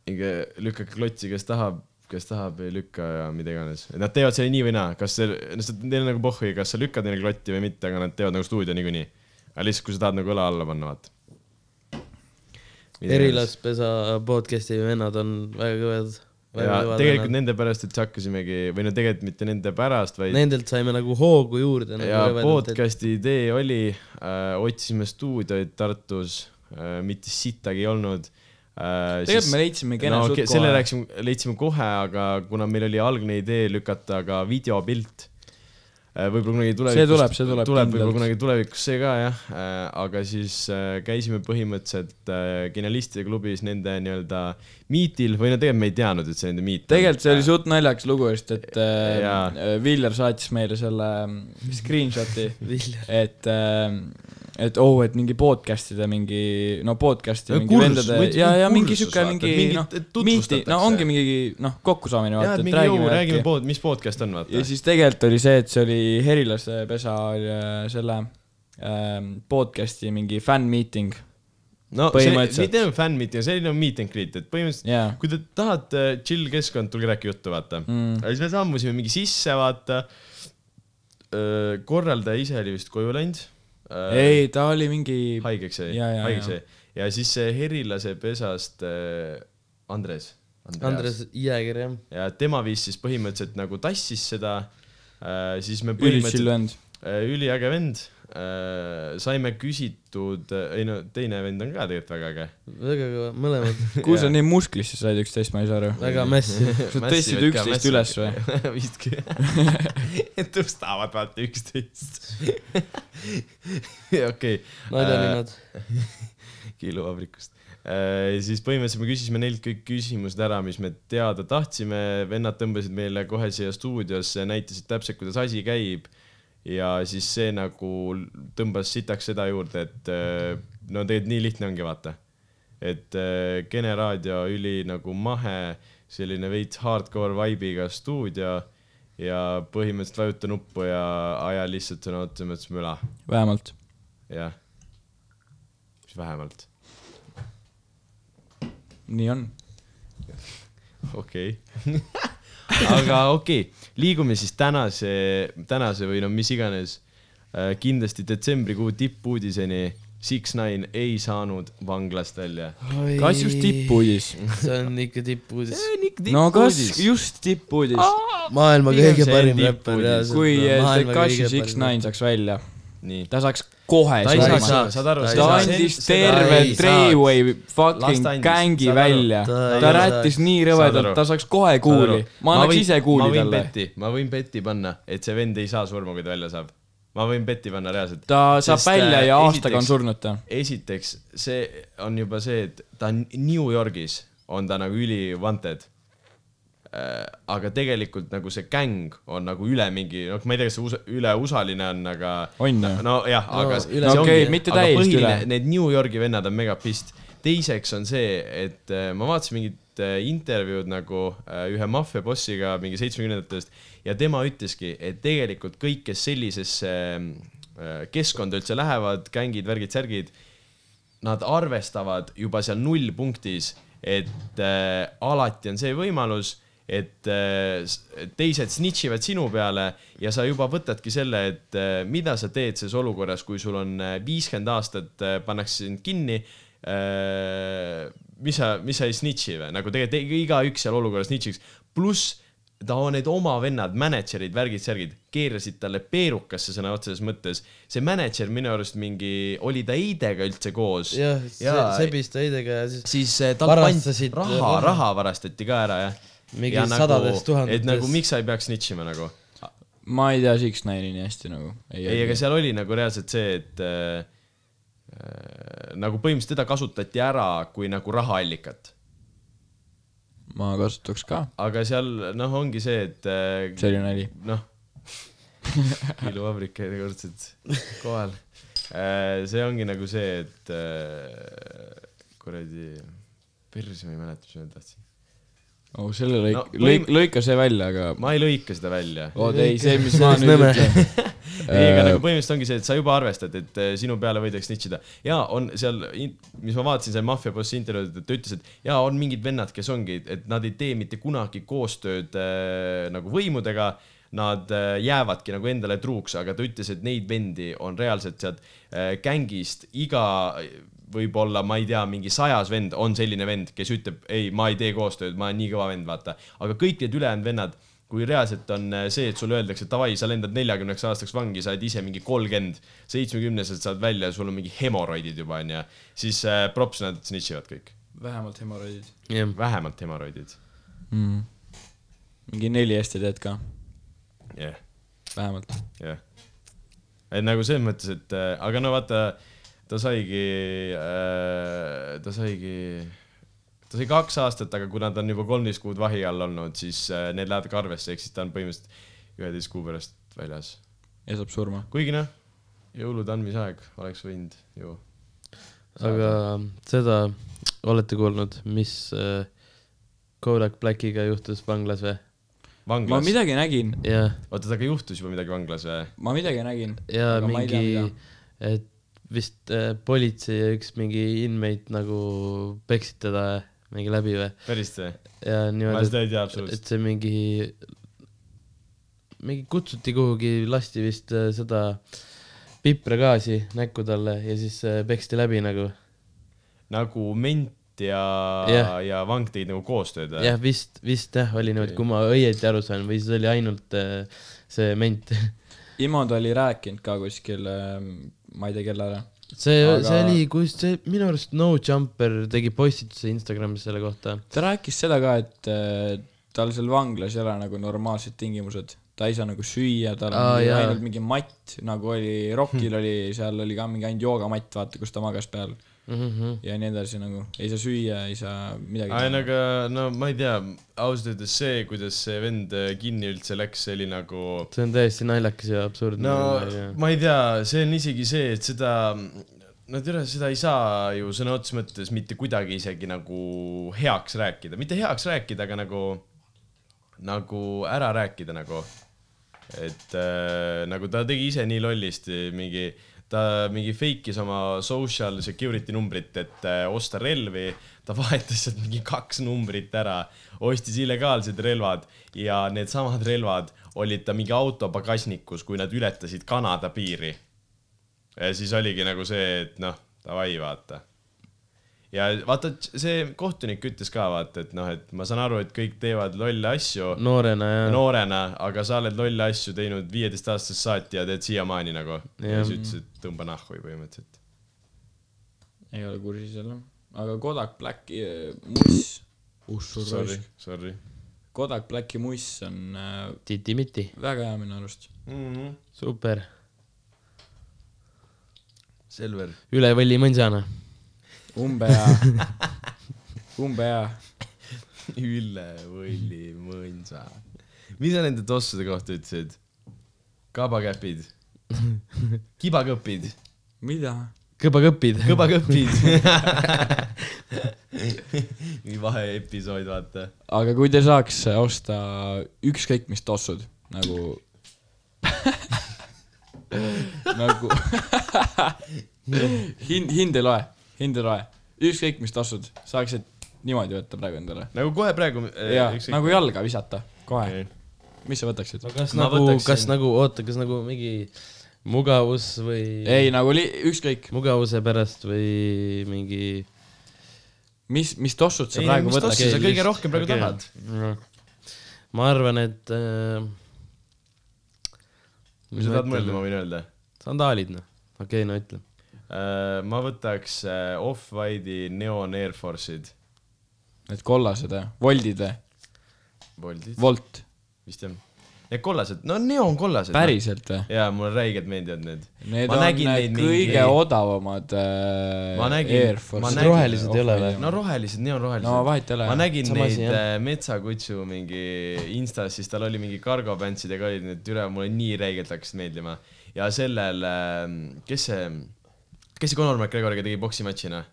[SPEAKER 1] minge lükkake klotsi , kes tahab , kes tahab , ei lükka ja mida iganes . Nad teevad selle nii või naa , kas see , neil on nagu pohhui , kas sa lükkad neile klotti või mitte , aga nad teevad nagu stuudio niikuinii . aga lihtsalt , kui sa tahad nagu õla alla panna , vaata .
[SPEAKER 3] Erilaspesa podcast'i vennad on väga kõved .
[SPEAKER 1] ja tegelikult . nende pärast , et hakkasimegi või no tegelikult mitte nende pärast , vaid
[SPEAKER 3] Nendelt saime nagu hoogu juurde .
[SPEAKER 1] ja
[SPEAKER 2] nagu
[SPEAKER 1] podcast'i idee oli äh, , otsisime stuudioid Tartus äh, , mitte sittagi ei olnud äh, .
[SPEAKER 2] tegelikult me leidsime kena
[SPEAKER 1] no,
[SPEAKER 2] no,
[SPEAKER 1] okay,
[SPEAKER 2] suht
[SPEAKER 1] selle
[SPEAKER 2] kohe .
[SPEAKER 1] läksime , leidsime kohe , aga kuna meil oli algne idee lükata ka videopilt äh, võib-olla kunagi tulevikus .
[SPEAKER 2] See tuleb, see tuleb
[SPEAKER 1] tuleb võib-olla
[SPEAKER 2] kindlalt.
[SPEAKER 1] kunagi tulevikus see ka jah , aga siis äh, käisime põhimõtteliselt äh, Genialistide klubis nende nii-öelda miitil või no tegelikult me ei teadnud , et see nende miit .
[SPEAKER 2] tegelikult see oli suht naljakas lugu , sest et
[SPEAKER 1] Jaa.
[SPEAKER 2] äh, Viljar saatis meile selle ähm, screenshot'i ,
[SPEAKER 3] Viljar .
[SPEAKER 2] et äh, , et oh , et mingi podcast'ide mingi , no podcast'i
[SPEAKER 1] Ja
[SPEAKER 2] mingi
[SPEAKER 1] Äh, kursus,
[SPEAKER 2] vendade
[SPEAKER 1] mingi
[SPEAKER 2] ja , ja mingi
[SPEAKER 1] kursus,
[SPEAKER 2] siuke
[SPEAKER 1] vaata,
[SPEAKER 2] mingi
[SPEAKER 1] mingit-
[SPEAKER 2] noh
[SPEAKER 1] et ,
[SPEAKER 2] miiti ,
[SPEAKER 1] tutvustatakse.
[SPEAKER 2] no ongi mingi noh , kokkusaamine
[SPEAKER 1] jah ,
[SPEAKER 2] vaata ,
[SPEAKER 1] et
[SPEAKER 2] et
[SPEAKER 1] mingi jõu ,
[SPEAKER 2] räägime .
[SPEAKER 1] räägime pood- , mis podcast on , vaata
[SPEAKER 2] ja . siis tegelikult oli see , et see oli Herilase pesa oli, äh, selle ähm, podcast'i mingi fänn-meeting ,
[SPEAKER 1] no see ,
[SPEAKER 2] põhimõtteliselt.
[SPEAKER 1] mitte enam fännmiiting , see oli nagu meet and greet , et põhimõtteliselt
[SPEAKER 2] jaa .
[SPEAKER 1] kui te tahate äh, chill keskkond , tulge rääkige juttu , vaata
[SPEAKER 2] Mm.
[SPEAKER 1] aga siis me sammusime mingi sisse , vaata . korraldaja ise oli vist koju läinud .
[SPEAKER 2] ei , ta oli mingi ,
[SPEAKER 1] Äh, haigeks jäi ,
[SPEAKER 2] Jaa, jaa,
[SPEAKER 1] haigeks
[SPEAKER 2] jaa.
[SPEAKER 1] jäi . ja siis see Herilase pesast äh, Andres .
[SPEAKER 3] Andres Jääger , jah .
[SPEAKER 1] ja tema viis siis põhimõtteliselt nagu tassis seda . siis me
[SPEAKER 2] ülis
[SPEAKER 1] põhimõtteliselt
[SPEAKER 2] chill vend .
[SPEAKER 1] Äh, üliäge vend , saime küsitud , ei no teine vend on ka tegelikult väga äge .
[SPEAKER 3] väga kõva , mõlemad
[SPEAKER 2] kui sa nii musklisse said üksteist , ma ei saa aru .
[SPEAKER 3] väga mässi .
[SPEAKER 2] Sa tõstsid üksteist üles või? ?
[SPEAKER 1] vist küll . tõstavad vaata üksteist . okei ,
[SPEAKER 3] naljaninad .
[SPEAKER 1] kiiluvabrikust . Äh, siis põhimõtteliselt me küsisime neilt kõik küsimused ära , mis me teada tahtsime , vennad tõmbasid meile kohe siia stuudiosse , näitasid täpselt , kuidas asi käib . ja siis see nagu tõmbas sitaks seda juurde , et äh, no tegelikult nii lihtne ongi , vaata . et äh, Kene raadio üli nagu mahe , selline veits hardcore vibe'iga stuudio ja põhimõtteliselt vajuta nuppu ja aja lihtsalt sõna otseses mõttes müla ,
[SPEAKER 2] vähemalt .
[SPEAKER 1] jah . siis vähemalt
[SPEAKER 2] nii on .
[SPEAKER 1] okei aga okei okay. , liigume siis tänase , tänase või no mis iganes . kindlasti detsembrikuu tippuudiseni . Six-Nine ei saanud vanglast välja .
[SPEAKER 2] kas just ? tippuudis ?
[SPEAKER 3] see on ikka tippuudis .
[SPEAKER 2] no kas just tippuudis ?
[SPEAKER 3] maailma
[SPEAKER 1] Pigem
[SPEAKER 3] kõige
[SPEAKER 1] see
[SPEAKER 3] parim
[SPEAKER 1] tippuudis.
[SPEAKER 3] räppar ja .
[SPEAKER 2] kui
[SPEAKER 3] äh,
[SPEAKER 2] Tekashi Six Nine saaks välja ,
[SPEAKER 1] nii .
[SPEAKER 2] ta saaks kohe
[SPEAKER 1] ta ei saa ,
[SPEAKER 2] surma .
[SPEAKER 1] saad aru .
[SPEAKER 3] Ta
[SPEAKER 2] ta andis terve
[SPEAKER 3] ei
[SPEAKER 2] Treyway
[SPEAKER 1] Las ta
[SPEAKER 2] fucking
[SPEAKER 1] andis,
[SPEAKER 2] gängi
[SPEAKER 1] saad aru.
[SPEAKER 2] välja .
[SPEAKER 3] Ta
[SPEAKER 2] ta
[SPEAKER 3] ei
[SPEAKER 2] rättis
[SPEAKER 3] saaks.
[SPEAKER 2] nii
[SPEAKER 1] Saad aru.
[SPEAKER 2] rõvedalt , ta saaks kohe kuuli . ma annaks ise kuuli talle .
[SPEAKER 1] talle . ma võin peti panna , et see vend ei saa surma , kui ta välja saab . ma võin peti panna reaalselt .
[SPEAKER 2] ta saab
[SPEAKER 1] Sest,
[SPEAKER 2] välja
[SPEAKER 1] äh,
[SPEAKER 2] ja aastaga on
[SPEAKER 1] esiteks-
[SPEAKER 2] surnud ta .
[SPEAKER 1] esiteks , see on juba see , et ta on New Yorgis , on ta nagu üli wanted . aga tegelikult nagu see gäng on nagu üle mingi , noh , ma ei tea , kas see USA, üle USA-line on , aga .
[SPEAKER 2] On ju.
[SPEAKER 1] nojah , aga
[SPEAKER 3] No
[SPEAKER 1] see-
[SPEAKER 3] üle-
[SPEAKER 1] see
[SPEAKER 2] okei,
[SPEAKER 1] ongi-
[SPEAKER 2] mitte
[SPEAKER 1] aga
[SPEAKER 2] täiesti
[SPEAKER 1] põhiline-
[SPEAKER 2] üle.
[SPEAKER 1] Need New Yorgi vennad on mega pist . teiseks on see , et äh, ma vaatasin mingit äh, intervjuud nagu äh, ühe maffia bossiga mingi seitsmekümnendatest ja tema ütleski , et tegelikult kõik , kes sellisesse äh, keskkonda üldse lähevad , gängid , värgid , särgid nad arvestavad juba seal nullpunktis , et äh, alati on see võimalus , et äh, s- teised snitch ivad sinu peale ja sa juba võtadki selle , et äh, mida sa teed selles olukorras , kui sul on äh, viiskümmend aastat äh, , pannakse sind kinni äh, . mis sa , mis sa ei snitch'i või , nagu tegelikult ei- igaüks seal olukorras snitch'iks , pluss ta , need oma vennad , mänedžerid , värgid , särgid , keerasid talle peerukasse sõna otseses mõttes . see mänedžer minu arust mingi , oli ta Heidega üldse koos
[SPEAKER 3] jah , sebis ta heidega ja siis
[SPEAKER 1] siis eh, tal pandi
[SPEAKER 3] Varastasid
[SPEAKER 1] raha
[SPEAKER 3] raha. ,
[SPEAKER 1] raha varastati ka ära , jah .
[SPEAKER 3] Mingi sadades tuhandetes.
[SPEAKER 1] et nagu miks sa ei peaks snitšima nagu .
[SPEAKER 2] ma ei tea Six Nine'i nii hästi nagu .
[SPEAKER 1] ei , aga seal oli nagu reaalselt see , et äh, äh, nagu põhimõtteliselt teda kasutati ära kui nagu rahaallikat .
[SPEAKER 2] ma kasutaks ka ,
[SPEAKER 1] aga seal noh , ongi see , et äh,
[SPEAKER 2] see oli nali .
[SPEAKER 1] noh , iluvabrik käidi kordselt kohal . see ongi nagu see , et äh, kuradi , perse ma ei mäleta , mis ma tahtsin .
[SPEAKER 2] oh , selle lõik
[SPEAKER 1] No,
[SPEAKER 2] no, ,
[SPEAKER 1] põhim-
[SPEAKER 2] lõik , lõika see välja , aga
[SPEAKER 1] ma ei lõika seda välja .
[SPEAKER 2] oota ei , see , mis
[SPEAKER 3] See
[SPEAKER 2] ma
[SPEAKER 3] oleks
[SPEAKER 2] nüüd
[SPEAKER 3] nõme.
[SPEAKER 2] ütlen .
[SPEAKER 1] ei , aga nagu põhimõtteliselt ongi see , et sa juba arvestad , et eh, sinu peale võidakse nitšida . ja on seal , mis ma vaatasin , see maffia bossi intervjuud , ta ütles , et ja on mingid vennad , kes ongi , et nad ei tee mitte kunagi koostööd äh, nagu võimudega . Nad äh, jäävadki nagu endale truuks , aga ta ütles , et neid vendi on reaalselt sealt äh, gängist iga võib-olla , ma ei tea , mingi sajas vend on selline vend , kes ütleb , ei , ma ei tee koostööd , ma olen nii kõva vend , vaata . aga kõik need ülejäänud vennad kui reaalselt on äh, see , et sulle öeldakse , et davai , sa lendad neljakümneks aastaks vangi , sa oled ise mingi kolmkümmend , seitsmekümneselt saad välja ja sul on mingi hemoroidid juba onju , siis äh, props nad snitch ivad kõik ,
[SPEAKER 2] vähemalt hemoroidid
[SPEAKER 3] jah ,
[SPEAKER 1] vähemalt hemoroidid ,
[SPEAKER 2] mm. . mingi neli hästi teed ka .
[SPEAKER 1] jah yeah. .
[SPEAKER 2] vähemalt .
[SPEAKER 1] jah . et nagu selles mõttes , et äh, aga no vaata , ta saigi äh, , ta saigi , ta sai kaks aastat , aga kuna ta on juba kolmteist kuud vahi all olnud , siis äh, need lähevad ka arvesse , ehk siis ta on põhimõtteliselt üheteist kuu pärast väljas .
[SPEAKER 2] ja saab surma .
[SPEAKER 1] kuigi noh , jõulude andmisaeg oleks võinud ju .
[SPEAKER 3] aga seda olete kuulnud , mis äh, Kodak Blackiga juhtus vanglas või ?
[SPEAKER 2] ma
[SPEAKER 1] vanglas ,
[SPEAKER 2] midagi nägin ,
[SPEAKER 3] jah ,
[SPEAKER 1] oota temaga juhtus juba midagi vanglas või ?
[SPEAKER 2] ma midagi nägin .
[SPEAKER 3] ja
[SPEAKER 2] Aga ma ei tea,
[SPEAKER 3] mingi
[SPEAKER 2] mida. ,
[SPEAKER 3] et vist äh, politsei ja üks mingi inmate nagu peksid teda mingi läbi või ?
[SPEAKER 1] päriselt või ?
[SPEAKER 3] ja
[SPEAKER 1] ma
[SPEAKER 3] niimoodi ,
[SPEAKER 1] seda ei tea
[SPEAKER 3] et ,
[SPEAKER 1] absoluutselt .
[SPEAKER 3] et see mingi , mingi kutsuti kuhugi , lasti vist äh, seda pipragaasi näkku talle ja siis äh, peksti läbi nagu .
[SPEAKER 1] nagu ment ja
[SPEAKER 3] Jah.
[SPEAKER 1] yeah. , ja vang tegid nagu koostööd või ?
[SPEAKER 3] jah , vist , vist jah , oli niimoodi , kui ma õieti aru sain või siis oli ainult äh, see ment .
[SPEAKER 2] Imod oli rääkinud ka kuskil , ma ei tea kellele .
[SPEAKER 3] see
[SPEAKER 2] Aga-
[SPEAKER 3] Aga... , see oli , kus see minu arust No Jumper tegi postituse Instagramis selle kohta .
[SPEAKER 2] ta rääkis seda ka , et äh, tal seal vanglas ei ole nagu normaalsed tingimused . ta ei saa nagu süüa , tal on
[SPEAKER 3] Aa,
[SPEAKER 2] mingi-
[SPEAKER 3] jaa.
[SPEAKER 2] ainult mingi matt , nagu oli Rockil oli , seal oli ka mingi ainult joogamatt , vaata , kus ta magas peal
[SPEAKER 3] Mm
[SPEAKER 1] Mhm.
[SPEAKER 3] -hmm.
[SPEAKER 2] ja nii edasi nagu . ei saa süüa , ei saa midagi
[SPEAKER 1] ei no . aga no ma ei tea , ausalt öeldes see , kuidas see vend äh, kinni üldse läks , see oli nagu
[SPEAKER 3] see on täiesti naljakas ja absurdne .
[SPEAKER 1] no ma ei tea , see on isegi see , et seda , no tere , seda ei saa ju sõna otseses mõttes mitte kuidagi isegi nagu heaks rääkida , mitte heaks rääkida , aga nagu , nagu ära rääkida nagu . et äh, nagu ta tegi ise nii lollisti mingi , ta mingi fake'is oma social security numbrit , et äh, osta relvi , ta vahetas sealt mingi kaks numbrit ära , ostis illegaalsed relvad ja needsamad relvad olid ta mingi auto pagasnikus , kui nad ületasid Kanada piiri . ja siis oligi nagu see , et noh , davai , vaata ja vaata , see kohtunik ütles ka vaata , et noh , et ma saan aru , et kõik teevad lolle asju ,
[SPEAKER 3] noorena ja no. ,
[SPEAKER 1] noorena , aga sa oled lolle asju teinud viieteist aastast saati ja teed siiamaani nagu . ja siis ütles , et tõmba nahhu põhimõtteliselt .
[SPEAKER 2] ei ole kursis jälle . aga Kodak Blacki äh, muss ,
[SPEAKER 1] Sorry , sorry
[SPEAKER 2] Kodak Blacki muss on äh,
[SPEAKER 3] titi-miti ,
[SPEAKER 2] väga hea minu arust .
[SPEAKER 1] mm . -hmm.
[SPEAKER 3] super ,
[SPEAKER 1] Selver .
[SPEAKER 3] üle võlli mõnsana .
[SPEAKER 2] umbe hea , umbe hea
[SPEAKER 1] Ülle Võlli mõnsa . mis sa nende tossude kohta ütlesid ? kabakäpid , kibakõpid ,
[SPEAKER 2] mida ?
[SPEAKER 3] kõbakõpid .
[SPEAKER 1] kõbakõpid . mingi vaheepisood , vaata .
[SPEAKER 2] aga kui te saaks osta ükskõik mis tossud nagu nagu hind , hind ei loe , hind ei loe , ükskõik mis tossud saaksid niimoodi võtta praegu endale
[SPEAKER 1] nagu kohe praegu .
[SPEAKER 2] ja nagu jalga visata kohe , mis sa võtaksid ?
[SPEAKER 3] kas
[SPEAKER 1] Ma
[SPEAKER 3] nagu ,
[SPEAKER 1] võtaksin-
[SPEAKER 3] kas nagu , oota , kas nagu mingi mugavus või ?
[SPEAKER 2] ei nagu li- , ükskõik ,
[SPEAKER 3] mugavuse pärast või mingi .
[SPEAKER 2] mis , mis tossud sa
[SPEAKER 1] Ei,
[SPEAKER 2] praegu
[SPEAKER 1] mis tossu
[SPEAKER 2] võtaksid
[SPEAKER 1] sa ? kõige rohkem praegu tahad? ?
[SPEAKER 3] ma arvan , et äh, .
[SPEAKER 1] mis sa tahad mõelda , ma ? võin öelda
[SPEAKER 3] sandaalid noh , okei okay, , no ütle .
[SPEAKER 1] Äh, ma võtaks äh, Off-White'i Neon Air Force'id ,
[SPEAKER 2] Need kollased või ? voldid või ?
[SPEAKER 1] Boltid
[SPEAKER 2] Volt ,
[SPEAKER 1] vist jah . Need kollased , no neoonkollased .
[SPEAKER 2] päriselt või ?
[SPEAKER 1] jaa , mulle räigelt meeldivad need .
[SPEAKER 2] Need
[SPEAKER 1] Ma
[SPEAKER 2] on
[SPEAKER 1] nägin
[SPEAKER 2] need
[SPEAKER 1] neid
[SPEAKER 2] kõige mingi...
[SPEAKER 1] mingi-
[SPEAKER 2] odavamad äh,
[SPEAKER 1] Ma nägin-
[SPEAKER 2] Air
[SPEAKER 1] ma
[SPEAKER 2] Force
[SPEAKER 1] nägin-
[SPEAKER 3] Rohelised ei ole või?
[SPEAKER 1] no rohelised , neoonrohelised
[SPEAKER 2] no vahet ei ole
[SPEAKER 1] ma . nägin
[SPEAKER 3] Sama asi,
[SPEAKER 1] neid
[SPEAKER 3] jah.
[SPEAKER 1] äh, metsakutsu mingi Instas , siis tal oli mingi kargopäntsidega olid need üle , mulle nii räigelt hakkasid meeldima . ja sellel , kes see , kes see Conor McGregoriga tegi noh? poksimatšina ?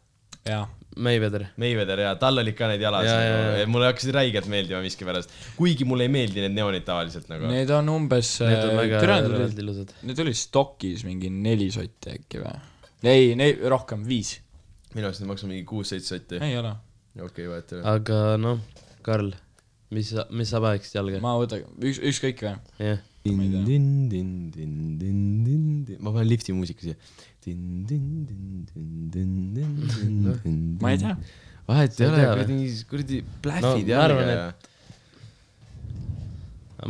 [SPEAKER 2] jaa ,
[SPEAKER 3] Mayweather .
[SPEAKER 1] Mayweather ja tal olid ka need jalas
[SPEAKER 3] Jaa,
[SPEAKER 1] ja,
[SPEAKER 3] jaa,
[SPEAKER 1] nagu
[SPEAKER 3] jaa.
[SPEAKER 1] ja. , mulle hakkasid räigelt meeldima miskipärast . kuigi mulle ei meeldi need neonid tavaliselt nagu .
[SPEAKER 2] need on umbes , äh,
[SPEAKER 3] Need on väga
[SPEAKER 2] need
[SPEAKER 3] räigelt ilusad .
[SPEAKER 2] olid stokis mingi neli sotti äkki või ? ei , ei rohkem , viis .
[SPEAKER 1] minu arust need maksavad mingi kuus-seitse sotti .
[SPEAKER 2] ei ole ,
[SPEAKER 1] okei , vahet ei ole .
[SPEAKER 3] aga noh , Karl , mis , mis sa paneks jalga ?
[SPEAKER 2] ma võtan , üks , ükskõik või .
[SPEAKER 3] jah ,
[SPEAKER 2] ei tea.
[SPEAKER 1] ma panen lifti muusika siia .
[SPEAKER 2] ma ei tea .
[SPEAKER 1] vahet ei
[SPEAKER 3] Sa ei
[SPEAKER 1] ole
[SPEAKER 3] tea , või?
[SPEAKER 1] kuradi , kuradi
[SPEAKER 3] No,
[SPEAKER 1] plähvid
[SPEAKER 3] ma arvan,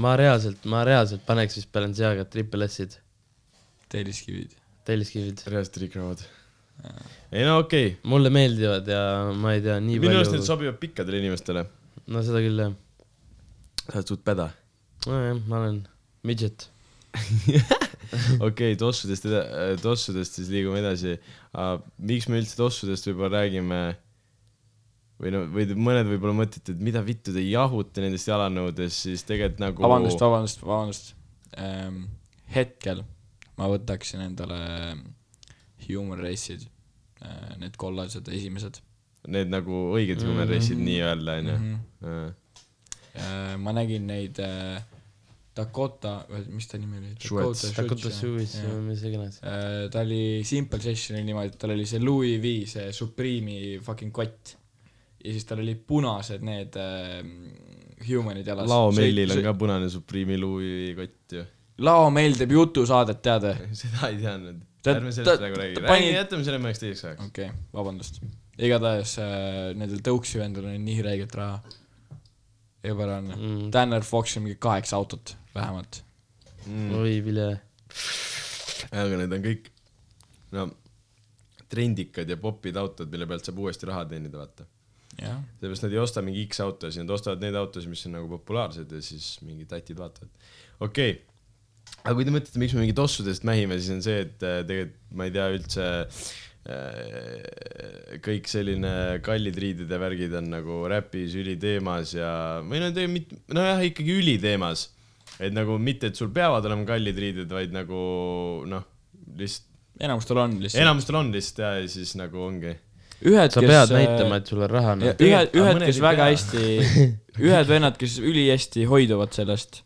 [SPEAKER 3] ma reaalselt , ma reaalselt paneks vist Balenciaga triple S-id ,
[SPEAKER 2] telliskivid .
[SPEAKER 3] telliskivid .
[SPEAKER 1] reaalselt triikravad . ei no okei okay. ,
[SPEAKER 3] mulle meeldivad ja ma ei tea , nii
[SPEAKER 1] minu arust need
[SPEAKER 3] palju .
[SPEAKER 1] sobivad pikkadele inimestele .
[SPEAKER 3] no seda küll jah .
[SPEAKER 1] sa oled suht päda .
[SPEAKER 3] nojah , ma olen midžet .
[SPEAKER 1] okei , tossudest , tossudest siis liigume edasi . miks me üldse tossudest võib-olla räägime ? või no , või te- mõned võib-olla mõtlete , et mida vittu te jahute nendest jalanõudest , siis tegelikult nagu .
[SPEAKER 2] Ah, vabandust , vabandust , vabandust ähm, . hetkel ma võtaksin endale ehm, human race'id äh, , need kollased esimesed
[SPEAKER 1] Need nagu õiged human race'id
[SPEAKER 2] Mhm.
[SPEAKER 1] nii-öelda onju .
[SPEAKER 2] äh, . ma nägin neid äh, Dakota , mis ta nimi oli ?
[SPEAKER 1] Schwartz.
[SPEAKER 3] Dakota Suvis
[SPEAKER 2] jah.
[SPEAKER 3] või mis iganes .
[SPEAKER 2] Äh, ta oli Simple Sessionil niimoodi , et tal oli see Louis V , see Supreme'i fucking kott . ja siis tal olid punased need äh, human'id jalas .
[SPEAKER 1] laomellil on . ka punane Supreme'i luuikott ju .
[SPEAKER 2] laomeil teeb jutusaadet , tead või ?
[SPEAKER 1] seda ei teadnud .
[SPEAKER 2] Ta-
[SPEAKER 1] ärme
[SPEAKER 2] ta-
[SPEAKER 1] sellest praegu räägi
[SPEAKER 2] ta , pani-
[SPEAKER 1] räägi , jätame selle mõneks teiseks ajaks .
[SPEAKER 2] okei okay, , vabandust . igatahes äh, nendel tõuksivendel on nii räiget raha . ebareaalne mm.
[SPEAKER 3] Mm. .
[SPEAKER 2] Tanner Foxil mingi kaheksa autot vähemalt .
[SPEAKER 1] Mm.
[SPEAKER 3] oi , Vilja .
[SPEAKER 1] aga need on kõik , no trendikad ja popid autod , mille pealt saab uuesti raha teenida , vaata .
[SPEAKER 2] jah ,
[SPEAKER 1] seepärast nad ei osta mingi X autosid , nad ostavad neid autosid , mis on nagu populaarsed ja siis mingid tatid vaatavad . okei okay. , aga kui te mõtlete , miks me mingi tossudest mähime , siis on see , et äh, tegelikult ma ei tea üldse äh, kõik selline kallid riided ja värgid on nagu räpis üliteemas ja , või no tegelikult mitte , nojah , ikkagi üliteemas . et nagu mitte , et sul peavad olema kallid riided , vaid nagu noh , lihtsalt
[SPEAKER 2] enamustel on lihtsalt .
[SPEAKER 1] enamustel on lihtsalt ja , ja siis nagu ongi .
[SPEAKER 2] ühed ,
[SPEAKER 3] sa pead
[SPEAKER 1] äh,
[SPEAKER 3] näitama , et sul on raha . noh.
[SPEAKER 2] ja
[SPEAKER 1] tegelikult- aga
[SPEAKER 2] ühed , ühed ,
[SPEAKER 1] mõned
[SPEAKER 2] kes
[SPEAKER 1] ei
[SPEAKER 2] väga
[SPEAKER 1] pea.
[SPEAKER 2] hästi , ühed vennad , kes ülihästi hoiduvad sellest ,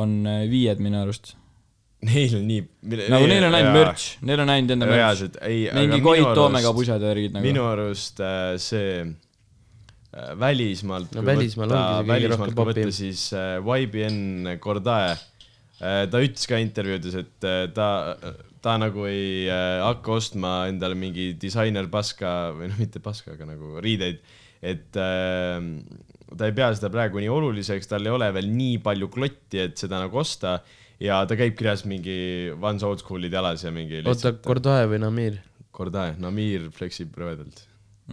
[SPEAKER 2] on äh, viied minu arust .
[SPEAKER 1] Neil on nii .
[SPEAKER 2] nagu neil on ainult . mürts , neil on ainult enda mürts .
[SPEAKER 1] reaalselt , ei .
[SPEAKER 2] mingi Koit Toomega pusad ja värgid
[SPEAKER 1] nagu . minu
[SPEAKER 2] nagu .
[SPEAKER 1] arust äh, see äh, välismaalt .
[SPEAKER 3] No välismaal ongi see kõige
[SPEAKER 1] välismaalt
[SPEAKER 3] rohkem
[SPEAKER 1] kui võtta
[SPEAKER 3] popim. ,
[SPEAKER 1] siis äh, YBN Kordae äh, , ta ütles ka intervjuudes , et äh, ta , ta nagu ei äh, hakka ostma endale mingi disainer paska või noh , mitte paska , aga nagu riideid , et äh, ta ei pea seda praegu nii oluliseks , tal ei ole veel nii palju klotti , et seda nagu osta ja ta käib kirjas mingi Vans Old School'id jalas ja mingi
[SPEAKER 3] oota , Kordae või Namir ?
[SPEAKER 1] Kordae , Namir fleksib rõvedalt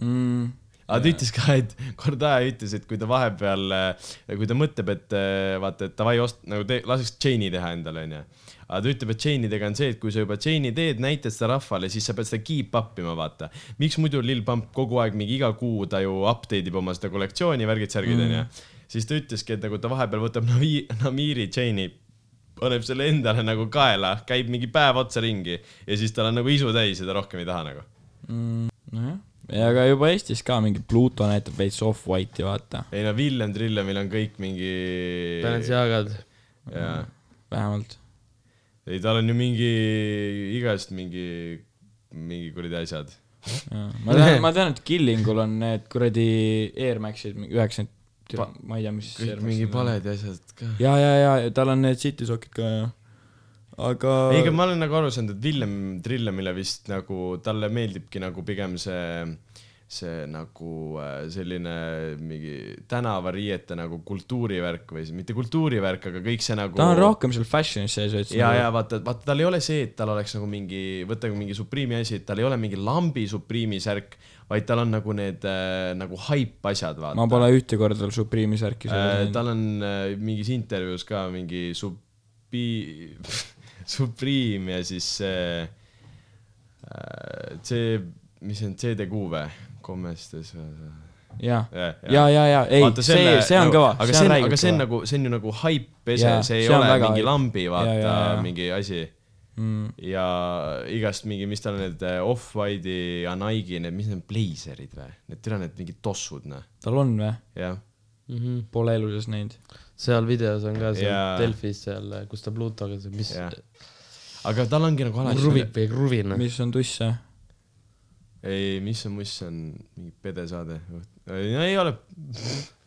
[SPEAKER 2] Mm,
[SPEAKER 1] aga ta ütles ka , et Kordaja ütles , et kui ta vahepeal , kui ta mõtleb , et äh, vaata , et davai ost- , nagu te, laseks chain'i teha endale , onju . aga ta ütleb , et chain idega on see , et kui sa juba chain'i teed , näitad seda rahvale , siis sa pead seda keep up ima , vaata . miks muidu Lil Pump kogu aeg mingi iga kuu ta ju update ib oma seda kollektsiooni , värgid , särgid , onju . siis ta ütleski , et nagu ta vahepeal võtab Navi- , Namiri chain'i paneb selle endale nagu kaela , käib mingi päev otsa ringi ja siis tal on nagu isu täis ja ta rohkem ei taha nagu .
[SPEAKER 2] mm. nojah , ja ka juba Eestis ka mingi Pluto näitab veits off-white'i , vaata ,
[SPEAKER 1] ei no Villem Trillemil on kõik mingi .
[SPEAKER 3] Balenciagad .
[SPEAKER 1] jaa ,
[SPEAKER 2] vähemalt .
[SPEAKER 1] ei tal on ju mingi igast mingi , mingi kuradi asjad .
[SPEAKER 2] ma tean , ma tean , et Killingul on need kuradi Air Maxid , üheksakümmend , ma ei tea , mis Air
[SPEAKER 1] kõik
[SPEAKER 2] Maxid
[SPEAKER 1] mingi
[SPEAKER 2] on.
[SPEAKER 1] paled ja asjad ka .
[SPEAKER 2] ja , ja , ja tal on need City sokid ka , jah . aga
[SPEAKER 1] ei , aga ma olen nagu aru saanud , et Villem Trillemile vist nagu , talle meeldibki nagu pigem see , see nagu äh, selline mingi tänavariiete nagu kultuurivärk või siis mitte kultuurivärk , aga kõik see nagu .
[SPEAKER 2] ta on rohkem seal fashion'is sees veits .
[SPEAKER 1] ja , ja vaata , vaata , tal ei ole see , et tal oleks nagu mingi , võta mingi Supreme'i asi , et tal ei ole mingi lambi Supreme'i särk , vaid tal on nagu need äh, nagu haip asjad , vaata .
[SPEAKER 2] ma pole ühte korda tal Supreme'i särki
[SPEAKER 1] äh,
[SPEAKER 2] seal .
[SPEAKER 1] tal on äh, mingis intervjuus ka mingi supi- , Supreme ja siis see äh, , see , mis see on , CDQ või ? Comestes või ?
[SPEAKER 2] ja ,
[SPEAKER 1] ja ,
[SPEAKER 2] ja , ja , ja ei , see , see on kõva ,
[SPEAKER 1] nagu- aga
[SPEAKER 2] see on
[SPEAKER 1] see on , aga
[SPEAKER 2] räigelt
[SPEAKER 1] see on
[SPEAKER 2] kõva .
[SPEAKER 1] nagu , see on ju nagu haip-pese
[SPEAKER 2] Jaa, ,
[SPEAKER 1] see ei
[SPEAKER 2] see on
[SPEAKER 1] ole
[SPEAKER 2] väga
[SPEAKER 1] mingi
[SPEAKER 2] hype.
[SPEAKER 1] lambi , vaata
[SPEAKER 2] Jaa, jaa, jaa.
[SPEAKER 1] mingi asi
[SPEAKER 2] Mm.
[SPEAKER 1] ja igast mingi , mis tal on need eh, Off-White'i ja Nike'i need , mis need pleiserid või , need türa need mingid tossud noh ,
[SPEAKER 2] tal on või ?
[SPEAKER 1] jah .
[SPEAKER 2] Pole elu sees näinud .
[SPEAKER 3] Mhm. seal videos on ka seal
[SPEAKER 1] Jaa.
[SPEAKER 3] Delfis seal , kus ta Plutoga , mis
[SPEAKER 1] Jah. aga tal ongi nagu alati ,
[SPEAKER 3] kruvib või kruvin .
[SPEAKER 1] Noh.
[SPEAKER 2] mis on tuss või ?
[SPEAKER 1] ei , mis see muss on , mingi pedesaade , no ei ole .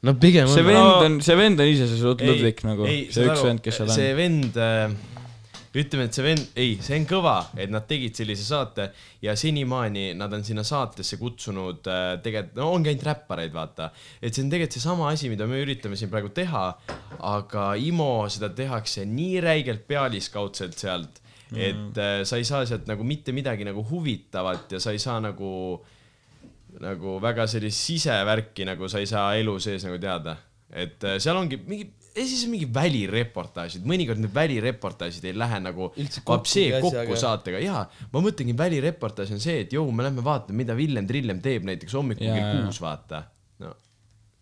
[SPEAKER 3] no pigem
[SPEAKER 2] see
[SPEAKER 3] on .
[SPEAKER 2] vend on , see vend on ise see Sot Ludvik nagu , see üks vend , kes seal on .
[SPEAKER 1] see vend , ütleme , et see vend , ei , see on kõva , et nad tegid sellise saate ja senimaani nad on sinna saatesse kutsunud äh, tegelikult , no ongi ainult räppareid , vaata . et see on tegelikult seesama asi , mida me üritame siin praegu teha , aga IMO seda tehakse nii räigelt pealiskaudselt sealt ,
[SPEAKER 2] Mhm.
[SPEAKER 1] et äh, sa ei saa sealt nagu mitte midagi nagu huvitavat ja sa ei saa nagu nagu väga sellist sisevärki , nagu sa ei saa elu sees nagu teada . et äh, seal ongi mingi , ja siis on mingi välireportaažid , mõnikord need välireportaažid ei lähe nagu
[SPEAKER 3] Üldse kokku
[SPEAKER 1] vapsee
[SPEAKER 3] mingi
[SPEAKER 1] kokku
[SPEAKER 3] asjaga.
[SPEAKER 1] saatega ja ma mõtlengi , välireportaaž on see , et jõu , me lähme vaatame , mida Villem Trillem teeb näiteks hommikul
[SPEAKER 2] Jaa,
[SPEAKER 1] kell
[SPEAKER 2] jaa.
[SPEAKER 1] kuus , vaata . no ,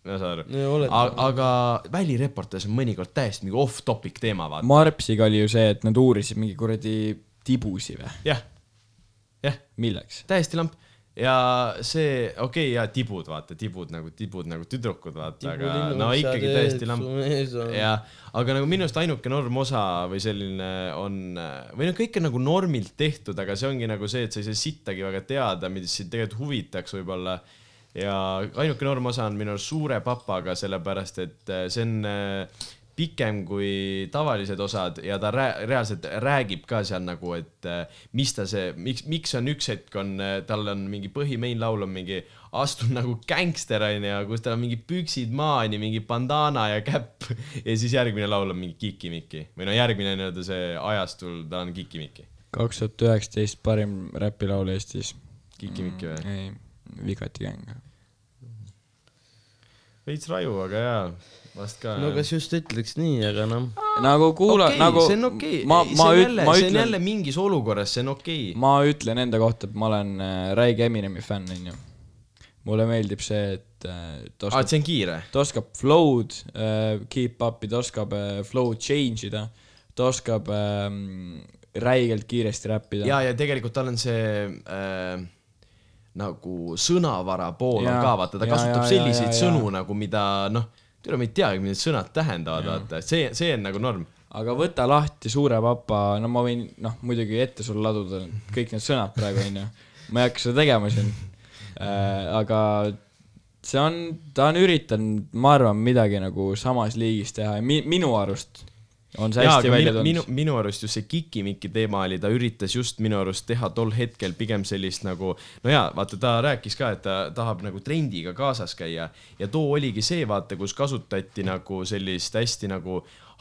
[SPEAKER 1] ma saan
[SPEAKER 3] No ja
[SPEAKER 1] aru
[SPEAKER 3] oletame. .
[SPEAKER 1] aga välireportaaž on mõnikord täiesti mingi off-topic teema , vaata .
[SPEAKER 2] Marpsiga oli ju see , et nad uurisid mingi kuradi tibusi või ?
[SPEAKER 1] jah , jah
[SPEAKER 2] milleks ?
[SPEAKER 1] täiesti lamp ja see , okei okay, , ja tibud , vaata , tibud nagu , tibud nagu tüdrukud , vaata , aga no ikkagi täiesti lamp ja , aga nagu minu arust ainuke norm osa või selline on , või noh , kõik on nagu normilt tehtud , aga see ongi nagu see , et sa ei saa sittagi väga teada , mis sind tegelikult huvitaks võib-olla . ja ainuke norm osa on minu arust Suure papaga , sellepärast et äh, see on äh, pikem kui tavalised osad ja ta rää- reaalselt räägib ka seal nagu , et äh, mis ta see , miks , miks on üks hetk on , tal on mingi põhi main laul on mingi astun nagu gängster onju , kus tal on mingi püksid maani , mingi bandana ja käpp ja siis järgmine laul on mingi Kikimiki või no järgmine nii-öelda see ajastul , ta on Kikimiki ,
[SPEAKER 2] kaks tuhat üheksateist parim räpilaul Eestis .
[SPEAKER 1] Kikimiki või ?
[SPEAKER 2] ei , Vigati gäng .
[SPEAKER 1] veits raju , aga jaa , vast ka .
[SPEAKER 3] no kas just ütleks nii , aga noh ,
[SPEAKER 2] nagu kuula
[SPEAKER 1] okei,
[SPEAKER 2] okay, , nagu
[SPEAKER 1] see on okei
[SPEAKER 2] ma ,
[SPEAKER 1] okay. ,
[SPEAKER 2] ma
[SPEAKER 1] see on
[SPEAKER 2] üt- ,
[SPEAKER 1] jälle ,
[SPEAKER 2] ma
[SPEAKER 1] see on jälle
[SPEAKER 2] ütlen ,
[SPEAKER 1] mingis olukorras , see on okei okay. .
[SPEAKER 2] ma ütlen enda kohta , et ma olen äh, räige Eminemi fänn , onju . mulle meeldib see , et äh, ta
[SPEAKER 1] aa ,
[SPEAKER 2] oskab ,
[SPEAKER 1] et see on kiire ?
[SPEAKER 2] ta oskab flow'd äh, keep up'i , ta oskab äh, flow'd change ida , ta oskab äh, räigelt kiiresti räppida .
[SPEAKER 1] ja , ja tegelikult tal on see äh, nagu sõnavara pool ja,
[SPEAKER 2] Jaa,
[SPEAKER 1] on ka , vaata , ta
[SPEAKER 2] jaa,
[SPEAKER 1] kasutab
[SPEAKER 2] jaa,
[SPEAKER 1] ja, selliseid
[SPEAKER 2] jaa,
[SPEAKER 1] ja,
[SPEAKER 2] jaa.
[SPEAKER 1] sõnu ja. nagu , mida noh , tule , ma ei teagi , mida need sõnad tähendavad , vaata , see , see on nagu norm .
[SPEAKER 2] aga võta lahti Suure Papa , no ma võin , noh , muidugi ette sul laduda kõik need sõnad praegu , onju . ma ei hakka seda tegema siin äh, . aga see on , ta on üritanud , ma arvan , midagi nagu samas liigis teha ja mi- , minu arust on see
[SPEAKER 1] jaa , aga
[SPEAKER 2] hästi ja, välja
[SPEAKER 1] minu ,
[SPEAKER 2] tulnud
[SPEAKER 1] minu ,. minu arust just see Kikimiki teema oli , ta üritas just minu arust teha tol hetkel pigem sellist nagu , no jaa , vaata , ta rääkis ka , et ta tahab nagu trendiga kaasas käia ja too oligi see , vaata , kus kasutati nagu sellist hästi nagu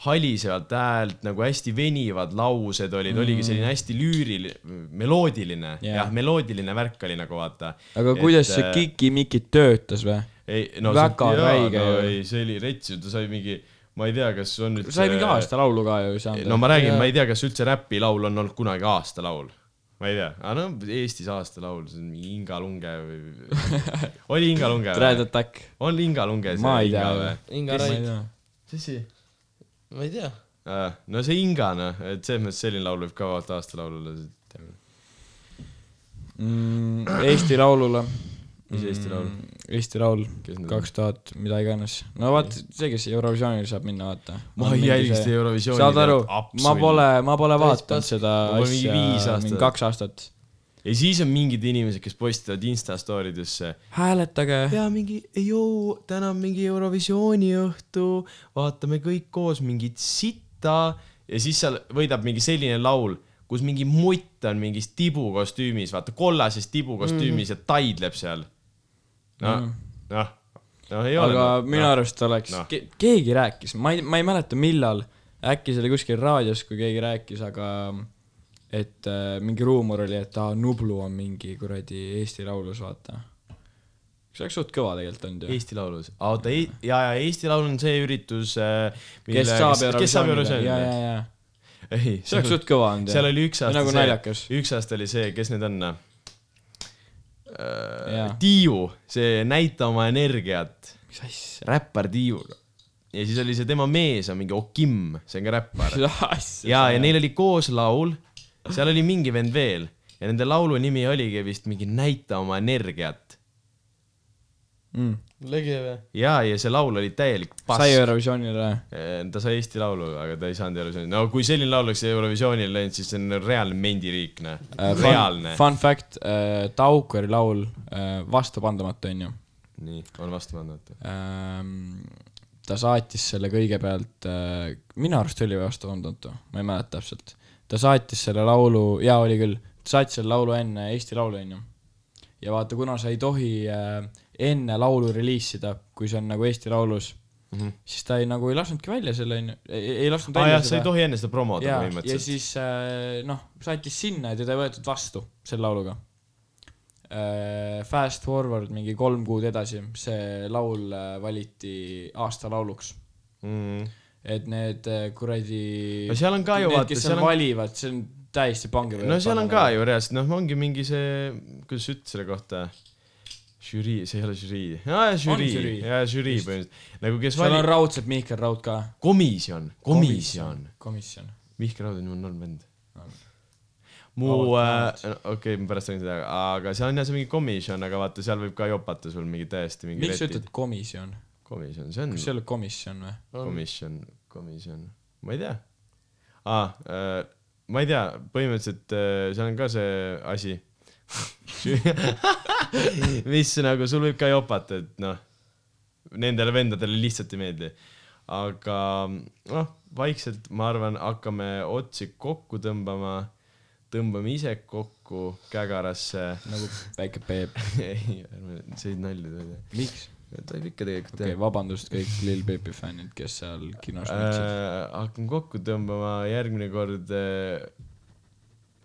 [SPEAKER 1] halisevat häält , nagu hästi venivad laused olid mm. , oligi selline hästi lüüriline , meloodiline
[SPEAKER 2] Jaa.
[SPEAKER 1] yeah. , jah , meloodiline värk oli nagu vaata .
[SPEAKER 2] aga kuidas
[SPEAKER 1] äh,
[SPEAKER 2] see ? Kiki-Miki töötas või ?
[SPEAKER 1] ei , no
[SPEAKER 2] väga
[SPEAKER 1] see,
[SPEAKER 2] räige
[SPEAKER 1] jaa,
[SPEAKER 2] ju.
[SPEAKER 1] no, ei , see oli rets ju , ta sai mingi , ma ei tea , kas on nüüd
[SPEAKER 2] sai mingi aasta laulu ka ju saanud
[SPEAKER 1] äh, no . ma räägin , ma ei tea , kas üldse räpilaul on olnud kunagi aastalaul . ma ei tea , aga no Eestis aastalaul , see on mingi Inga Lunge või , oli Inga Lunge
[SPEAKER 2] Dread
[SPEAKER 1] või ?
[SPEAKER 2] Attack .
[SPEAKER 1] on Inga Lunge see
[SPEAKER 2] ma ei tea
[SPEAKER 1] või
[SPEAKER 2] või ?. ma
[SPEAKER 3] Inga
[SPEAKER 2] ei
[SPEAKER 3] Raid.
[SPEAKER 2] tea .
[SPEAKER 1] tõsi ?
[SPEAKER 3] ma ei tea .
[SPEAKER 1] Ah, no see Inga noh , et selles mõttes selline laul võib ka vaata aastalaul olla ,
[SPEAKER 2] Mm, Eesti Laulule .
[SPEAKER 1] Mis Eesti Laul? ?
[SPEAKER 2] Eesti Laul ,
[SPEAKER 1] Kes need on?
[SPEAKER 2] Mm, kaks tuhat , mida iganes . no vaat see , kes Eurovisioonil saab minna , vaata .
[SPEAKER 1] Ma ei jälgi seda Eurovisiooni,
[SPEAKER 2] saad aru
[SPEAKER 1] tead, ,
[SPEAKER 2] ma
[SPEAKER 1] absoluutselt.
[SPEAKER 2] pole , ma pole vaadanud
[SPEAKER 3] Täispask.
[SPEAKER 2] seda
[SPEAKER 1] Ma pole mingi
[SPEAKER 2] asja
[SPEAKER 1] viis aastat.
[SPEAKER 2] mingi kaks aastat .
[SPEAKER 1] ja siis on mingid inimesed , kes postitavad Insta story desse
[SPEAKER 2] hääletage .
[SPEAKER 1] ja mingi , joo , täna on mingi Eurovisiooni õhtu , vaatame kõik koos mingit sitta ja siis seal võidab mingi selline laul , kus mingi mutt on mingis tibukostüümis , vaata kollases tibukostüümis mm.
[SPEAKER 2] Mhm.
[SPEAKER 1] ja taidleb seal . noh , noh , noh ei ole .
[SPEAKER 2] aga minu arust oleks
[SPEAKER 1] Noh.
[SPEAKER 2] ke- keegi rääkis , ma ei , ma ei mäleta , millal , äkki see oli kuskil raadios , kui keegi rääkis , aga et äh, mingi ruumor oli , et aa , Nublu on mingi kuradi Eesti Laulus , vaata . see oleks suht kõva tegelikult olnud ju .
[SPEAKER 1] noh, Eesti Laulus , oota , ja , ja Eesti Laul on see üritus ,
[SPEAKER 2] kes saab Eurovisioonile .
[SPEAKER 1] kes saab Eurovisioonile
[SPEAKER 2] ja , ja , ja .
[SPEAKER 1] ei ,
[SPEAKER 2] see oleks suht kõva olnud .
[SPEAKER 1] seal oli üks aasta
[SPEAKER 2] nagu
[SPEAKER 1] see-
[SPEAKER 2] naljakas .
[SPEAKER 1] üks aasta oli see , kes need on noh.
[SPEAKER 2] Jaa.
[SPEAKER 1] äh, ? Tiiu , see Näita oma energiat ,
[SPEAKER 2] mis asja ?
[SPEAKER 1] räppar Tiiu . ja siis oli see tema mees on mingi Okim , see on ka räppar .
[SPEAKER 2] mis asja ?
[SPEAKER 1] ja , ja neil oli koos laul , seal oli mingi vend veel ja nende laulu nimi oligi vist mingi Näita oma energiat .
[SPEAKER 2] mm. .
[SPEAKER 3] lege või ?
[SPEAKER 1] ja , ja see laul oli täielik
[SPEAKER 2] sai
[SPEAKER 1] pass .
[SPEAKER 2] Eurovisioonile .
[SPEAKER 1] ta sai Eesti Laulu , aga ta ei saanud Eurovisiooni , no kui selline laul oleks Eurovisioonile läinud , siis see on reaalne mendiriik , noh . reaalne .
[SPEAKER 2] Äh, Fun fact äh, , Taukari laul äh, vastupandamatu onju
[SPEAKER 1] nii , on vastu pandud .
[SPEAKER 2] ähm, . ta saatis selle kõigepealt äh, , minu arust oli vastupandamatu , ma ei mäleta täpselt . ta saatis selle laulu , jaa oli küll , ta saatis selle laulu enne Eesti Laulu onju . ja vaata , kuna sa ei tohi äh, enne laulu reliisida , kui see on nagu Eesti Laulus mm , -hmm. siis ta ei nagu ei lasknudki välja selle onju , ei lasknud
[SPEAKER 1] aa
[SPEAKER 2] välja
[SPEAKER 1] jah , Ah, sa ei tohi enne seda promoda
[SPEAKER 2] ja , ja
[SPEAKER 1] põhimõtteliselt .
[SPEAKER 2] siis äh, noh , saatis sinna ja teda ei võetud vastu selle lauluga . Fast forward mingi kolm kuud edasi , see laul äh, valiti aasta lauluks
[SPEAKER 1] Mm.
[SPEAKER 2] et need eh, kuradi
[SPEAKER 1] No seal on ka ju
[SPEAKER 2] need,
[SPEAKER 1] vaata,
[SPEAKER 2] kes
[SPEAKER 1] seal
[SPEAKER 2] seal
[SPEAKER 1] on-
[SPEAKER 2] valivad , see on täiesti pange
[SPEAKER 1] no seal on ka ju reaalselt , noh , ongi mingi see , kuidas sa ütled selle kohta ? žürii , see ei ole žürii . aa , žürii
[SPEAKER 2] žürii. ,
[SPEAKER 1] jaa , žürii põhimõtteliselt . nagu kes
[SPEAKER 2] seal on
[SPEAKER 1] valib .
[SPEAKER 2] raudselt Mihkel Raud ka .
[SPEAKER 1] komisjon , komisjon .
[SPEAKER 2] komisjon .
[SPEAKER 1] Mihkel Raud on mu norm vend
[SPEAKER 2] On. .
[SPEAKER 1] mu ,
[SPEAKER 2] Vabalt
[SPEAKER 1] okei okay, , ma pärast räägin seda , aga see on jah , see mingi komisjon , aga vaata , seal võib ka jopata sul mingi täiesti mingi
[SPEAKER 2] miks sa ütled ? komisjon ?
[SPEAKER 1] komisjon , see on
[SPEAKER 2] kas see ei ole komisjon või ?
[SPEAKER 1] komisjon , komisjon , ma ei tea ah, . Äh, ma ei tea , põhimõtteliselt äh, seal on ka see asi , mis nagu sul võib ka jopata , et noh , nendele vendadele lihtsalt ei meeldi . aga noh , vaikselt ma arvan , hakkame otsi kokku tõmbama , tõmbame ise kokku kägarasse .
[SPEAKER 2] nagu väike Peep .
[SPEAKER 1] ei , ärme selliseid nalju tee .
[SPEAKER 2] miks ?
[SPEAKER 1] tohib ikka tegelikult
[SPEAKER 2] okei , vabandust kõik Lil Peepi fännid , kes seal kinos mõtlesid .
[SPEAKER 1] äh, hakkan kokku tõmbama , järgmine kord äh,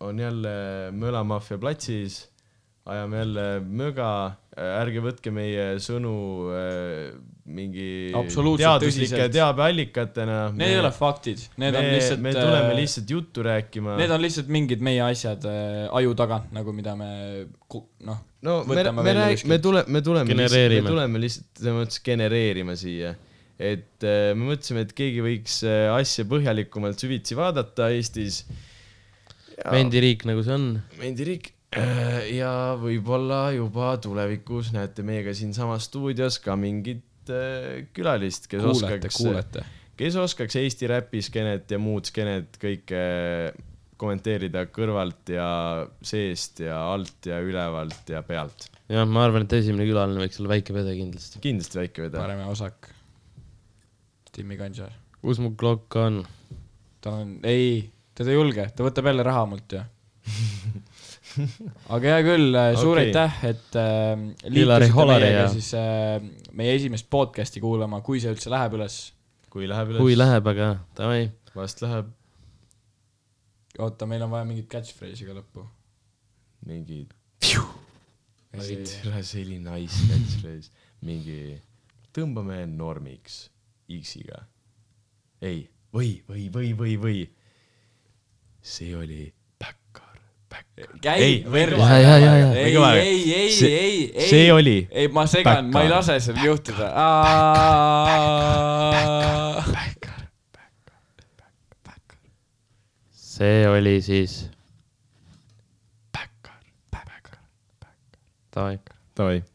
[SPEAKER 1] on jälle Mölamaffia platsis , ajame jälle möga , ärge võtke meie sõnu äh, mingi
[SPEAKER 2] Absoluutselt
[SPEAKER 1] teaduslike
[SPEAKER 2] tõsiselt.
[SPEAKER 1] teabeallikatena .
[SPEAKER 2] Need ei ole faktid , need
[SPEAKER 1] me,
[SPEAKER 2] on lihtsalt .
[SPEAKER 1] me tuleme lihtsalt juttu rääkima .
[SPEAKER 2] Need on lihtsalt mingid meie asjad äh, aju tagant nagu , mida me ku- noh ,
[SPEAKER 1] no me ,
[SPEAKER 2] võtame
[SPEAKER 1] me
[SPEAKER 2] välja
[SPEAKER 1] räägime ,
[SPEAKER 2] kuskilt.
[SPEAKER 1] me tuleme , me tuleme lihtsalt ,
[SPEAKER 4] Genereerime.
[SPEAKER 1] me tuleme lihtsalt selles mõttes genereerima siia . et äh, me mõtlesime , et keegi võiks äh, asja põhjalikumalt süvitsi vaadata Eestis .
[SPEAKER 3] vendiriik nagu see on .
[SPEAKER 1] Mendirik äh, ja võib-olla juba tulevikus näete meiega siinsamas stuudios ka mingit äh, külalist , kes
[SPEAKER 2] kuulete ,
[SPEAKER 1] oskaks ,
[SPEAKER 2] kuulete .
[SPEAKER 1] kes oskaks Eesti räpi skeenet ja muud skeenet kõike kommenteerida kõrvalt ja seest ja alt ja ülevalt ja pealt .
[SPEAKER 3] jah , ma arvan , et esimene külaline võiks olla väike pede kindlasti .
[SPEAKER 1] kindlasti väike vedaja .
[SPEAKER 2] parem ja osak . Timmi Kantsar ,
[SPEAKER 3] kus mu klokk on ?
[SPEAKER 2] ta on , ei , teda ei julge , ta võtab jälle raha mult ju . aga hea küll , suur
[SPEAKER 1] Okei.
[SPEAKER 2] aitäh , et äh,
[SPEAKER 3] Ilari
[SPEAKER 2] liitusite
[SPEAKER 3] Holari
[SPEAKER 2] meiega
[SPEAKER 3] ja-
[SPEAKER 2] siis äh, meie esimest podcast'i kuulama , kui see üldse läheb üles .
[SPEAKER 1] kui läheb
[SPEAKER 3] kui
[SPEAKER 1] üles ,
[SPEAKER 3] läheb , aga davai .
[SPEAKER 1] vast läheb
[SPEAKER 2] oota , meil on vaja mingit catchphrase'i ka lõppu .
[SPEAKER 1] mingi , tere selline nice catchphrase , mingi tõmbame normiks X-iga . ei , või , või , või , või , või . see oli Backyard , Backyard .
[SPEAKER 2] käi
[SPEAKER 1] Ei, ,
[SPEAKER 2] verre .
[SPEAKER 3] Ja, ja, ja, ja.
[SPEAKER 2] ei ,
[SPEAKER 1] Või
[SPEAKER 2] ei , ei ,
[SPEAKER 1] see-
[SPEAKER 2] ei , ei .
[SPEAKER 1] see oli
[SPEAKER 2] ei , ma segan , ma ei
[SPEAKER 1] Backyard.
[SPEAKER 2] lase seal juhtuda .
[SPEAKER 1] Backyard .
[SPEAKER 3] see oli siis ,
[SPEAKER 1] Backyard , Backyard .
[SPEAKER 3] davai .
[SPEAKER 1] Davai .